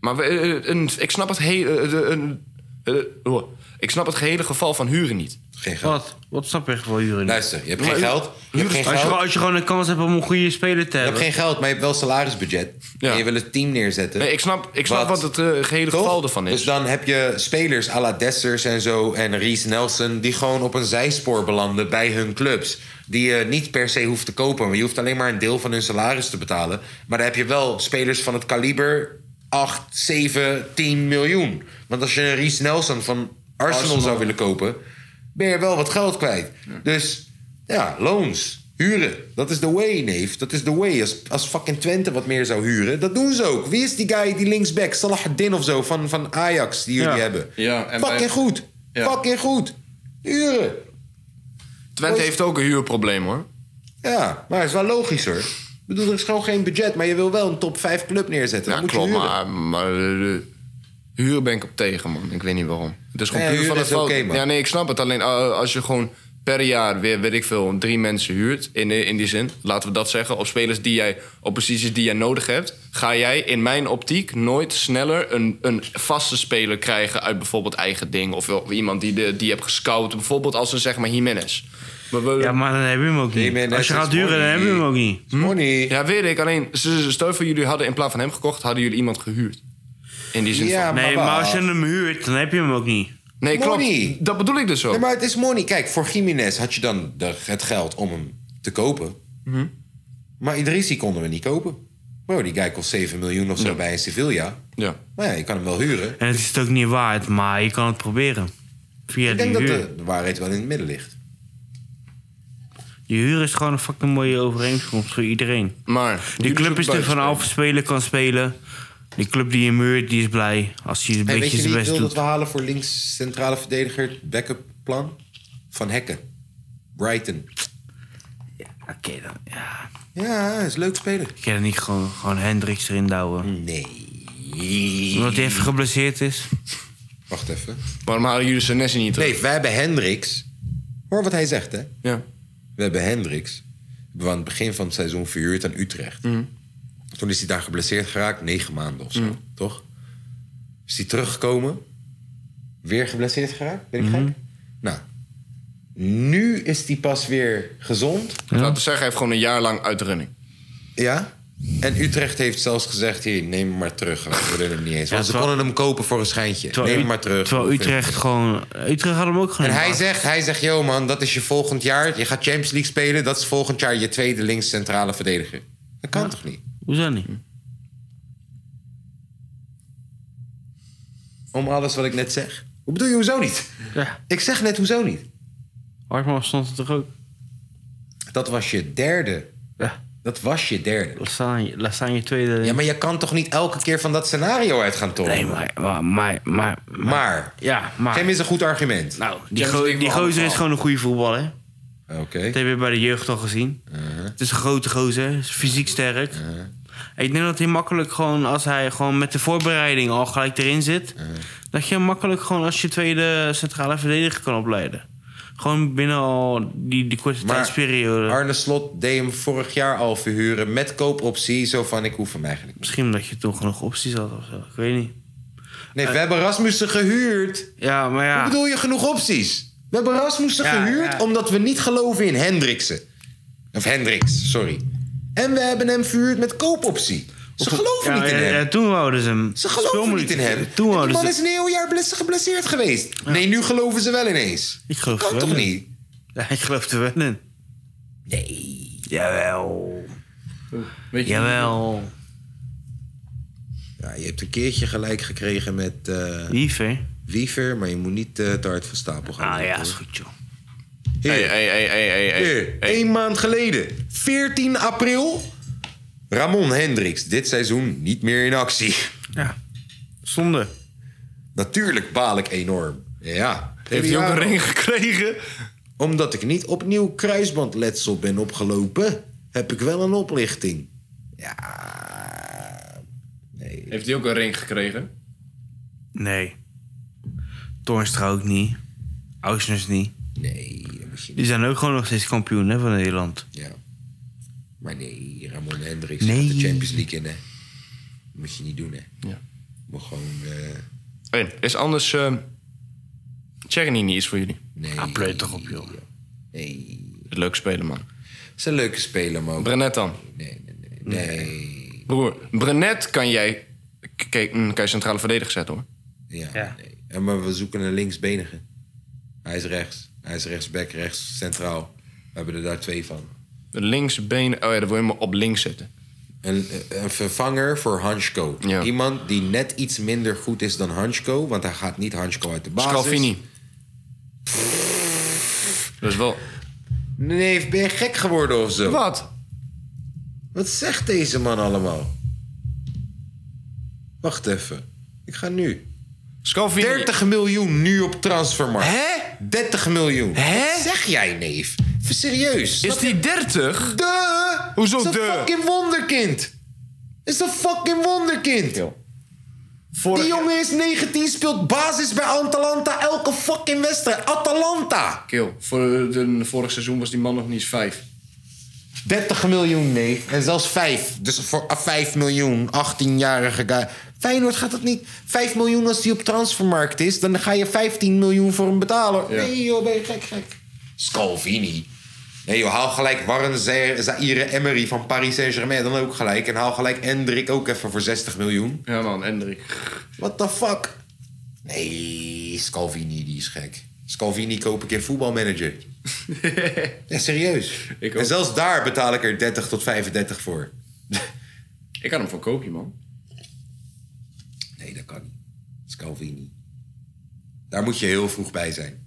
Speaker 4: Maar we- eh, een, ik snap het hele... eh, de- een- eh, oh, ik snap het gehele geval van huren niet.
Speaker 1: Geen geld.
Speaker 3: Wat? Wat snap je echt wel huren? niet?
Speaker 1: Luister, je hebt geen
Speaker 4: Maar-
Speaker 1: geld. Je hebt geen
Speaker 3: Als je,
Speaker 1: geld.
Speaker 3: gewoon- als je gewoon een kans hebt om een goede speler
Speaker 1: Je
Speaker 3: te
Speaker 1: hebt
Speaker 3: hebben.
Speaker 1: geen geld, maar je hebt wel salarisbudget.
Speaker 4: Ja.
Speaker 1: En je wil het team neerzetten.
Speaker 4: Nee, ik snap, ik snap
Speaker 1: Wat?
Speaker 4: wat het eh, gehele
Speaker 1: Toch?
Speaker 4: geval ervan
Speaker 1: Dus
Speaker 4: is.
Speaker 1: dan heb je spelers à la Dessers en zo en Reese Nelson... die gewoon op een zijspoor belanden bij hun clubs. Die je niet per se hoeft te kopen. Maar je hoeft alleen maar een deel van hun salaris te betalen. Maar dan heb je wel spelers van het kaliber 8, 7, 10 miljoen. Want als je een Reese Nelson van Arsenal,
Speaker 4: Arsenal.
Speaker 1: zou willen kopen... ben je wel wat geld kwijt. Dus ja, loons. Huren. Dat is the way, neef. Dat is the way. Als, als fucking Twente wat meer zou huren, dat doen ze ook. Wie is die guy, die linksback, Salahuddin of zo, van, van Ajax, die jullie
Speaker 3: Ja.
Speaker 1: hebben?
Speaker 4: Ja, en
Speaker 1: fucking
Speaker 4: bij-
Speaker 1: goed.
Speaker 4: Ja.
Speaker 1: Fucking goed. Huren.
Speaker 4: Twente heeft ook een huurprobleem, hoor.
Speaker 1: Ja, maar is wel logischer. Ik bedoel, er is gewoon geen budget, maar je wil wel een top 5 club neerzetten.
Speaker 4: Ja,
Speaker 1: Dan moet
Speaker 4: klopt,
Speaker 1: je huren.
Speaker 4: maar, maar eh, huren ben ik op tegen, man. Ik weet niet waarom. Het is gewoon
Speaker 1: Nee,
Speaker 4: puur van
Speaker 1: huren
Speaker 4: het
Speaker 1: is
Speaker 4: fout.
Speaker 1: oké, man.
Speaker 4: Ja, nee, ik snap het. Alleen eh, als je gewoon per jaar weer, weet ik veel, drie mensen huurt... In, eh, in die zin, laten we dat zeggen... op spelers die jij, op posities die jij nodig hebt... ga jij in mijn optiek nooit sneller een, een vaste speler krijgen... uit bijvoorbeeld eigen ding of wel iemand die, de, die je hebt gescout. Bijvoorbeeld als een, zeg maar, Jiménez. Maar we-
Speaker 3: Ja, maar dan heb je hem ook
Speaker 1: Nee,
Speaker 3: niet.
Speaker 1: maar
Speaker 3: Als je
Speaker 1: dat
Speaker 3: gaat
Speaker 1: is
Speaker 3: huren, dan
Speaker 1: mooi.
Speaker 3: heb je hem ook niet. Hm?
Speaker 1: Money.
Speaker 4: Ja, weet ik. Alleen, ze- ze- stel voor jullie hadden in plaats van hem gekocht... hadden jullie iemand gehuurd. In die zin
Speaker 1: Ja,
Speaker 4: van...
Speaker 1: maar
Speaker 3: Nee,
Speaker 1: wel.
Speaker 3: maar als je hem huurt, dan heb je hem ook niet.
Speaker 4: Nee,
Speaker 1: Money.
Speaker 4: klopt. Dat bedoel ik dus ook.
Speaker 1: Nee, maar het is money. Kijk, voor Jiménez had je dan de- het geld om hem te kopen.
Speaker 3: Mhm.
Speaker 1: Maar Idrissi konden we niet kopen. Bro, die guy kost 7 miljoen of zo bij een Sevilla.
Speaker 4: Ja.
Speaker 1: Maar ja, je kan hem wel huren.
Speaker 3: En het is het ook niet waard, maar je kan het proberen. Via
Speaker 1: Ik
Speaker 3: de
Speaker 1: denk dat
Speaker 3: huur.
Speaker 1: de, de waarheid wel in het midden ligt.
Speaker 3: Je huur is gewoon een fucking mooie overeenkomst voor iedereen.
Speaker 4: Maar
Speaker 3: Die club is er vanaf, spelen kan spelen. Die club die je muurt, die is blij als hij een
Speaker 1: Hey, weet
Speaker 3: beetje
Speaker 1: je
Speaker 3: zijn
Speaker 1: wie ik
Speaker 3: best
Speaker 1: wil dat
Speaker 3: doet.
Speaker 1: we halen voor links centrale verdediger? Backup plan? Van Hekken. Brighton.
Speaker 3: Oké, dan. Ja.
Speaker 1: Ja, is een leuk speler.
Speaker 3: Ik kan er niet gewoon, gewoon Hendricks erin douwen.
Speaker 1: Mm. Nee.
Speaker 3: Omdat hij even geblesseerd is.
Speaker 1: Wacht even.
Speaker 4: Waarom halen jullie Senesi niet terug?
Speaker 1: Nee, wij hebben Hendricks. Hoor wat hij zegt, hè?
Speaker 4: Ja.
Speaker 1: We hebben Hendricks. Hebben we aan het begin van het seizoen verhuurd aan Utrecht.
Speaker 3: Mhm.
Speaker 1: Toen is hij daar geblesseerd geraakt, negen maanden of zo, toch? Is hij teruggekomen, weer geblesseerd geraakt, ben ik
Speaker 3: Mhm.
Speaker 1: gek? Nou, nu is hij pas weer gezond.
Speaker 4: Laten we zeggen, hij heeft gewoon een jaar lang uit de running.
Speaker 1: Ja. En Utrecht heeft zelfs gezegd, hier, neem hem maar terug. We willen hem niet eens. Want ze
Speaker 3: terwijl-
Speaker 1: konden hem kopen voor een schijntje. Neem hem maar terug.
Speaker 3: Terwijl Utrecht gewoon... Utrecht had hem ook gewoon...
Speaker 1: En hij zegt, hij zegt, yo man, dat is je volgend jaar. Je gaat Champions League spelen. Dat is volgend jaar je tweede links centrale verdediger. Dat kan toch niet?
Speaker 3: Hoezo niet?
Speaker 1: Om alles wat ik net zeg. Hoe bedoel je, hoezo niet?
Speaker 3: Ja.
Speaker 1: Ik zeg net, hoezo niet?
Speaker 3: Hartman stond er toch ook?
Speaker 1: Dat was je derde.
Speaker 3: Ja.
Speaker 1: Dat was je derde.
Speaker 3: Lasagne, lasagne tweede...
Speaker 1: Ja, maar je kan toch niet elke keer van dat scenario uit gaan tonen?
Speaker 3: Nee, maar... Maar... maar, maar,
Speaker 1: Maar,
Speaker 3: Ja, maar...
Speaker 1: geef me eens een goed argument.
Speaker 3: Nou, die,
Speaker 4: Champions
Speaker 3: go-
Speaker 4: League
Speaker 3: die
Speaker 4: voor
Speaker 3: gozer is
Speaker 4: allemaal.
Speaker 3: gewoon een goede voetballer.
Speaker 1: Oké.
Speaker 3: Dat heb je bij de jeugd al gezien.
Speaker 1: Uh-huh.
Speaker 3: Het is een grote gozer, is fysiek sterk. Ik denk dat hij makkelijk gewoon, als hij gewoon met de voorbereiding al gelijk erin zit,
Speaker 1: Uh-huh.
Speaker 3: dat je hem makkelijk gewoon als je tweede centrale verdediger kan opleiden. Gewoon binnen al die, die korte tijdsperiode.
Speaker 1: Arne Slot deed hem vorig jaar al verhuren met koopoptie. Zo van, ik hoef hem eigenlijk niet.
Speaker 3: Misschien omdat je toen genoeg opties had of zo, ik weet niet.
Speaker 1: Nee, we hebben Rasmussen gehuurd.
Speaker 3: Ja, maar
Speaker 1: Hoe
Speaker 3: ja.
Speaker 1: bedoel je genoeg opties? We hebben Rasmussen
Speaker 3: Ja,
Speaker 1: gehuurd
Speaker 3: ja.
Speaker 1: omdat we niet geloven in Hendriksen. Of Hendricks, sorry. En we hebben hem verhuurd met koopoptie. Ze geloven
Speaker 3: Ja,
Speaker 1: niet in
Speaker 3: ja,
Speaker 1: hem.
Speaker 3: ja, toen wouden ze hem.
Speaker 1: Ze geloven
Speaker 3: Stomelijk.
Speaker 1: niet in hem.
Speaker 3: Toen
Speaker 1: En die
Speaker 3: wouden
Speaker 1: man
Speaker 3: ze
Speaker 1: is een heel jaar bles- geblesseerd geweest. Nee, nu geloven ze wel ineens.
Speaker 3: Ik geloof
Speaker 1: kan
Speaker 3: er wel
Speaker 1: toch
Speaker 3: in.
Speaker 1: niet?
Speaker 3: Ja, ik geloof er wel in. Nee. Jawel.
Speaker 4: Weet je?
Speaker 3: Jawel.
Speaker 1: Ja, je hebt een keertje gelijk gekregen met eh,
Speaker 3: Liever.
Speaker 1: Wiever, maar je moet niet eh, te hard van stapel gaan.
Speaker 3: Ah
Speaker 1: lopen,
Speaker 3: ja,
Speaker 1: hoor.
Speaker 3: is goed joh.
Speaker 1: Hier,
Speaker 4: Hey, hey, hey, hey, hey, hey.
Speaker 1: hier, één maand geleden, 14 april. Ramon Hendricks, dit seizoen niet meer in actie.
Speaker 3: Ja. Zonde.
Speaker 1: Natuurlijk baal ik enorm. Ja.
Speaker 4: Heeft hij ook een ring gekregen?
Speaker 1: Omdat ik niet opnieuw kruisbandletsel ben opgelopen, heb ik wel een oplichting. Ja. Nee.
Speaker 4: Heeft hij ook een ring gekregen?
Speaker 3: Nee. Toornstra ook niet. Ausners niet.
Speaker 1: Nee, dat moet je niet.
Speaker 3: Die zijn ook gewoon nog steeds kampioen hè, van Nederland.
Speaker 1: Ja. Maar nee, Ramon Hendricks
Speaker 3: Nee.
Speaker 1: gaat de Champions League in, hè. Dat moet je niet doen, hè. Ja. Moet gewoon... eh,
Speaker 4: Hey, is anders... eh Tjerni niet iets voor jullie?
Speaker 1: nee.
Speaker 3: Ah, pleut toch op, joh.
Speaker 1: Nee.
Speaker 4: Leuk spelen, man.
Speaker 1: Het is een leuke speler, maar ook...
Speaker 4: Brenet dan.
Speaker 1: Nee, nee, nee. Nee.
Speaker 4: Broer, Brenet kan jij... K- Kijk, mm, kan je centrale verdediger zetten, hoor.
Speaker 1: Ja,
Speaker 3: Ja.
Speaker 1: nee. En maar we zoeken een linksbenige. Hij is rechts. Hij is rechtsback, rechts, centraal. We hebben er daar twee van.
Speaker 4: Linksbeen... Oh ja, dan wil je hem op links zetten.
Speaker 1: Een, een vervanger voor Hansko.
Speaker 4: Ja.
Speaker 1: Iemand die net iets minder goed is dan Hansko, want hij gaat niet Hansko uit de basis.
Speaker 4: Scalvini. Dat is wel...
Speaker 1: Nee, ben je gek geworden of zo?
Speaker 4: Wat?
Speaker 1: Wat zegt deze man allemaal? Wacht even. Ik ga nu.
Speaker 4: Scalvini.
Speaker 1: 30 miljoen nu op transfermarkt.
Speaker 4: Hè?
Speaker 1: 30 miljoen.
Speaker 4: Hè?
Speaker 1: Wat zeg jij, neef? Even serieus.
Speaker 4: Is die 30?
Speaker 1: de?
Speaker 4: Hoezo
Speaker 1: is een
Speaker 4: de?
Speaker 1: fucking wonderkind. Is een fucking wonderkind. Die jongen is 19, speelt basis bij Atalanta elke fucking wedstrijd. Atalanta.
Speaker 4: Kill. Voor de, vorig seizoen was die man nog niet eens 5.
Speaker 1: 30 miljoen, nee. En zelfs 5. Dus voor 5 miljoen, 18-jarige guy. Feyenoord gaat dat niet. 5 miljoen als die op transfermarkt is, dan ga je 15 miljoen voor hem betalen.
Speaker 4: Ja.
Speaker 1: Nee joh, ben je gek, gek. Scalvini. Nee joh, haal gelijk Warren Zaire- Zaire Emery van Paris Saint-Germain dan ook gelijk. En haal gelijk Endrik ook even voor 60 miljoen.
Speaker 4: Ja man, Hendrik.
Speaker 1: What the fuck? Nee, Scalvini, die is gek. Scalvini koop ik in voetbalmanager. ja, serieus.
Speaker 4: Ik ook.
Speaker 1: en zelfs daar betaal ik er 30 tot 35 voor.
Speaker 4: Ik had hem voor Koopje, man.
Speaker 1: Nee, dat kan niet. Scalvini. Daar moet je heel vroeg bij zijn.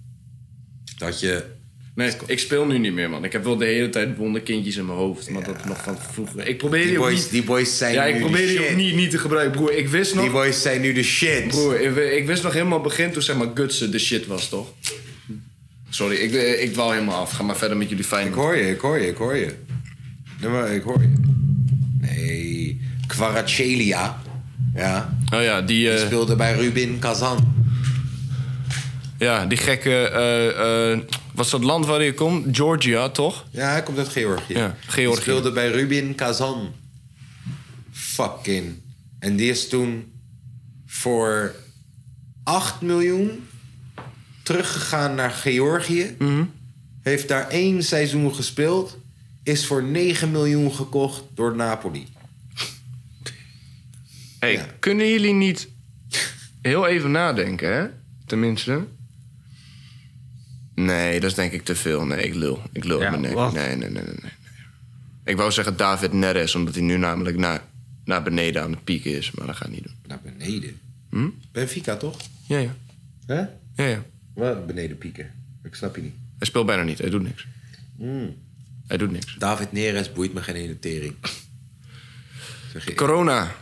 Speaker 1: Dat je...
Speaker 4: Nee, ik speel nu niet meer, man. Ik heb wel de hele tijd wonderkindjes in mijn hoofd. Maar dat nog van vroeger. Ik probeer
Speaker 1: Die
Speaker 4: die ook
Speaker 1: boys,
Speaker 4: niet...
Speaker 1: die boys zijn
Speaker 4: Ja,
Speaker 1: nu
Speaker 4: ik probeer
Speaker 1: de
Speaker 4: die ook
Speaker 1: shit.
Speaker 4: niet, niet te gebruiken, broer. Ik wist nog...
Speaker 1: Die boys zijn nu de shit.
Speaker 4: Broer, ik, ik wist nog helemaal begin toen zeg maar Gutsen de shit was, toch? Sorry, ik, eh, ik dwaal helemaal af. Ga maar verder met jullie fijn.
Speaker 1: Ik hoor je, ik hoor je, ik hoor je. Nee, maar ik hoor je. Nee, Kvaratschelia. Ja,
Speaker 4: Oh ja, die,
Speaker 1: die
Speaker 4: eh,
Speaker 1: speelde bij Rubin Kazan.
Speaker 4: ja, die gekke... eh, eh, was dat land waar je komt? Georgia, toch?
Speaker 1: Ja, hij komt uit Georgië.
Speaker 4: Ja, Georgië.
Speaker 1: Die speelde bij Rubin Kazan. Fucking. En die is toen voor 8 miljoen teruggegaan naar Georgië.
Speaker 4: Mhm.
Speaker 1: Heeft daar één seizoen gespeeld. Is voor 9 miljoen gekocht door Napoli.
Speaker 4: Hey, kunnen jullie niet heel even nadenken, hè? Tenminste. Nee, dat is denk ik te veel. Nee, ik lul. Ik lul
Speaker 3: Ja,
Speaker 4: op mijn nek.
Speaker 3: wat?
Speaker 4: Nee, nee, nee, nee, nee. nee. Ik wou zeggen David Neres, omdat hij nu namelijk naar, naar beneden aan het pieken is. Maar dat gaat niet doen.
Speaker 1: Naar beneden.
Speaker 4: Mhm.
Speaker 1: Benfica toch?
Speaker 4: Ja, ja.
Speaker 1: Hè?
Speaker 4: Ja, ja.
Speaker 1: Wat? Beneden pieken. Ik snap je niet.
Speaker 4: Hij speelt bijna niet. Hij doet niks. Hmm. Hij doet niks.
Speaker 1: David Neres boeit me geen ene tering. Zeg je,
Speaker 4: Corona.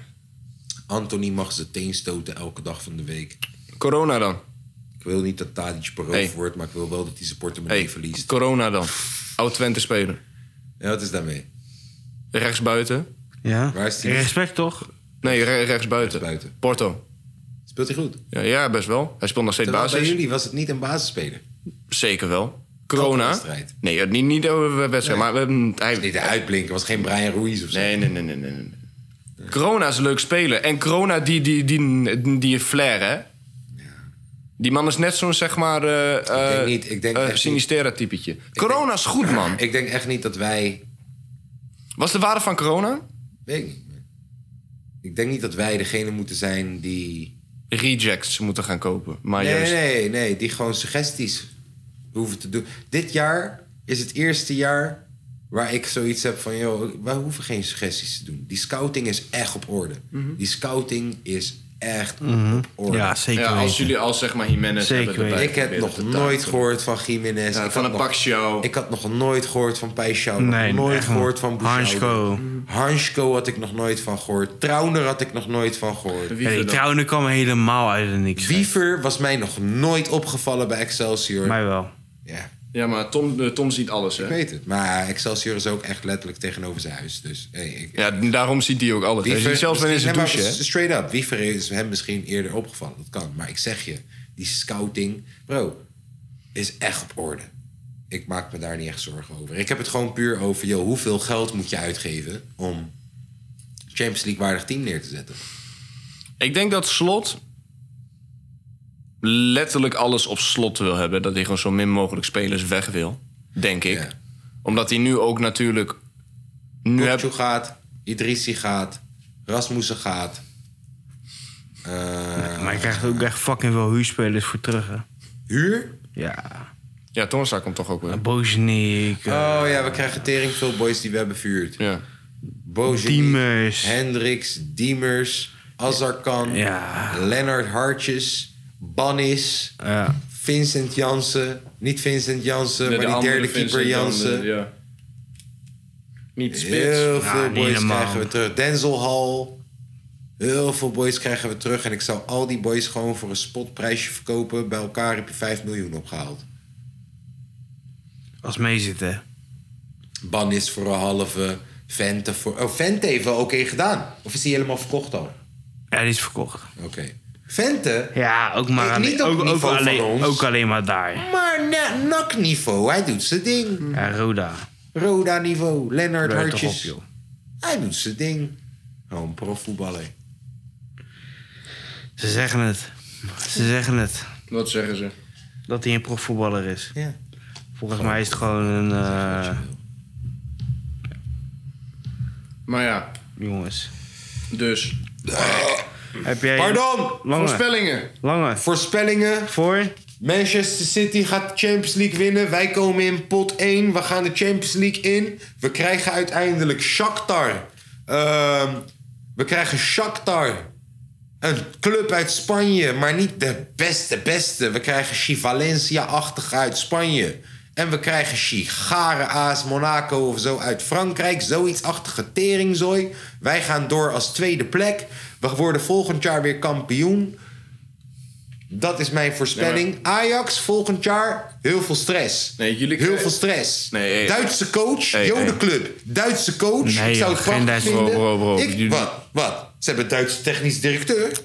Speaker 1: Anthony mag zijn teen stoten elke dag van de week.
Speaker 4: Corona dan.
Speaker 1: Ik wil niet dat Tadic beroofd
Speaker 4: Hey.
Speaker 1: wordt, maar ik wil wel dat hij zijn portemonnee
Speaker 4: Hey,
Speaker 1: verliest.
Speaker 4: corona dan. Oud Twente speler.
Speaker 1: Ja, wat is daarmee?
Speaker 4: Rechtsbuiten.
Speaker 3: Ja.
Speaker 1: Waar is die?
Speaker 3: Respect toch?
Speaker 4: Nee, re rechtsbuiten.
Speaker 1: Rechtsbuiten.
Speaker 4: Porto.
Speaker 1: Speelt hij goed?
Speaker 4: Ja, ja, best wel. Hij speelt nog steeds
Speaker 1: Terwijl bij
Speaker 4: basis.
Speaker 1: jullie was het niet een basisspeler.
Speaker 4: Zeker wel.
Speaker 1: Elke
Speaker 4: Corona.
Speaker 1: wedstrijd.
Speaker 4: Nee, ja, niet, niet over wedstrijd, maar we hebben... Hij,
Speaker 1: Niet de uitblinker, was geen Brian Ruiz of zo.
Speaker 4: nee, nee, nee, nee, nee, nee. Corona is een leuk speler. En Corona, die, die, die, die flair, hè? Die man is net zo'n, zeg maar... eh eh,
Speaker 1: denk niet, ik denk
Speaker 4: eh,
Speaker 1: echt niet.
Speaker 4: Sinistera-typetje. Corona is goed, man.
Speaker 1: Ik denk echt niet dat wij...
Speaker 4: Was de waarde van corona?
Speaker 1: Weet ik niet. Ik denk niet dat wij degene moeten zijn die...
Speaker 4: Rejects moeten gaan kopen. Maar
Speaker 1: Nee,
Speaker 4: juist...
Speaker 1: nee, nee, die gewoon suggesties hoeven te doen. Dit jaar is het eerste jaar waar ik zoiets heb van... joh, wij hoeven geen suggesties te doen. Die scouting is echt op orde. Die scouting is echt op orde.
Speaker 3: Mhm. Ja, zeker
Speaker 4: Ja, als
Speaker 3: weten.
Speaker 4: jullie al zeg maar Jimenez
Speaker 3: Zeker
Speaker 4: hebben erbij
Speaker 1: Ik heb
Speaker 4: geprobeerd
Speaker 1: nog
Speaker 4: te tapen.
Speaker 1: nooit gehoord van Jiménez.
Speaker 4: Ja,
Speaker 1: ik
Speaker 4: van
Speaker 1: had
Speaker 4: een
Speaker 1: nog-
Speaker 4: Paxiao.
Speaker 1: Ik had nog nooit gehoord van Peixau.
Speaker 3: Nee,
Speaker 1: nog nooit
Speaker 3: echt niet.
Speaker 1: gehoord van Bouchard.
Speaker 3: Hansko.
Speaker 1: Hansko had ik nog nooit van gehoord. Trauner had ik nog nooit van gehoord.
Speaker 3: Hey, Trouwen kwam helemaal uit het niks.
Speaker 1: Wiever was mij nog nooit opgevallen bij Excelsior.
Speaker 3: Mij wel.
Speaker 1: Ja,
Speaker 4: Ja, maar Tom, eh, Tom ziet alles,
Speaker 1: ik
Speaker 4: hè?
Speaker 1: weet het. Maar Excelsior is ook echt letterlijk tegenover zijn huis. Dus hey, ik,
Speaker 4: Ja, daarom ziet hij ook alles. Hij ziet zelfs wel in
Speaker 1: misschien-
Speaker 4: zijn douche,
Speaker 1: nee, maar
Speaker 4: hè?
Speaker 1: Straight up. Wiever is hem misschien eerder opgevallen. Dat kan. Maar ik zeg je, die scouting, bro, is echt op orde. Ik maak me daar niet echt zorgen over. Ik heb het gewoon puur over, joh, hoeveel geld moet je uitgeven om Champions League waardig team neer te zetten?
Speaker 4: Ik denk dat Slot letterlijk alles op slot wil hebben. Dat hij gewoon zo min mogelijk spelers weg wil. Denk ik.
Speaker 1: Ja.
Speaker 4: Omdat hij nu ook natuurlijk... Nu heb...
Speaker 1: Kopcu gaat, Idrissi gaat, Rasmussen gaat. Eh,
Speaker 3: Maar je krijgt ook echt fucking veel huurspelers voor terug, hè.
Speaker 1: huur?
Speaker 3: Ja.
Speaker 4: Ja, Tonsa komt toch ook weer.
Speaker 3: Bozenik, eh,
Speaker 1: Oh ja, we krijgen tering veel boys die we hebben verhuurd.
Speaker 4: Ja.
Speaker 1: Bojan,
Speaker 4: eh,
Speaker 3: Diemers.
Speaker 1: Hendricks, Diemers, Azarkan,
Speaker 3: Ja.
Speaker 1: Lennart Hartjes, Bannis,
Speaker 3: Ja.
Speaker 1: Vincent Jansen. Niet Vincent Jansen, maar die derde keeper Jansen.
Speaker 4: eh, Ja. Niet spits.
Speaker 1: Heel
Speaker 3: Ja,
Speaker 1: veel
Speaker 3: niet
Speaker 1: boys
Speaker 3: normaal.
Speaker 1: krijgen we terug. Denzel Hall. Heel veel boys krijgen we terug. En ik zou al die boys gewoon voor een spotprijsje verkopen. Bij elkaar heb je 5 miljoen opgehaald.
Speaker 3: als meezitten.
Speaker 1: Bannis voor een halve. Vente voor... Oh, Vente heeft wel oké gedaan. Of is hij helemaal verkocht al?
Speaker 3: Ja, die is verkocht.
Speaker 1: Oké. Vente?
Speaker 3: Ja, ook maar
Speaker 1: Ik
Speaker 3: alleen,
Speaker 1: niet op
Speaker 3: ook,
Speaker 1: het
Speaker 3: ook
Speaker 1: niveau van
Speaker 3: alleen,
Speaker 1: ons.
Speaker 3: ook alleen maar daar.
Speaker 1: Maar na- NAC-niveau, hij doet zijn ding.
Speaker 3: Ja, Roda.
Speaker 1: Roda-niveau, Lennart
Speaker 3: Hou je toch op,
Speaker 1: Hartjes.
Speaker 3: joh.
Speaker 1: hij doet zijn ding. Gewoon profvoetballer.
Speaker 3: Ze zeggen het. Ze zeggen het.
Speaker 4: Wat zeggen ze?
Speaker 3: Dat hij een profvoetballer is.
Speaker 1: Ja.
Speaker 3: Volgens mij is het gewoon een... eh,
Speaker 4: Maar ja,
Speaker 3: jongens.
Speaker 4: dus...
Speaker 3: Heb jij...
Speaker 1: Pardon!
Speaker 3: Lange.
Speaker 4: Voorspellingen.
Speaker 3: Lange.
Speaker 1: Nou, Voorspellingen.
Speaker 3: Voor?
Speaker 1: Manchester City gaat de Champions League winnen. Wij komen in pot 1. We gaan de Champions League in. We krijgen uiteindelijk Shakhtar. Ehm, we krijgen Shakhtar. Een club uit Spanje, maar niet de beste beste. We krijgen Chi Valencia-achtig uit Spanje. En we krijgen Chi Gare AS Monaco of zo uit Frankrijk. Zoiets achtige teringzooi. Wij gaan door als tweede plek. We worden volgend jaar weer kampioen. Dat is mijn voorspelling. Ajax volgend jaar heel veel stress.
Speaker 4: Nee, jullie-
Speaker 1: heel veel stress.
Speaker 4: Nee, hey.
Speaker 1: Duitse coach,
Speaker 4: Hey,
Speaker 1: Jodenclub. Duitse coach.
Speaker 3: Nee,
Speaker 1: ik zou
Speaker 3: joh,
Speaker 1: het prachtig
Speaker 3: geen Duitse-
Speaker 1: vinden.
Speaker 4: Bro, bro, bro.
Speaker 1: Ik-
Speaker 4: Jullie-
Speaker 1: wat? Wat? Ze hebben Duitse technisch directeur.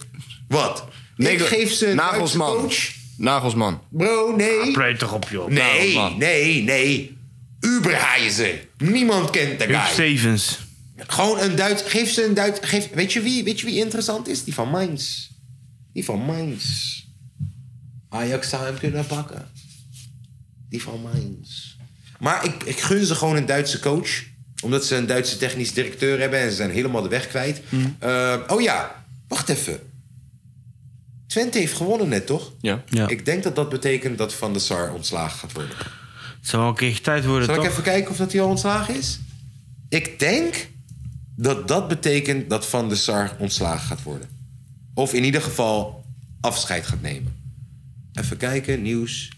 Speaker 1: Wat? ik
Speaker 4: Nagel-
Speaker 1: geef ze een Duitse
Speaker 4: Nagelsman.
Speaker 1: coach.
Speaker 4: Nagelsman.
Speaker 1: Bro, nee.
Speaker 3: Pleit toch op, joh.
Speaker 1: Nee,
Speaker 4: Nagelsman.
Speaker 1: nee, nee. Uberheizen. Niemand kent de
Speaker 3: Huub
Speaker 1: guy.
Speaker 3: Stevens.
Speaker 1: Gewoon een Duits. Geef ze een Duits. Geef, weet, je wie, weet je wie interessant is? Die van Mainz. Die van Mainz. Ajax zou hem kunnen pakken. Die van Mainz. Maar ik, ik gun ze gewoon een Duitse coach. Omdat ze een Duitse technisch directeur hebben en ze zijn helemaal de weg kwijt. Eh, oh ja, wacht even. Twente heeft gewonnen net, toch?
Speaker 4: Ja.
Speaker 3: Ja.
Speaker 1: Ik denk dat dat betekent dat Van der Sar ontslagen gaat worden.
Speaker 3: Het zal wel een keertje tijd worden,
Speaker 1: Zal
Speaker 3: toch?
Speaker 1: ik even kijken of dat hij al ontslagen is? Ik denk dat dat betekent dat Van der Sar ontslagen gaat worden. Of in ieder geval afscheid gaat nemen. Even kijken, nieuws.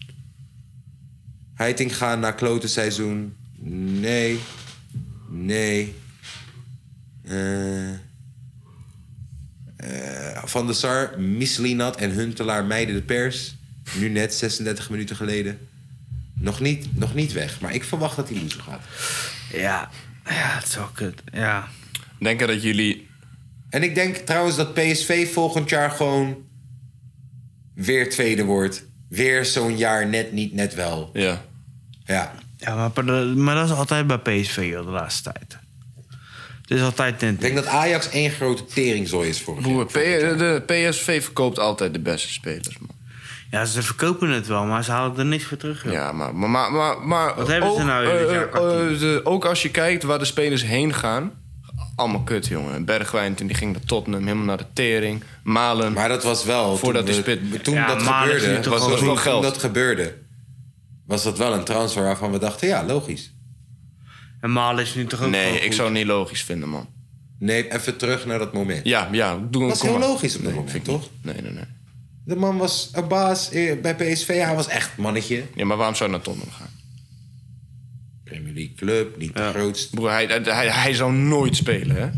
Speaker 1: Heiting gaan naar klote seizoen. Nee. Nee. Eh. Eh, Van der Sar, Mislinat en Huntelaar meiden de pers. Nu net, 36 minuten geleden. Nog niet, nog niet weg, maar ik verwacht dat hij loser gaat.
Speaker 3: Ja. Ja, het is wel kut. Ja.
Speaker 4: Denken dat jullie...
Speaker 1: En ik denk trouwens dat PSV volgend jaar gewoon weer tweede wordt. Weer zo'n jaar net niet, net wel.
Speaker 4: Ja.
Speaker 1: Ja.
Speaker 3: Ja, maar, pa- de- maar dat is altijd bij PSV, joh, de laatste tijd. Het is altijd
Speaker 1: Ik
Speaker 3: net.
Speaker 1: denk dat Ajax één grote teringzooi is voor
Speaker 4: Broer, P- de PSV verkoopt altijd de beste spelers, man.
Speaker 3: Ja, ze verkopen het wel, maar ze halen er niks voor terug. joh.
Speaker 4: Ja, maar... maar, maar, maar, maar
Speaker 3: Wat hebben ze
Speaker 4: ook,
Speaker 3: nou in dit
Speaker 4: eh,
Speaker 3: jaar,
Speaker 4: eh,
Speaker 3: Kartien?
Speaker 4: de- ook als je kijkt waar de spelers heen gaan... Allemaal kut, jongen. Bergwijn, toen die ging naar Tottenham, helemaal naar de tering. Malen.
Speaker 1: Maar dat was wel...
Speaker 4: Voordat
Speaker 1: toen
Speaker 4: hij
Speaker 1: we-
Speaker 4: spit-
Speaker 1: Toen
Speaker 3: Ja,
Speaker 1: dat
Speaker 3: maar dat is nu
Speaker 1: gebeurde,
Speaker 3: toch
Speaker 1: was
Speaker 4: gewoon
Speaker 1: toen,
Speaker 4: wel
Speaker 1: toen
Speaker 4: geld.
Speaker 1: dat gebeurde, was dat wel een transfer waarvan we dachten, ja, logisch.
Speaker 3: En Malen is nu toch ook
Speaker 4: nee,
Speaker 3: wel
Speaker 4: ik
Speaker 3: goed.
Speaker 4: zou het niet logisch vinden, man.
Speaker 1: Nee, even terug naar dat moment.
Speaker 4: Ja, ja. Doe,
Speaker 1: Dat is
Speaker 4: kom
Speaker 1: heel
Speaker 4: maar.
Speaker 1: logisch op dat
Speaker 4: Nee,
Speaker 1: moment,
Speaker 4: vind ik
Speaker 1: toch?
Speaker 4: niet. Nee, nee, nee.
Speaker 1: De man was een baas eh, bij PSV. Hij was echt mannetje.
Speaker 4: Ja, maar waarom zou hij naar Tottenham gaan?
Speaker 1: Premier League club, niet de grootste.
Speaker 4: Broer, hij, hij, hij zou nooit spelen, hè?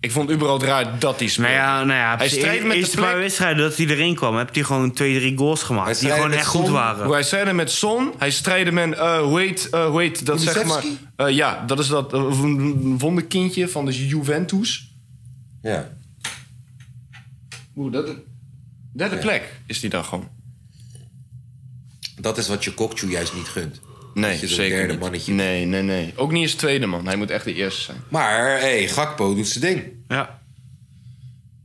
Speaker 4: Ik vond überhaupt raar dat hij speelde.
Speaker 3: Nou ja, nou ja
Speaker 4: hij strijdt met de
Speaker 3: eerste paar
Speaker 4: plek.
Speaker 3: wedstrijden dat hij erin kwam, heeft hij gewoon twee, drie goals
Speaker 1: Hij
Speaker 3: gemaakt. Die
Speaker 1: strijdt
Speaker 3: gewoon
Speaker 1: met
Speaker 3: echt goed
Speaker 1: Son.
Speaker 4: Broer,
Speaker 3: waren.
Speaker 4: hij strijde met Son. Hij strijde met, eh hoe heet, eh, hoe heet dat zeg maar...
Speaker 1: Kulusevski?
Speaker 4: eh, ja, dat is dat eh, w- wonderkindje van de Juventus.
Speaker 1: Ja.
Speaker 4: Broer, dat... Derde plek is die dan gewoon.
Speaker 1: Dat is wat je Kokchu juist niet gunt.
Speaker 4: Nee,
Speaker 1: Dat je zo'n
Speaker 4: zeker
Speaker 1: derde
Speaker 4: niet.
Speaker 1: mannetje.
Speaker 4: Nee, nee, nee. Ook niet eens tweede, man. Hij moet echt de eerste zijn.
Speaker 1: Maar hey, Gakpo doet zijn ding.
Speaker 3: Ja.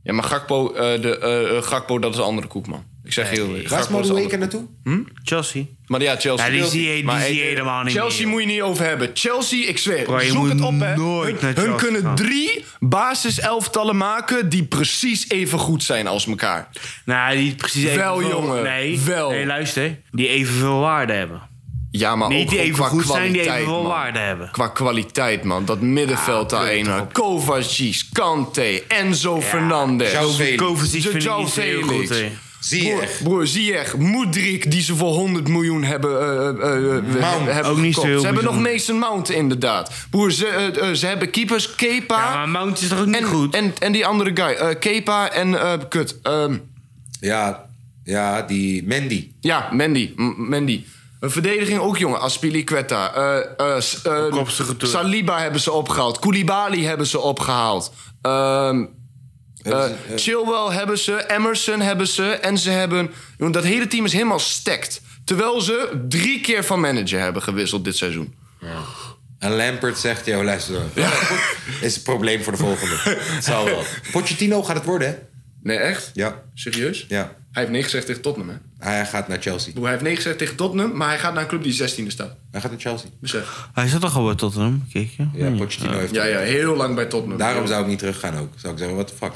Speaker 4: Ja, maar Gakpo, eh, de, eh, eh, Gakpo dat is een andere koek, man. Ik zeg heel eerlijk.
Speaker 1: Waar is
Speaker 4: Gakpo is een andere
Speaker 1: Madueke naartoe?
Speaker 3: Chelsea.
Speaker 4: Maar ja, Chelsea.
Speaker 3: Ja, die
Speaker 4: Chelsea.
Speaker 3: zie je- die
Speaker 4: Maar,
Speaker 3: zie je
Speaker 4: eh,
Speaker 3: helemaal niet
Speaker 4: Chelsea
Speaker 3: meer.
Speaker 4: moet je niet over hebben. Chelsea, ik zweer,
Speaker 3: Bro, je
Speaker 4: zoek
Speaker 3: moet
Speaker 4: het op, hè.
Speaker 3: nooit naar
Speaker 4: hun hun
Speaker 3: Chelsea
Speaker 4: kunnen
Speaker 3: gaan.
Speaker 4: drie basiselftallen maken die precies even goed zijn als elkaar.
Speaker 3: Nou, die precies
Speaker 4: Wel,
Speaker 3: evenveel-
Speaker 4: jongen,
Speaker 3: Nee,
Speaker 4: wel.
Speaker 3: nee, luister. Die evenveel waarde hebben.
Speaker 4: Ja, maar
Speaker 3: Niet die
Speaker 4: ook gewoon
Speaker 3: even
Speaker 4: qua
Speaker 3: goed zijn,
Speaker 4: kwaliteit,
Speaker 3: die evenveel
Speaker 4: man.
Speaker 3: waarde hebben.
Speaker 4: Qua kwaliteit, man. Dat middenveld daarheen. daar Kovacic, Kante, Enzo Fernandes.
Speaker 1: João Felix.
Speaker 3: Kovacic
Speaker 4: Zo,
Speaker 3: vind ik
Speaker 4: João
Speaker 3: niet zo heel
Speaker 4: Felix.
Speaker 3: goed. hè.
Speaker 1: Zie je
Speaker 4: Broer,
Speaker 1: echt.
Speaker 4: broer Ziyech, Moedrik, die ze voor 100 miljoen hebben, eh, eh, eh,
Speaker 1: Mount.
Speaker 4: hebben
Speaker 3: Ook niet zo
Speaker 4: gekocht.
Speaker 3: heel
Speaker 4: Ze hebben nog
Speaker 3: bijzonder.
Speaker 4: Mason Mount, inderdaad. Broer, ze, eh, eh, ze hebben keepers Kepa...
Speaker 3: Ja, maar Mount is toch ook niet
Speaker 4: Ah. en,
Speaker 3: goed?
Speaker 4: En, en die andere guy, eh, Kepa en... eh, kut, ehm,
Speaker 1: Ja, ja, die Mandy.
Speaker 4: ja, Mandy. M- Mandy. Een verdediging ook, jongen. Aspiliqueta. eh, eh, s- eh,
Speaker 3: Kopstige toer.
Speaker 4: Saliba hebben ze opgehaald. Koulibaly hebben ze opgehaald. Ehm eh, Chilwell hebben ze. Emerson hebben ze. En ze hebben... jongen, dat hele team is helemaal stacked. Terwijl ze drie keer van manager hebben gewisseld dit seizoen.
Speaker 1: En Lampert zegt, joh, luister dan. Is een probleem voor de volgende. Het Zal wel. Pochettino gaat het worden, hè?
Speaker 4: Nee, echt?
Speaker 1: Ja,
Speaker 4: Serieus?
Speaker 1: ja.
Speaker 4: Hij heeft nee gezegd tegen Tottenham, hè?
Speaker 1: Hij gaat naar Chelsea.
Speaker 4: Hij heeft nee gezegd tegen Tottenham, maar hij gaat naar een club die 16e staat.
Speaker 1: Hij gaat naar Chelsea.
Speaker 4: Besef.
Speaker 3: Hij zat toch al bij Tottenham? Kijk, ja.
Speaker 1: Ja, Pochettino heeft...
Speaker 4: Ja, ja, heel lang bij Tottenham.
Speaker 1: Daarom zou ik niet teruggaan ook. Zou ik zeggen, what the fuck.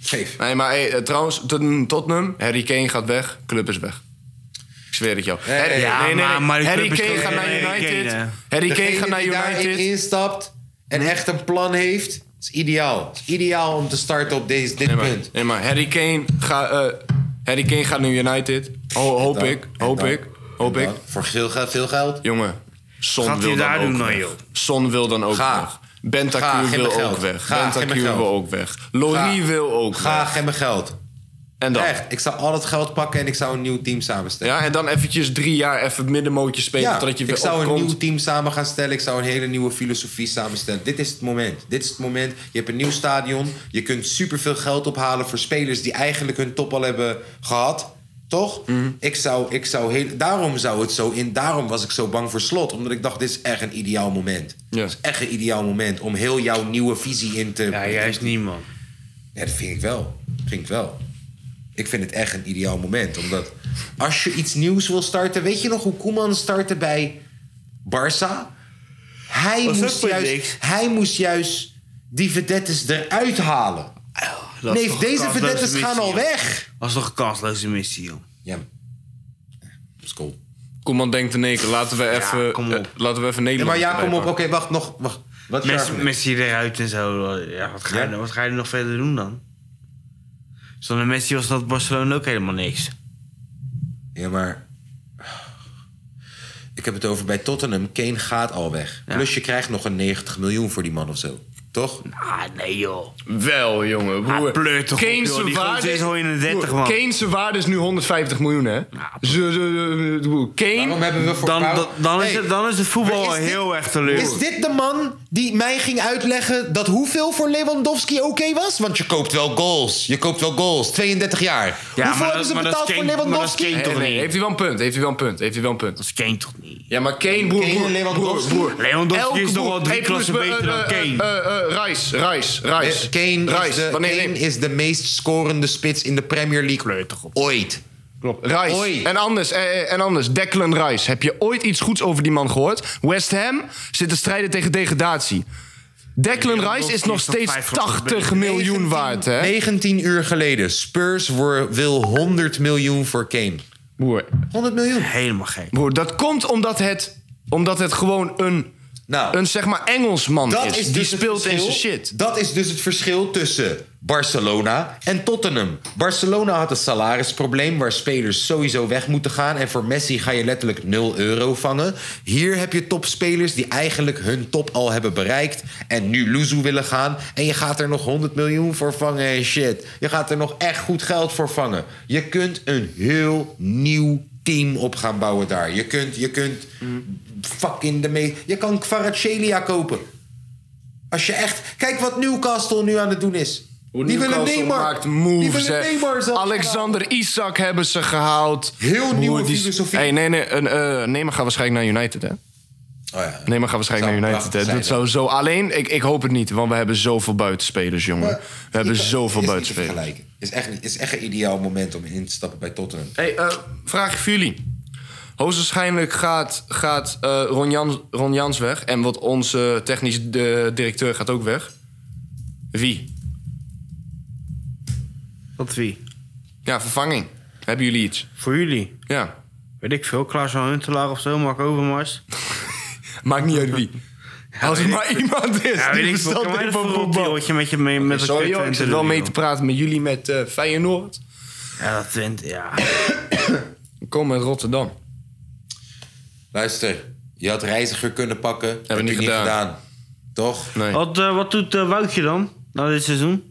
Speaker 1: Geef.
Speaker 4: Nee, maar hey, eh, trouwens, Tot- Tottenham, Harry Kane gaat weg, club is weg. Ik zweer het jou. Harry,
Speaker 3: ja, maar- maar de
Speaker 4: Harry
Speaker 3: club is
Speaker 4: Kane
Speaker 3: toch-
Speaker 4: gaat naar
Speaker 3: Harry Kane,
Speaker 4: United.
Speaker 3: hè?
Speaker 4: Harry Kane
Speaker 1: Degene
Speaker 4: gaat naar
Speaker 1: die daarin
Speaker 4: United.
Speaker 1: instapt en echt een plan heeft, is ideaal. Is ideaal om te starten op deze, dit
Speaker 4: Nee maar,
Speaker 1: punt.
Speaker 4: nee, maar Harry, Kane gaat, eh, Harry Kane gaat naar United. Ho- hoop
Speaker 1: Dan-
Speaker 4: ik,
Speaker 1: en
Speaker 4: hoop
Speaker 1: dan-
Speaker 4: ik, hoop
Speaker 1: en
Speaker 4: ik.
Speaker 1: dan. Voor veel, geld- veel geld.
Speaker 4: Jongen, Son
Speaker 3: Gaat
Speaker 4: wil
Speaker 3: hij
Speaker 4: dan
Speaker 3: daar
Speaker 4: ook
Speaker 3: doen dan,
Speaker 4: weg.
Speaker 3: joh?
Speaker 4: Son wil dan ook
Speaker 1: Ga.
Speaker 4: weg.
Speaker 1: Ga,
Speaker 4: Bentancur
Speaker 1: geef
Speaker 4: wil
Speaker 1: me geld.
Speaker 4: ook weg.
Speaker 1: Ga, geef me
Speaker 4: Bentancur
Speaker 1: geld.
Speaker 4: wil ook weg. Loni
Speaker 1: Ga.
Speaker 4: wil ook
Speaker 1: Ga,
Speaker 4: weg.
Speaker 1: geef me geld.
Speaker 4: En dan?
Speaker 1: Echt, ik zou al het geld pakken en ik zou een nieuw team samenstellen.
Speaker 4: Ja, en dan eventjes drie jaar even middenmootje spelen...
Speaker 1: Ja,
Speaker 4: totdat je weer
Speaker 1: ik zou een
Speaker 4: opkomt.
Speaker 1: nieuw team samen gaan stellen. Ik zou een hele nieuwe filosofie samenstellen. Dit is het moment. Dit is het moment. Je hebt een nieuw stadion. Je kunt superveel geld ophalen voor spelers die eigenlijk hun top al hebben gehad. Toch?
Speaker 4: Mhm.
Speaker 1: Ik zou, ik zou heel, daarom zou het zo in. Daarom was ik zo bang voor slot. Omdat ik dacht, dit is echt een ideaal moment.
Speaker 4: Ja.
Speaker 1: Dit is echt een ideaal moment om heel jouw nieuwe visie in te.
Speaker 3: Ja, juist niet, man.
Speaker 1: Ja, dat vind ik wel. Dat vind ik wel. Ik vind het echt een ideaal moment. Omdat als je iets nieuws wil starten... Weet je nog hoe Koeman startte bij Barça? Hij,
Speaker 3: Was ook
Speaker 1: moest
Speaker 3: voor
Speaker 1: juist,
Speaker 3: niks.
Speaker 1: hij moest juist die verdettes eruit halen.
Speaker 3: Dat is
Speaker 1: nee,
Speaker 3: toch
Speaker 1: deze
Speaker 3: kansloze
Speaker 1: verdettes gaan
Speaker 3: missie,
Speaker 1: al
Speaker 3: joh.
Speaker 1: weg.
Speaker 3: Dat is toch een kansloze missie, joh.
Speaker 1: Ja, dat is cool.
Speaker 4: Koeman denkt in één keer, laten we even,
Speaker 3: kom op.
Speaker 4: eh, laten we even
Speaker 1: Ja,
Speaker 4: Nederland
Speaker 1: maar ja,
Speaker 4: erbij
Speaker 1: kom op. Oké,
Speaker 4: pakken.
Speaker 1: wacht, nog. Wacht. Wat is je
Speaker 3: Messi,
Speaker 1: argument?
Speaker 3: Messi eruit en zo. Ja, wat, ga je, nou-
Speaker 1: Ja?
Speaker 3: wat ga je nog verder doen dan? Zonder Messi was dat Barcelona ook helemaal niks.
Speaker 1: Ja, maar... Ik heb het over bij Tottenham. Kane gaat al weg.
Speaker 3: Ja.
Speaker 1: Plus je krijgt nog een 90 miljoen voor die man of zo. Toch?
Speaker 3: Ah, nee joh.
Speaker 4: Wel, jongen.
Speaker 3: Ah,
Speaker 4: broer.
Speaker 3: pleur toch op,
Speaker 4: Kane's
Speaker 3: joh. Die
Speaker 4: waarde-
Speaker 3: gozer is al in de 30,
Speaker 4: broer,
Speaker 3: man.
Speaker 4: Kane's waarde is nu 150 miljoen, hè? Zo, zo, zo, zo, broer, Kane...
Speaker 1: Waarom hebben we voor
Speaker 3: Dan,
Speaker 1: waarom-
Speaker 3: dan, dan, is
Speaker 1: Hey,
Speaker 3: het, dan is het voetbal
Speaker 1: is dit-
Speaker 3: heel erg teleurstellend.
Speaker 1: Is dit de man die mij ging uitleggen dat hoeveel voor Lewandowski oké was? Want je koopt wel goals. Je koopt wel goals. 32 jaar.
Speaker 3: Ja,
Speaker 1: hoeveel
Speaker 3: maar
Speaker 1: hebben ze
Speaker 3: dat- maar dat
Speaker 1: betaald
Speaker 3: is
Speaker 1: voor
Speaker 3: Kane- maar dat is
Speaker 1: Lewandowski?
Speaker 3: Kane
Speaker 4: Nee,
Speaker 3: toch
Speaker 4: nee,
Speaker 3: niet?
Speaker 4: heeft hij wel een punt, heeft hij wel een punt, heeft hij wel een punt.
Speaker 3: Dat is Kane toch niet?
Speaker 4: Ja, maar Kane, broer,
Speaker 1: Kane en
Speaker 4: broer,
Speaker 1: Lewandowski?
Speaker 4: broer, broer.
Speaker 3: Lewandowski
Speaker 4: Elke
Speaker 3: is toch
Speaker 4: broer-
Speaker 3: wel drie
Speaker 4: Hey,
Speaker 3: klassen
Speaker 4: plus, eh,
Speaker 3: beter dan
Speaker 4: eh,
Speaker 3: Kane.
Speaker 4: eh, eh, Rice, Rice, Rice.
Speaker 1: Eh, Kane, is
Speaker 4: Rice,
Speaker 1: de,
Speaker 4: wanneer-
Speaker 1: Kane
Speaker 4: nee,
Speaker 1: is de meest scorende spits in de Premier League
Speaker 3: Kleur toch op.
Speaker 1: ooit.
Speaker 4: Klopt. Rice.
Speaker 1: Oei.
Speaker 4: En anders, eh, eh, en anders, Declan Rice. Heb je ooit iets goeds over die man gehoord? West Ham zit te strijden tegen degradatie. Declan Rice is nog
Speaker 3: is toch
Speaker 4: steeds
Speaker 3: 500
Speaker 4: 80 miljoen waard, hè?
Speaker 1: 19 uur geleden. Spurs wo- wil 100 miljoen voor Kane.
Speaker 4: Broer,
Speaker 1: 100 miljoen.
Speaker 3: Helemaal gek.
Speaker 4: broer, dat komt omdat het, omdat het gewoon een,
Speaker 1: Nou.
Speaker 4: een zeg maar Engelsman
Speaker 1: Dat
Speaker 4: is.
Speaker 1: is
Speaker 4: die
Speaker 1: dus het
Speaker 4: speelt in zijn
Speaker 1: verschil-
Speaker 4: shit.
Speaker 1: Dat is dus het verschil tussen Barcelona en Tottenham. Barcelona had een salarisprobleem waar spelers sowieso weg moeten gaan. En voor Messi ga je letterlijk 0 euro vangen. Hier heb je topspelers die eigenlijk hun top al hebben bereikt. En nu Luzu willen gaan. En je gaat er nog 100 miljoen voor vangen en shit. Je gaat er nog echt goed geld voor vangen. Je kunt een heel nieuw team op gaan bouwen daar. Je kunt, je kunt
Speaker 4: Mm.
Speaker 1: fucking de meest... Je kan Kvaratskhelia kopen. Als je echt... Kijk wat Newcastle nu aan het doen is.
Speaker 4: Hoe
Speaker 1: die willen
Speaker 4: Newcastle
Speaker 1: Neymar.
Speaker 4: maakt
Speaker 1: die
Speaker 4: moves,
Speaker 1: willen
Speaker 4: hè.
Speaker 1: Neymar zelfs.
Speaker 4: Alexander Isak hebben ze gehaald.
Speaker 1: Heel nieuwe
Speaker 4: die-
Speaker 1: filosofie.
Speaker 4: Hey, nee, nee, een, eh, Neymar gaat waarschijnlijk naar United, hè?
Speaker 1: Oh ja.
Speaker 4: Neymar gaat waarschijnlijk
Speaker 1: Zou
Speaker 4: naar United, hè?
Speaker 1: prachtig
Speaker 4: Dat
Speaker 1: zijn,
Speaker 4: zou zo... Alleen, ik, ik hoop het niet, want we hebben zoveel buitenspelers, jongen.
Speaker 1: Maar-
Speaker 4: we hebben
Speaker 1: Is-
Speaker 4: zoveel
Speaker 1: is niet te
Speaker 4: buitenspelers.
Speaker 1: vergelijken. Is echt, niet- is echt een ideaal moment om in te stappen bij Tottenham.
Speaker 4: Hey, eh, vraagje voor jullie. Hoogstwaarschijnlijk gaat, gaat eh, Ron, Jans, Ron Jans weg. En wat onze technisch eh, directeur gaat ook weg. Wie?
Speaker 3: Wat wie?
Speaker 4: Ja, vervanging. Hebben jullie iets?
Speaker 3: Voor jullie.
Speaker 4: Ja.
Speaker 3: Weet ik veel. Klaas van Huntelaar of zo. Mark Overmars.
Speaker 4: Maakt niet uit wie. Als er maar iemand is
Speaker 3: Ja, weet
Speaker 4: die
Speaker 3: ik veel.
Speaker 4: bestelt
Speaker 3: Kan mij
Speaker 4: in
Speaker 3: ervoor
Speaker 4: van
Speaker 3: op, joh,
Speaker 4: voetbal.
Speaker 3: wat je met je mee met dat
Speaker 4: Sorry
Speaker 3: kut
Speaker 4: joh, ik
Speaker 3: Twente
Speaker 4: zit wel
Speaker 3: doet,
Speaker 4: mee
Speaker 3: joh.
Speaker 4: te praten met jullie met eh Feyenoord.
Speaker 3: Ja, dat Twente, ja.
Speaker 4: Kom met Rotterdam.
Speaker 1: Luister, je had reiziger kunnen pakken. Hebben
Speaker 4: we niet gedaan.
Speaker 1: Toch?
Speaker 4: Nee.
Speaker 3: Wat, eh, wat doet eh, Woutje dan? Na dit seizoen?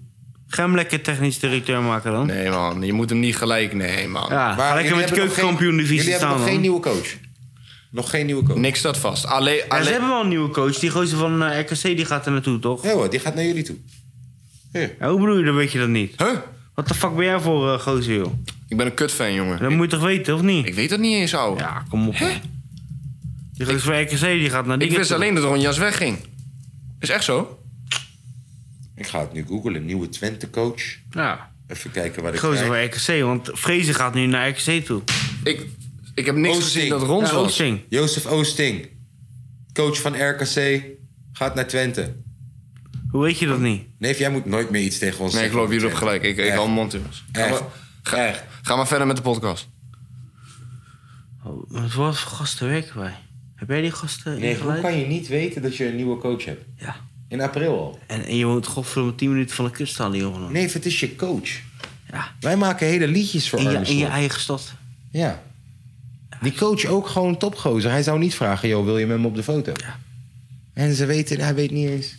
Speaker 3: Ga hem lekker technisch directeur maken dan.
Speaker 4: Nee man, je moet hem niet gelijk. Nee man.
Speaker 3: Ja,
Speaker 1: Maar jullie
Speaker 3: ga lekker met de
Speaker 1: hebben nog geen-
Speaker 3: keukenkampioen divisie
Speaker 1: Jullie hebben
Speaker 3: staan
Speaker 1: nog
Speaker 3: dan.
Speaker 1: geen nieuwe coach. Nog geen nieuwe coach.
Speaker 4: Niks staat vast. Alleen,
Speaker 3: Ja, ze
Speaker 4: alleen-
Speaker 3: hebben wel een nieuwe coach. Die gozer van eh, RKC die gaat er naartoe, toch?
Speaker 1: Nee hoor, die gaat naar jullie toe.
Speaker 3: Ja, hoe bedoel je, dan weet je dat niet.
Speaker 4: Huh?
Speaker 3: Wat de fuck ben jij voor eh, gozer, joh?
Speaker 4: Ik ben een kutfan, jongen.
Speaker 3: Dat moet je toch weten, of niet?
Speaker 4: Ik weet dat niet eens, ouwe.
Speaker 3: Ja, kom op. Die gozer van RKC die gaat naar die.
Speaker 4: Ik wist alleen dat Ron Jas wegging. Is echt zo?
Speaker 1: Ik ga het nu googlen. Nieuwe Twente coach.
Speaker 3: Ja,
Speaker 1: Even kijken waar
Speaker 3: die
Speaker 1: ik
Speaker 3: gozer
Speaker 1: kijk.
Speaker 3: van RKC. Want Vrezen gaat nu naar RKC toe.
Speaker 4: Ik, ik heb niks
Speaker 1: Oosting.
Speaker 4: gezien dat Ron
Speaker 3: Ja, oh,
Speaker 4: was.
Speaker 3: Oosting.
Speaker 1: Jozef Oosting, coach van RKC, gaat naar Twente.
Speaker 3: Hoe weet je dat niet?
Speaker 1: Nee, jij moet nooit meer iets tegen ons
Speaker 4: Nee, ik
Speaker 1: zeggen.
Speaker 4: loop hierop gelijk. Ik, ik
Speaker 1: Echt.
Speaker 4: hou mijn mond, jongens. Ga
Speaker 1: Echt.
Speaker 4: maar, ga,
Speaker 1: Echt.
Speaker 4: ga maar verder met de podcast.
Speaker 3: Oh, Wat voor gasten werken wij? Heb jij die gasten
Speaker 1: Nee, hoe
Speaker 3: ingeleid?
Speaker 1: kan je niet weten dat je een nieuwe coach hebt?
Speaker 3: Ja.
Speaker 1: In april al.
Speaker 3: En, en je woont godverdomme 10 minuten van de kust aan, jongen.
Speaker 1: Nee, het is je coach.
Speaker 3: Ja.
Speaker 1: Wij maken hele liedjes voor
Speaker 3: In je, in je
Speaker 1: Armstrong.
Speaker 3: eigen stad.
Speaker 1: Ja. Die coach ook gewoon topgozer. Hij zou niet vragen, joh, wil je met me op de foto?
Speaker 3: Ja.
Speaker 1: En ze weten, hij weet niet eens.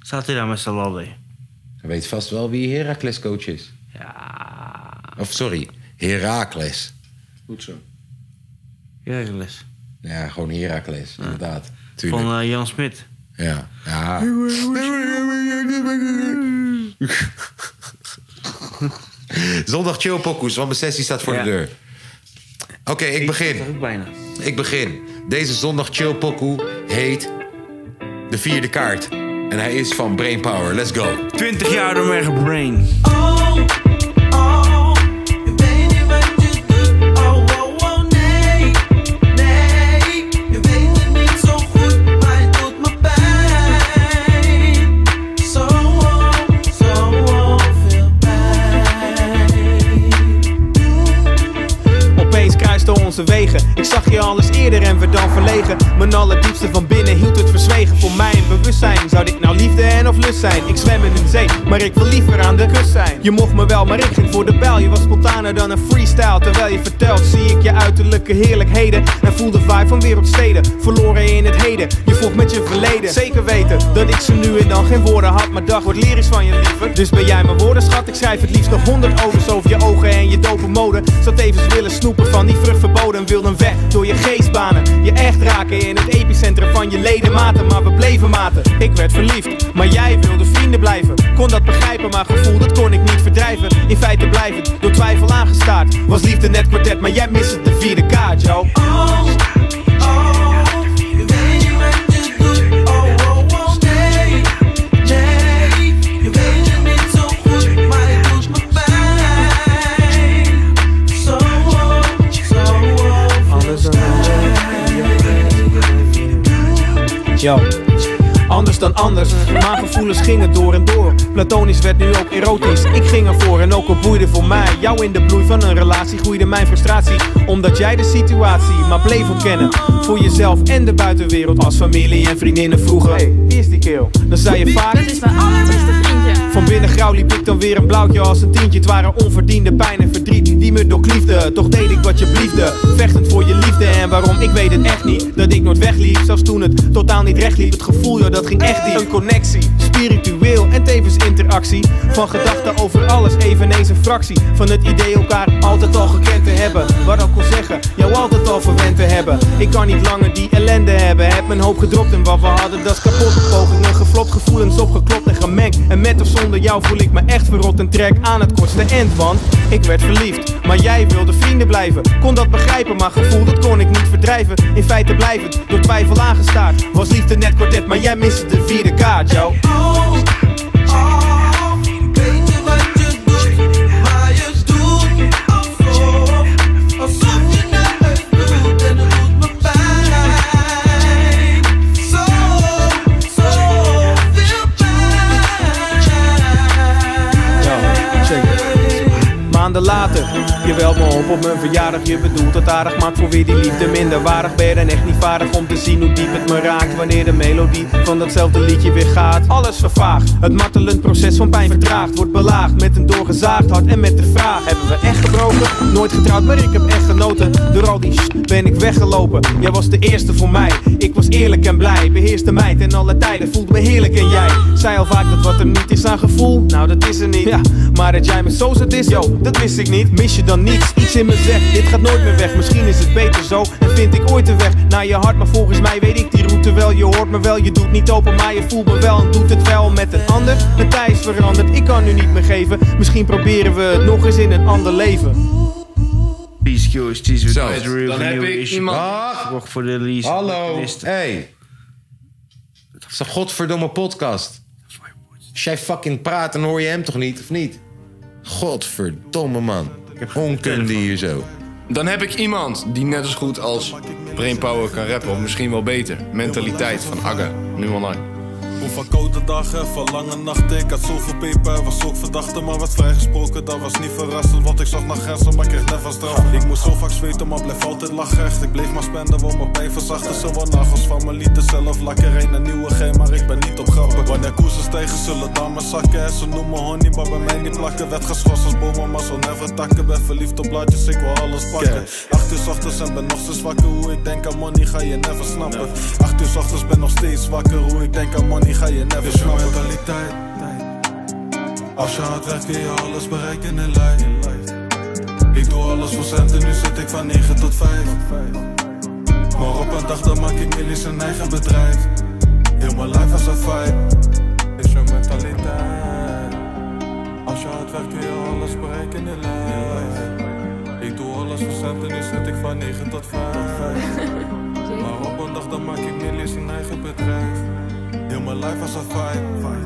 Speaker 3: Staat hij daar met z'n allen?
Speaker 1: Hij weet vast wel wie Heracles coach is.
Speaker 3: Ja.
Speaker 1: Of sorry, Herakles.
Speaker 4: Goed zo.
Speaker 3: Ja, les.
Speaker 1: Ja, gewoon Herakles, inderdaad. Tuurlijk.
Speaker 3: Van eh, Jan Smit.
Speaker 1: Ja. ja. Zondag chill pokoes, want mijn sessie staat voor
Speaker 3: Ja.
Speaker 1: de deur. Oké, ik begin.
Speaker 3: Dat ook bijna.
Speaker 1: Ik begin. Deze zondag chill pokoe heet De Vierde Kaart. En hij is van Brainpower. Let's go.
Speaker 3: 20 jaar door mijn gebrain.
Speaker 6: oh, oh,
Speaker 7: Opeens kruisten onze wegen. Ik zag je alles eerder en werd dan verlegen. Mijn allerdiepste van binnen hield het verzwegen. Voor mijn bewustzijn zou dit nou liefde en of lust zijn. Ik zwem in een zee, maar ik wil liever aan de kust zijn. Je mocht me wel, maar ik ging voor de bel. Je was spontaner dan een freestyle. Terwijl je vertelt, zie ik je uiterlijke heerlijkheden. En voel de vibe van wereldsteden. Verloren in het heden, je vocht met je verleden. Zeker weten dat ik ze nu en dan geen woorden had. Maar dag wordt lyrisch van je liever. Dus ben jij mijn woordenschat. Ik schrijf het liefst nog honderd overs over je ogen en je dope mode. Zou tevens willen snoepen van die vrucht verboden. Wilden weg door je geestbanen. Je echt raken in het epicentrum van je ledematen. Maar we bleven maten. Ik werd verliefd, maar jij wilde vrienden blijven. Kon dat begrijpen, maar gevoel dat kon ik niet verdrijven. In feite blijvend, door twijfel aangestaard. Was liefde net kwartet, maar jij mist het de vierde kaart, yo. Yo. Anders dan anders, maar gevoelens gingen door en door. Platonisch werd nu ook erotisch. Ik ging ervoor en ook al boeide voor mij. Jou in de bloei van een relatie groeide mijn frustratie. Omdat jij de situatie maar bleef ontkennen. Voor jezelf en de buitenwereld als familie en vriendinnen vroegen. Hey, wie is die keel? Dan zei je vaak.
Speaker 8: Dat is mijn allerbeste vriendje.
Speaker 7: Van binnen grauw liep ik dan weer een blauwtje als een tientje. Het waren onverdiende pijn en verdriet die me doorkliefde. Toch deed ik wat je bliefde, vechtend voor je liefde. En waarom, ik weet het echt niet. Dat ik nooit wegliep, zelfs toen het totaal niet recht liep. Het gevoel, joh, dat ging echt diep. Een connectie, spiritueel en tevens interactie. Van gedachten over alles, eveneens een fractie. Van het idee elkaar altijd al gekend te hebben. Wat ik kon zeggen, jou altijd al verwend te hebben. Ik kan niet langer die ellende hebben. Heb mijn hoop gedropt en wat we hadden, dat is kapot. Pogingen geflopt, gevoelens opgeklopt en gemengd. En met of zonder jou voel ik me echt verrot en trek aan het kortste end. Want ik werd verliefd, maar jij wilde vrienden blijven. Kon dat begrijpen, maar gevoel dat kon ik niet verdrijven. In feite blijvend, door twijfel aangestaard. Was liefde net kwartet, maar jij miste de vierde kaart, jou. check Maanden later, je belt me op op mijn verjaardag. Je bedoelt het aardig, maakt voor weer die liefde minder waardig. Ben je dan echt niet vaardig om te zien hoe diep het me raakt. Wanneer de melodie van datzelfde liedje weer gaat. Alles vervaagt, het martelend proces van pijn vertraagt. Wordt belaagd met een doorgezaagd hart en met de vraag: Hebben we echt gebroken? Nooit getrouwd, maar ik heb echt genoten. Door al die shit ben ik weggelopen. Jij was de eerste voor mij. Ik was eerlijk en blij. Beheerste mij ten alle tijden. Voelt me heerlijk en jij. Zei al vaak dat wat er niet is aan gevoel. Nou, dat is er niet. Ja, maar dat jij me zo zat is, yo, dat wist ik niet. Mis je dan niets? Iets in me zegt, dit gaat nooit meer weg. Misschien is het beter zo. En vind ik ooit de weg naar je hart. Maar volgens mij weet ik die route wel. Je hoort me wel, je doet niet open, maar je voelt me wel. En doet het wel met een ander. Mijn tijd is veranderd, ik kan nu niet meer geven. Misschien proberen we het nog eens in een ander leven.
Speaker 3: Peace, QST's with
Speaker 4: Zo,
Speaker 3: Red Real
Speaker 4: dan heb
Speaker 3: New
Speaker 4: ik
Speaker 3: Issue.
Speaker 4: iemand-
Speaker 1: Dag.
Speaker 3: Zorg voor de release.
Speaker 1: Hallo.
Speaker 3: Is-
Speaker 1: Hey. Het is een godverdomme podcast. Als jij fucking praat, dan hoor je hem toch niet, of niet? Godverdomme, man. Onkunde hier zo.
Speaker 4: Dan heb ik iemand die net zo goed als Brainpower kan rappen. Of misschien wel beter. Mentaliteit van Agga. Nu online.
Speaker 6: Kom van koude dagen, van lange nachten. Ik had zoveel peper, was ook verdachte, maar was vrijgesproken. Dat was niet verrassend, want ik zocht naar grenzen, maar ik kreeg never straf. Ik moest zo vaak zweten, maar bleef altijd lachen. Echt, ik bleef maar spenden, wou mijn pijn verzachten. Ze wou nagels van mijn lieten zelf lakker. Een nieuwe geen, maar ik ben niet op grappen. Wanneer koersen stijgen, zullen dames zakken. Ze noemen honey, maar bij mij niet plakken. Werd geschorst als bomen, maar zo never takken. Ben verliefd op blaadjes, ik wil alles pakken. Acht uur 's ochtends en ben nog steeds wakker. Hoe ik denk aan money, ga je never snappen. Acht uur 's ochtends ben nog steeds wakker. Hoe ik denk aan money, ga je never snappen. mentaliteit. Als je hard werkt kun je alles bereiken in life. Ik doe alles voor centen, nu zit ik van 9 tot 5. Maar op een dag dan maak ik millies een eigen bedrijf. Heel mijn life is een vibe. Is je mentaliteit. Als je hard werkt kun je alles bereiken in life. Ik doe alles voor centen, nu zit ik van 9 tot 5. Maar op een dag dan maak ik millies een eigen bedrijf. Heel mijn life is een vibe.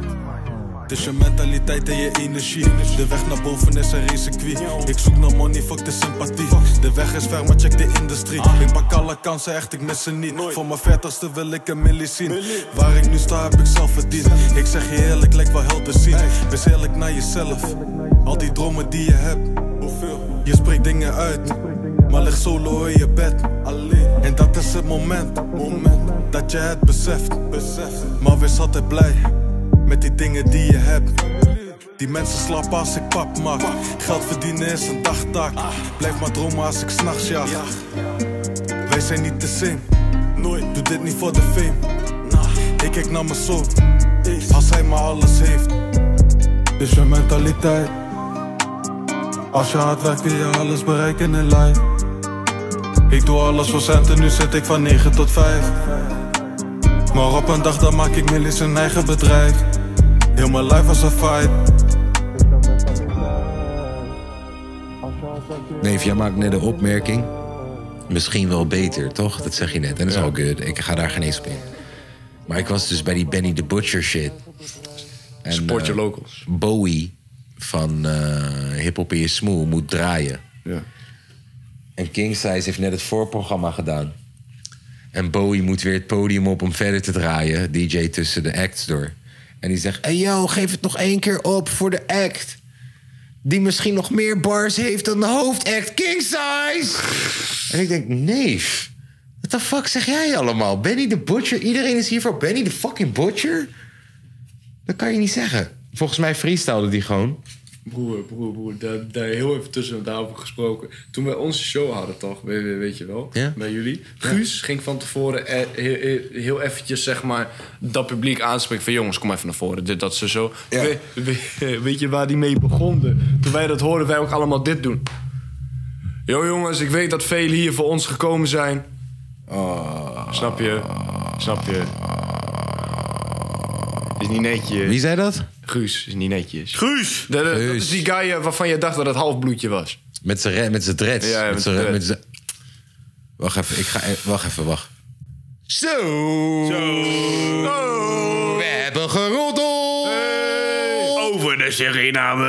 Speaker 6: Het is je mentaliteit en je energie. De weg naar boven is een racecircuit. Ik zoek naar money, fuck de sympathie. De weg is ver, maar check de industrie. Ik pak alle kansen, echt, ik mis ze niet. Voor mijn veertigste wil ik een milli zien. Waar ik nu sta, heb ik zelf verdiend. Ik zeg je eerlijk, lijkt wel helder zien. Wees eerlijk naar jezelf. Al die dromen die je hebt. Je spreekt dingen uit. Maar lig solo in je bed, alleen. En dat is het moment, moment dat je het beseft. beseft. Maar wees altijd blij met die dingen die je hebt. Die mensen slapen als ik pap maak. Geld verdienen is een dagtaak. Blijf maar dromen als ik s'nachts jaag. Wij zijn niet te same, nooit. Doe dit niet voor de fame. Ik kijk naar mijn zoon, als hij maar alles heeft. Dus je mentaliteit. Als je hard werkt kun je alles bereiken in life Ik doe alles voor centen, nu zit ik van 9 tot 5 Maar op een dag dan maak ik millies een eigen bedrijf Heel mijn life was een fight
Speaker 1: Neef, jij maakt net een opmerking. Misschien wel beter, toch? Dat zeg je net. En dat is al good. Ik ga daar geen eens op in. Maar ik was dus bij die Benny the Butcher shit. En,
Speaker 4: Support your
Speaker 1: eh,
Speaker 4: locals.
Speaker 1: Bowie van eh Hip Hop in je Smoel moet draaien.
Speaker 4: Ja.
Speaker 1: En King Size heeft net het voorprogramma gedaan. En Bowie moet weer het podium op om verder te draaien. DJ tussen de acts door. En die zegt, hey yo, geef het nog één keer op voor de act. Die misschien nog meer bars heeft dan de hoofdact King Size. en ik denk, neef. What the fuck zeg jij allemaal? Benny de Butcher? Iedereen is hier voor Benny de fucking Butcher? Dat kan je niet zeggen. Volgens mij freestylde die gewoon.
Speaker 4: Broer, broer, broer, daar, daar heel even tussen want daarover gesproken. Toen wij onze show hadden, toch? Weet, weet- weet je wel?
Speaker 1: Ja.
Speaker 4: Bij jullie. Guus ging van tevoren eh, heel, heel- heel eventjes, zeg maar, dat publiek aanspreken. Van jongens, kom even naar voren. Dit, dat, ze zo. We- we- weet je waar die mee begonnen? Toen wij dat hoorden, wij ook allemaal dit doen. Yo jongens, ik weet dat velen hier voor ons gekomen zijn. Snap je? Snap je? Is niet netjes.
Speaker 1: Wie zei dat?
Speaker 4: Guus is niet netjes.
Speaker 3: Guus!
Speaker 4: Dat, dat
Speaker 1: Guus.
Speaker 4: is die guy eh, waarvan je dacht dat het halfbloedje was.
Speaker 1: Met zijn re- met zijn dreads.
Speaker 4: Ja, ja,
Speaker 1: met
Speaker 4: met
Speaker 1: zijn
Speaker 4: zijn
Speaker 1: re- met
Speaker 4: dreads.
Speaker 1: zijn. Wacht even, ik ga. eh, Wacht even, wacht. Zo! We hebben geroddeld!
Speaker 4: Oh.
Speaker 3: Over de Suriname.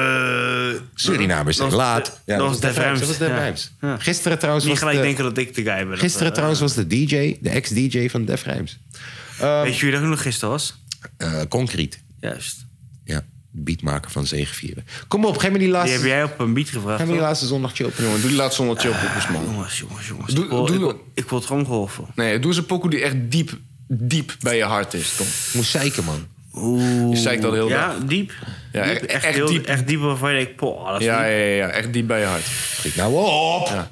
Speaker 1: Surinamers zijn
Speaker 3: Dat was de-
Speaker 1: laat.
Speaker 3: dat was
Speaker 1: de
Speaker 3: Def Rijms.
Speaker 1: Dat was Def
Speaker 3: Ja.
Speaker 1: Rijms.
Speaker 3: Ja.
Speaker 1: Gisteren trouwens
Speaker 3: Niet
Speaker 1: was
Speaker 3: gelijk
Speaker 1: de,
Speaker 3: denken dat ik de guy ben. Dat,
Speaker 1: Gisteren
Speaker 3: eh,
Speaker 1: trouwens was de DJ, de ex-DJ van Def Rijms.
Speaker 3: Weet je wie dat ook nog gisteren was?
Speaker 1: Eh, concrete.
Speaker 3: Juist.
Speaker 1: Ja, beatmaker van Zegevieren. Kom op, geef me die
Speaker 3: Die
Speaker 1: laatste,
Speaker 3: heb jij op een beat
Speaker 1: geef
Speaker 3: gevraagd.
Speaker 1: me die
Speaker 3: toch?
Speaker 1: laatste zondagje op.
Speaker 4: Jongen, doe die laatste zonder chillpoepers, man.
Speaker 3: Jongens, jongens, jongens.
Speaker 4: Doe-
Speaker 3: ik, wil,
Speaker 4: doe
Speaker 3: ik, wil-
Speaker 4: dat.
Speaker 3: ik wil het gewoon geholpen.
Speaker 4: Nee, doe eens een pokoe die echt diep, diep bij je hart is, Tom.
Speaker 1: Ik moest zeiken, man.
Speaker 4: Je zei ik dat heel
Speaker 3: ja,
Speaker 4: dag.
Speaker 3: diep.
Speaker 4: Ja,
Speaker 3: diep.
Speaker 4: echt-
Speaker 3: Echt,
Speaker 4: echt
Speaker 3: heel,
Speaker 4: diep.
Speaker 3: diep. Echt diep waarvan je denkt, poh, dat is
Speaker 4: Ja,
Speaker 3: diep.
Speaker 4: ja, ja, ja, echt diep bij je hart.
Speaker 1: Schrik nou op!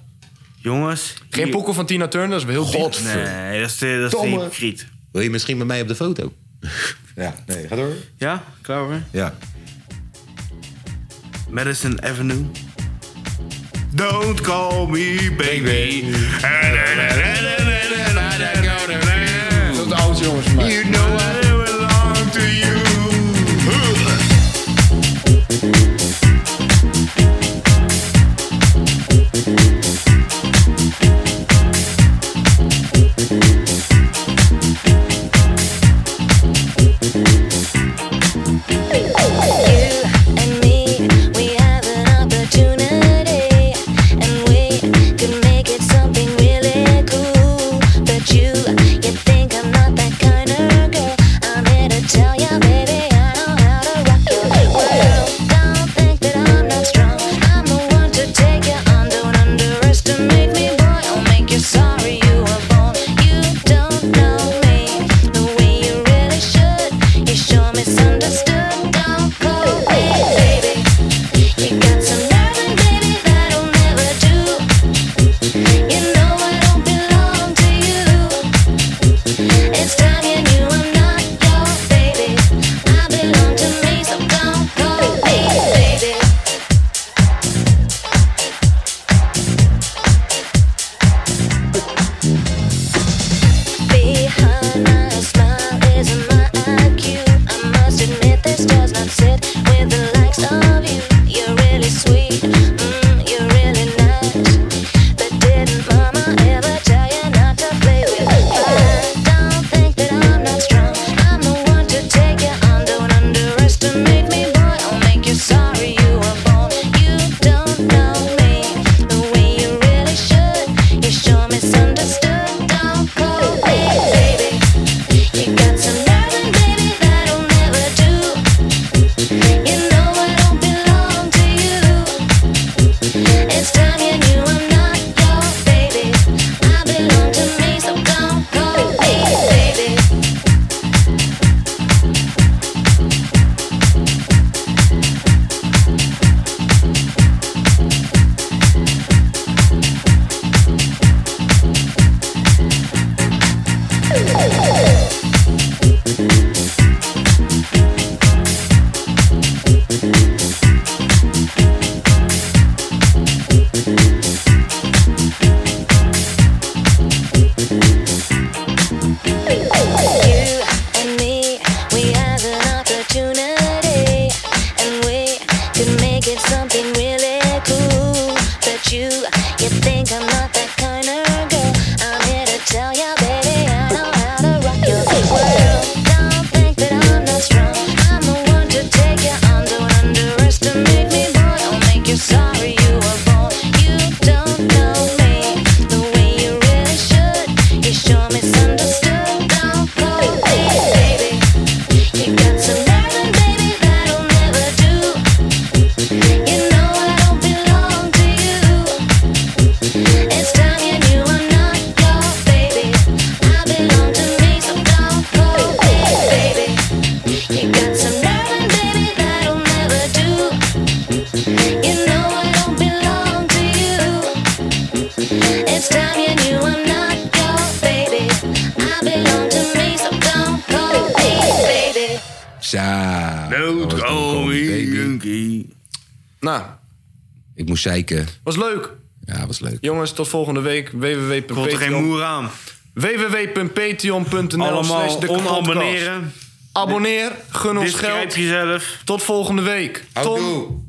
Speaker 3: Jongens.
Speaker 4: Geen
Speaker 3: hier-
Speaker 4: pokoe van Tina Turner, dat is wel heel diep.
Speaker 3: Nee, dat is de, dat is de
Speaker 1: Domme.
Speaker 3: hypocriet.
Speaker 1: Wil je misschien met mij op de foto? ja, nee, ga door.
Speaker 3: Ja, klaar hoor.
Speaker 1: Ja.
Speaker 3: Madison Avenue. Don't call me baby.
Speaker 4: Dat is de oudste jongens van mij.
Speaker 3: You know I belong to you.
Speaker 9: You think I'm not that kind of girl.
Speaker 6: Um,
Speaker 1: Zo. dat was
Speaker 3: Dood,
Speaker 1: dan Call
Speaker 3: oh,
Speaker 1: Me Baby.
Speaker 3: junkie.
Speaker 4: Nou,
Speaker 1: Ik moest zeiken.
Speaker 4: was leuk.
Speaker 1: Ja, was leuk.
Speaker 4: Jongens, tot volgende week.
Speaker 3: Komt er geen
Speaker 4: www.patreon
Speaker 3: moer aan.
Speaker 4: www.patreon.nl slash
Speaker 3: Allemaal
Speaker 4: de kapotkast.
Speaker 3: onabonneren.
Speaker 4: Abonneer, gun ons
Speaker 3: Dit schrijf
Speaker 4: geld.
Speaker 3: jezelf.
Speaker 4: Tot volgende week. Tom,
Speaker 1: Houdoe.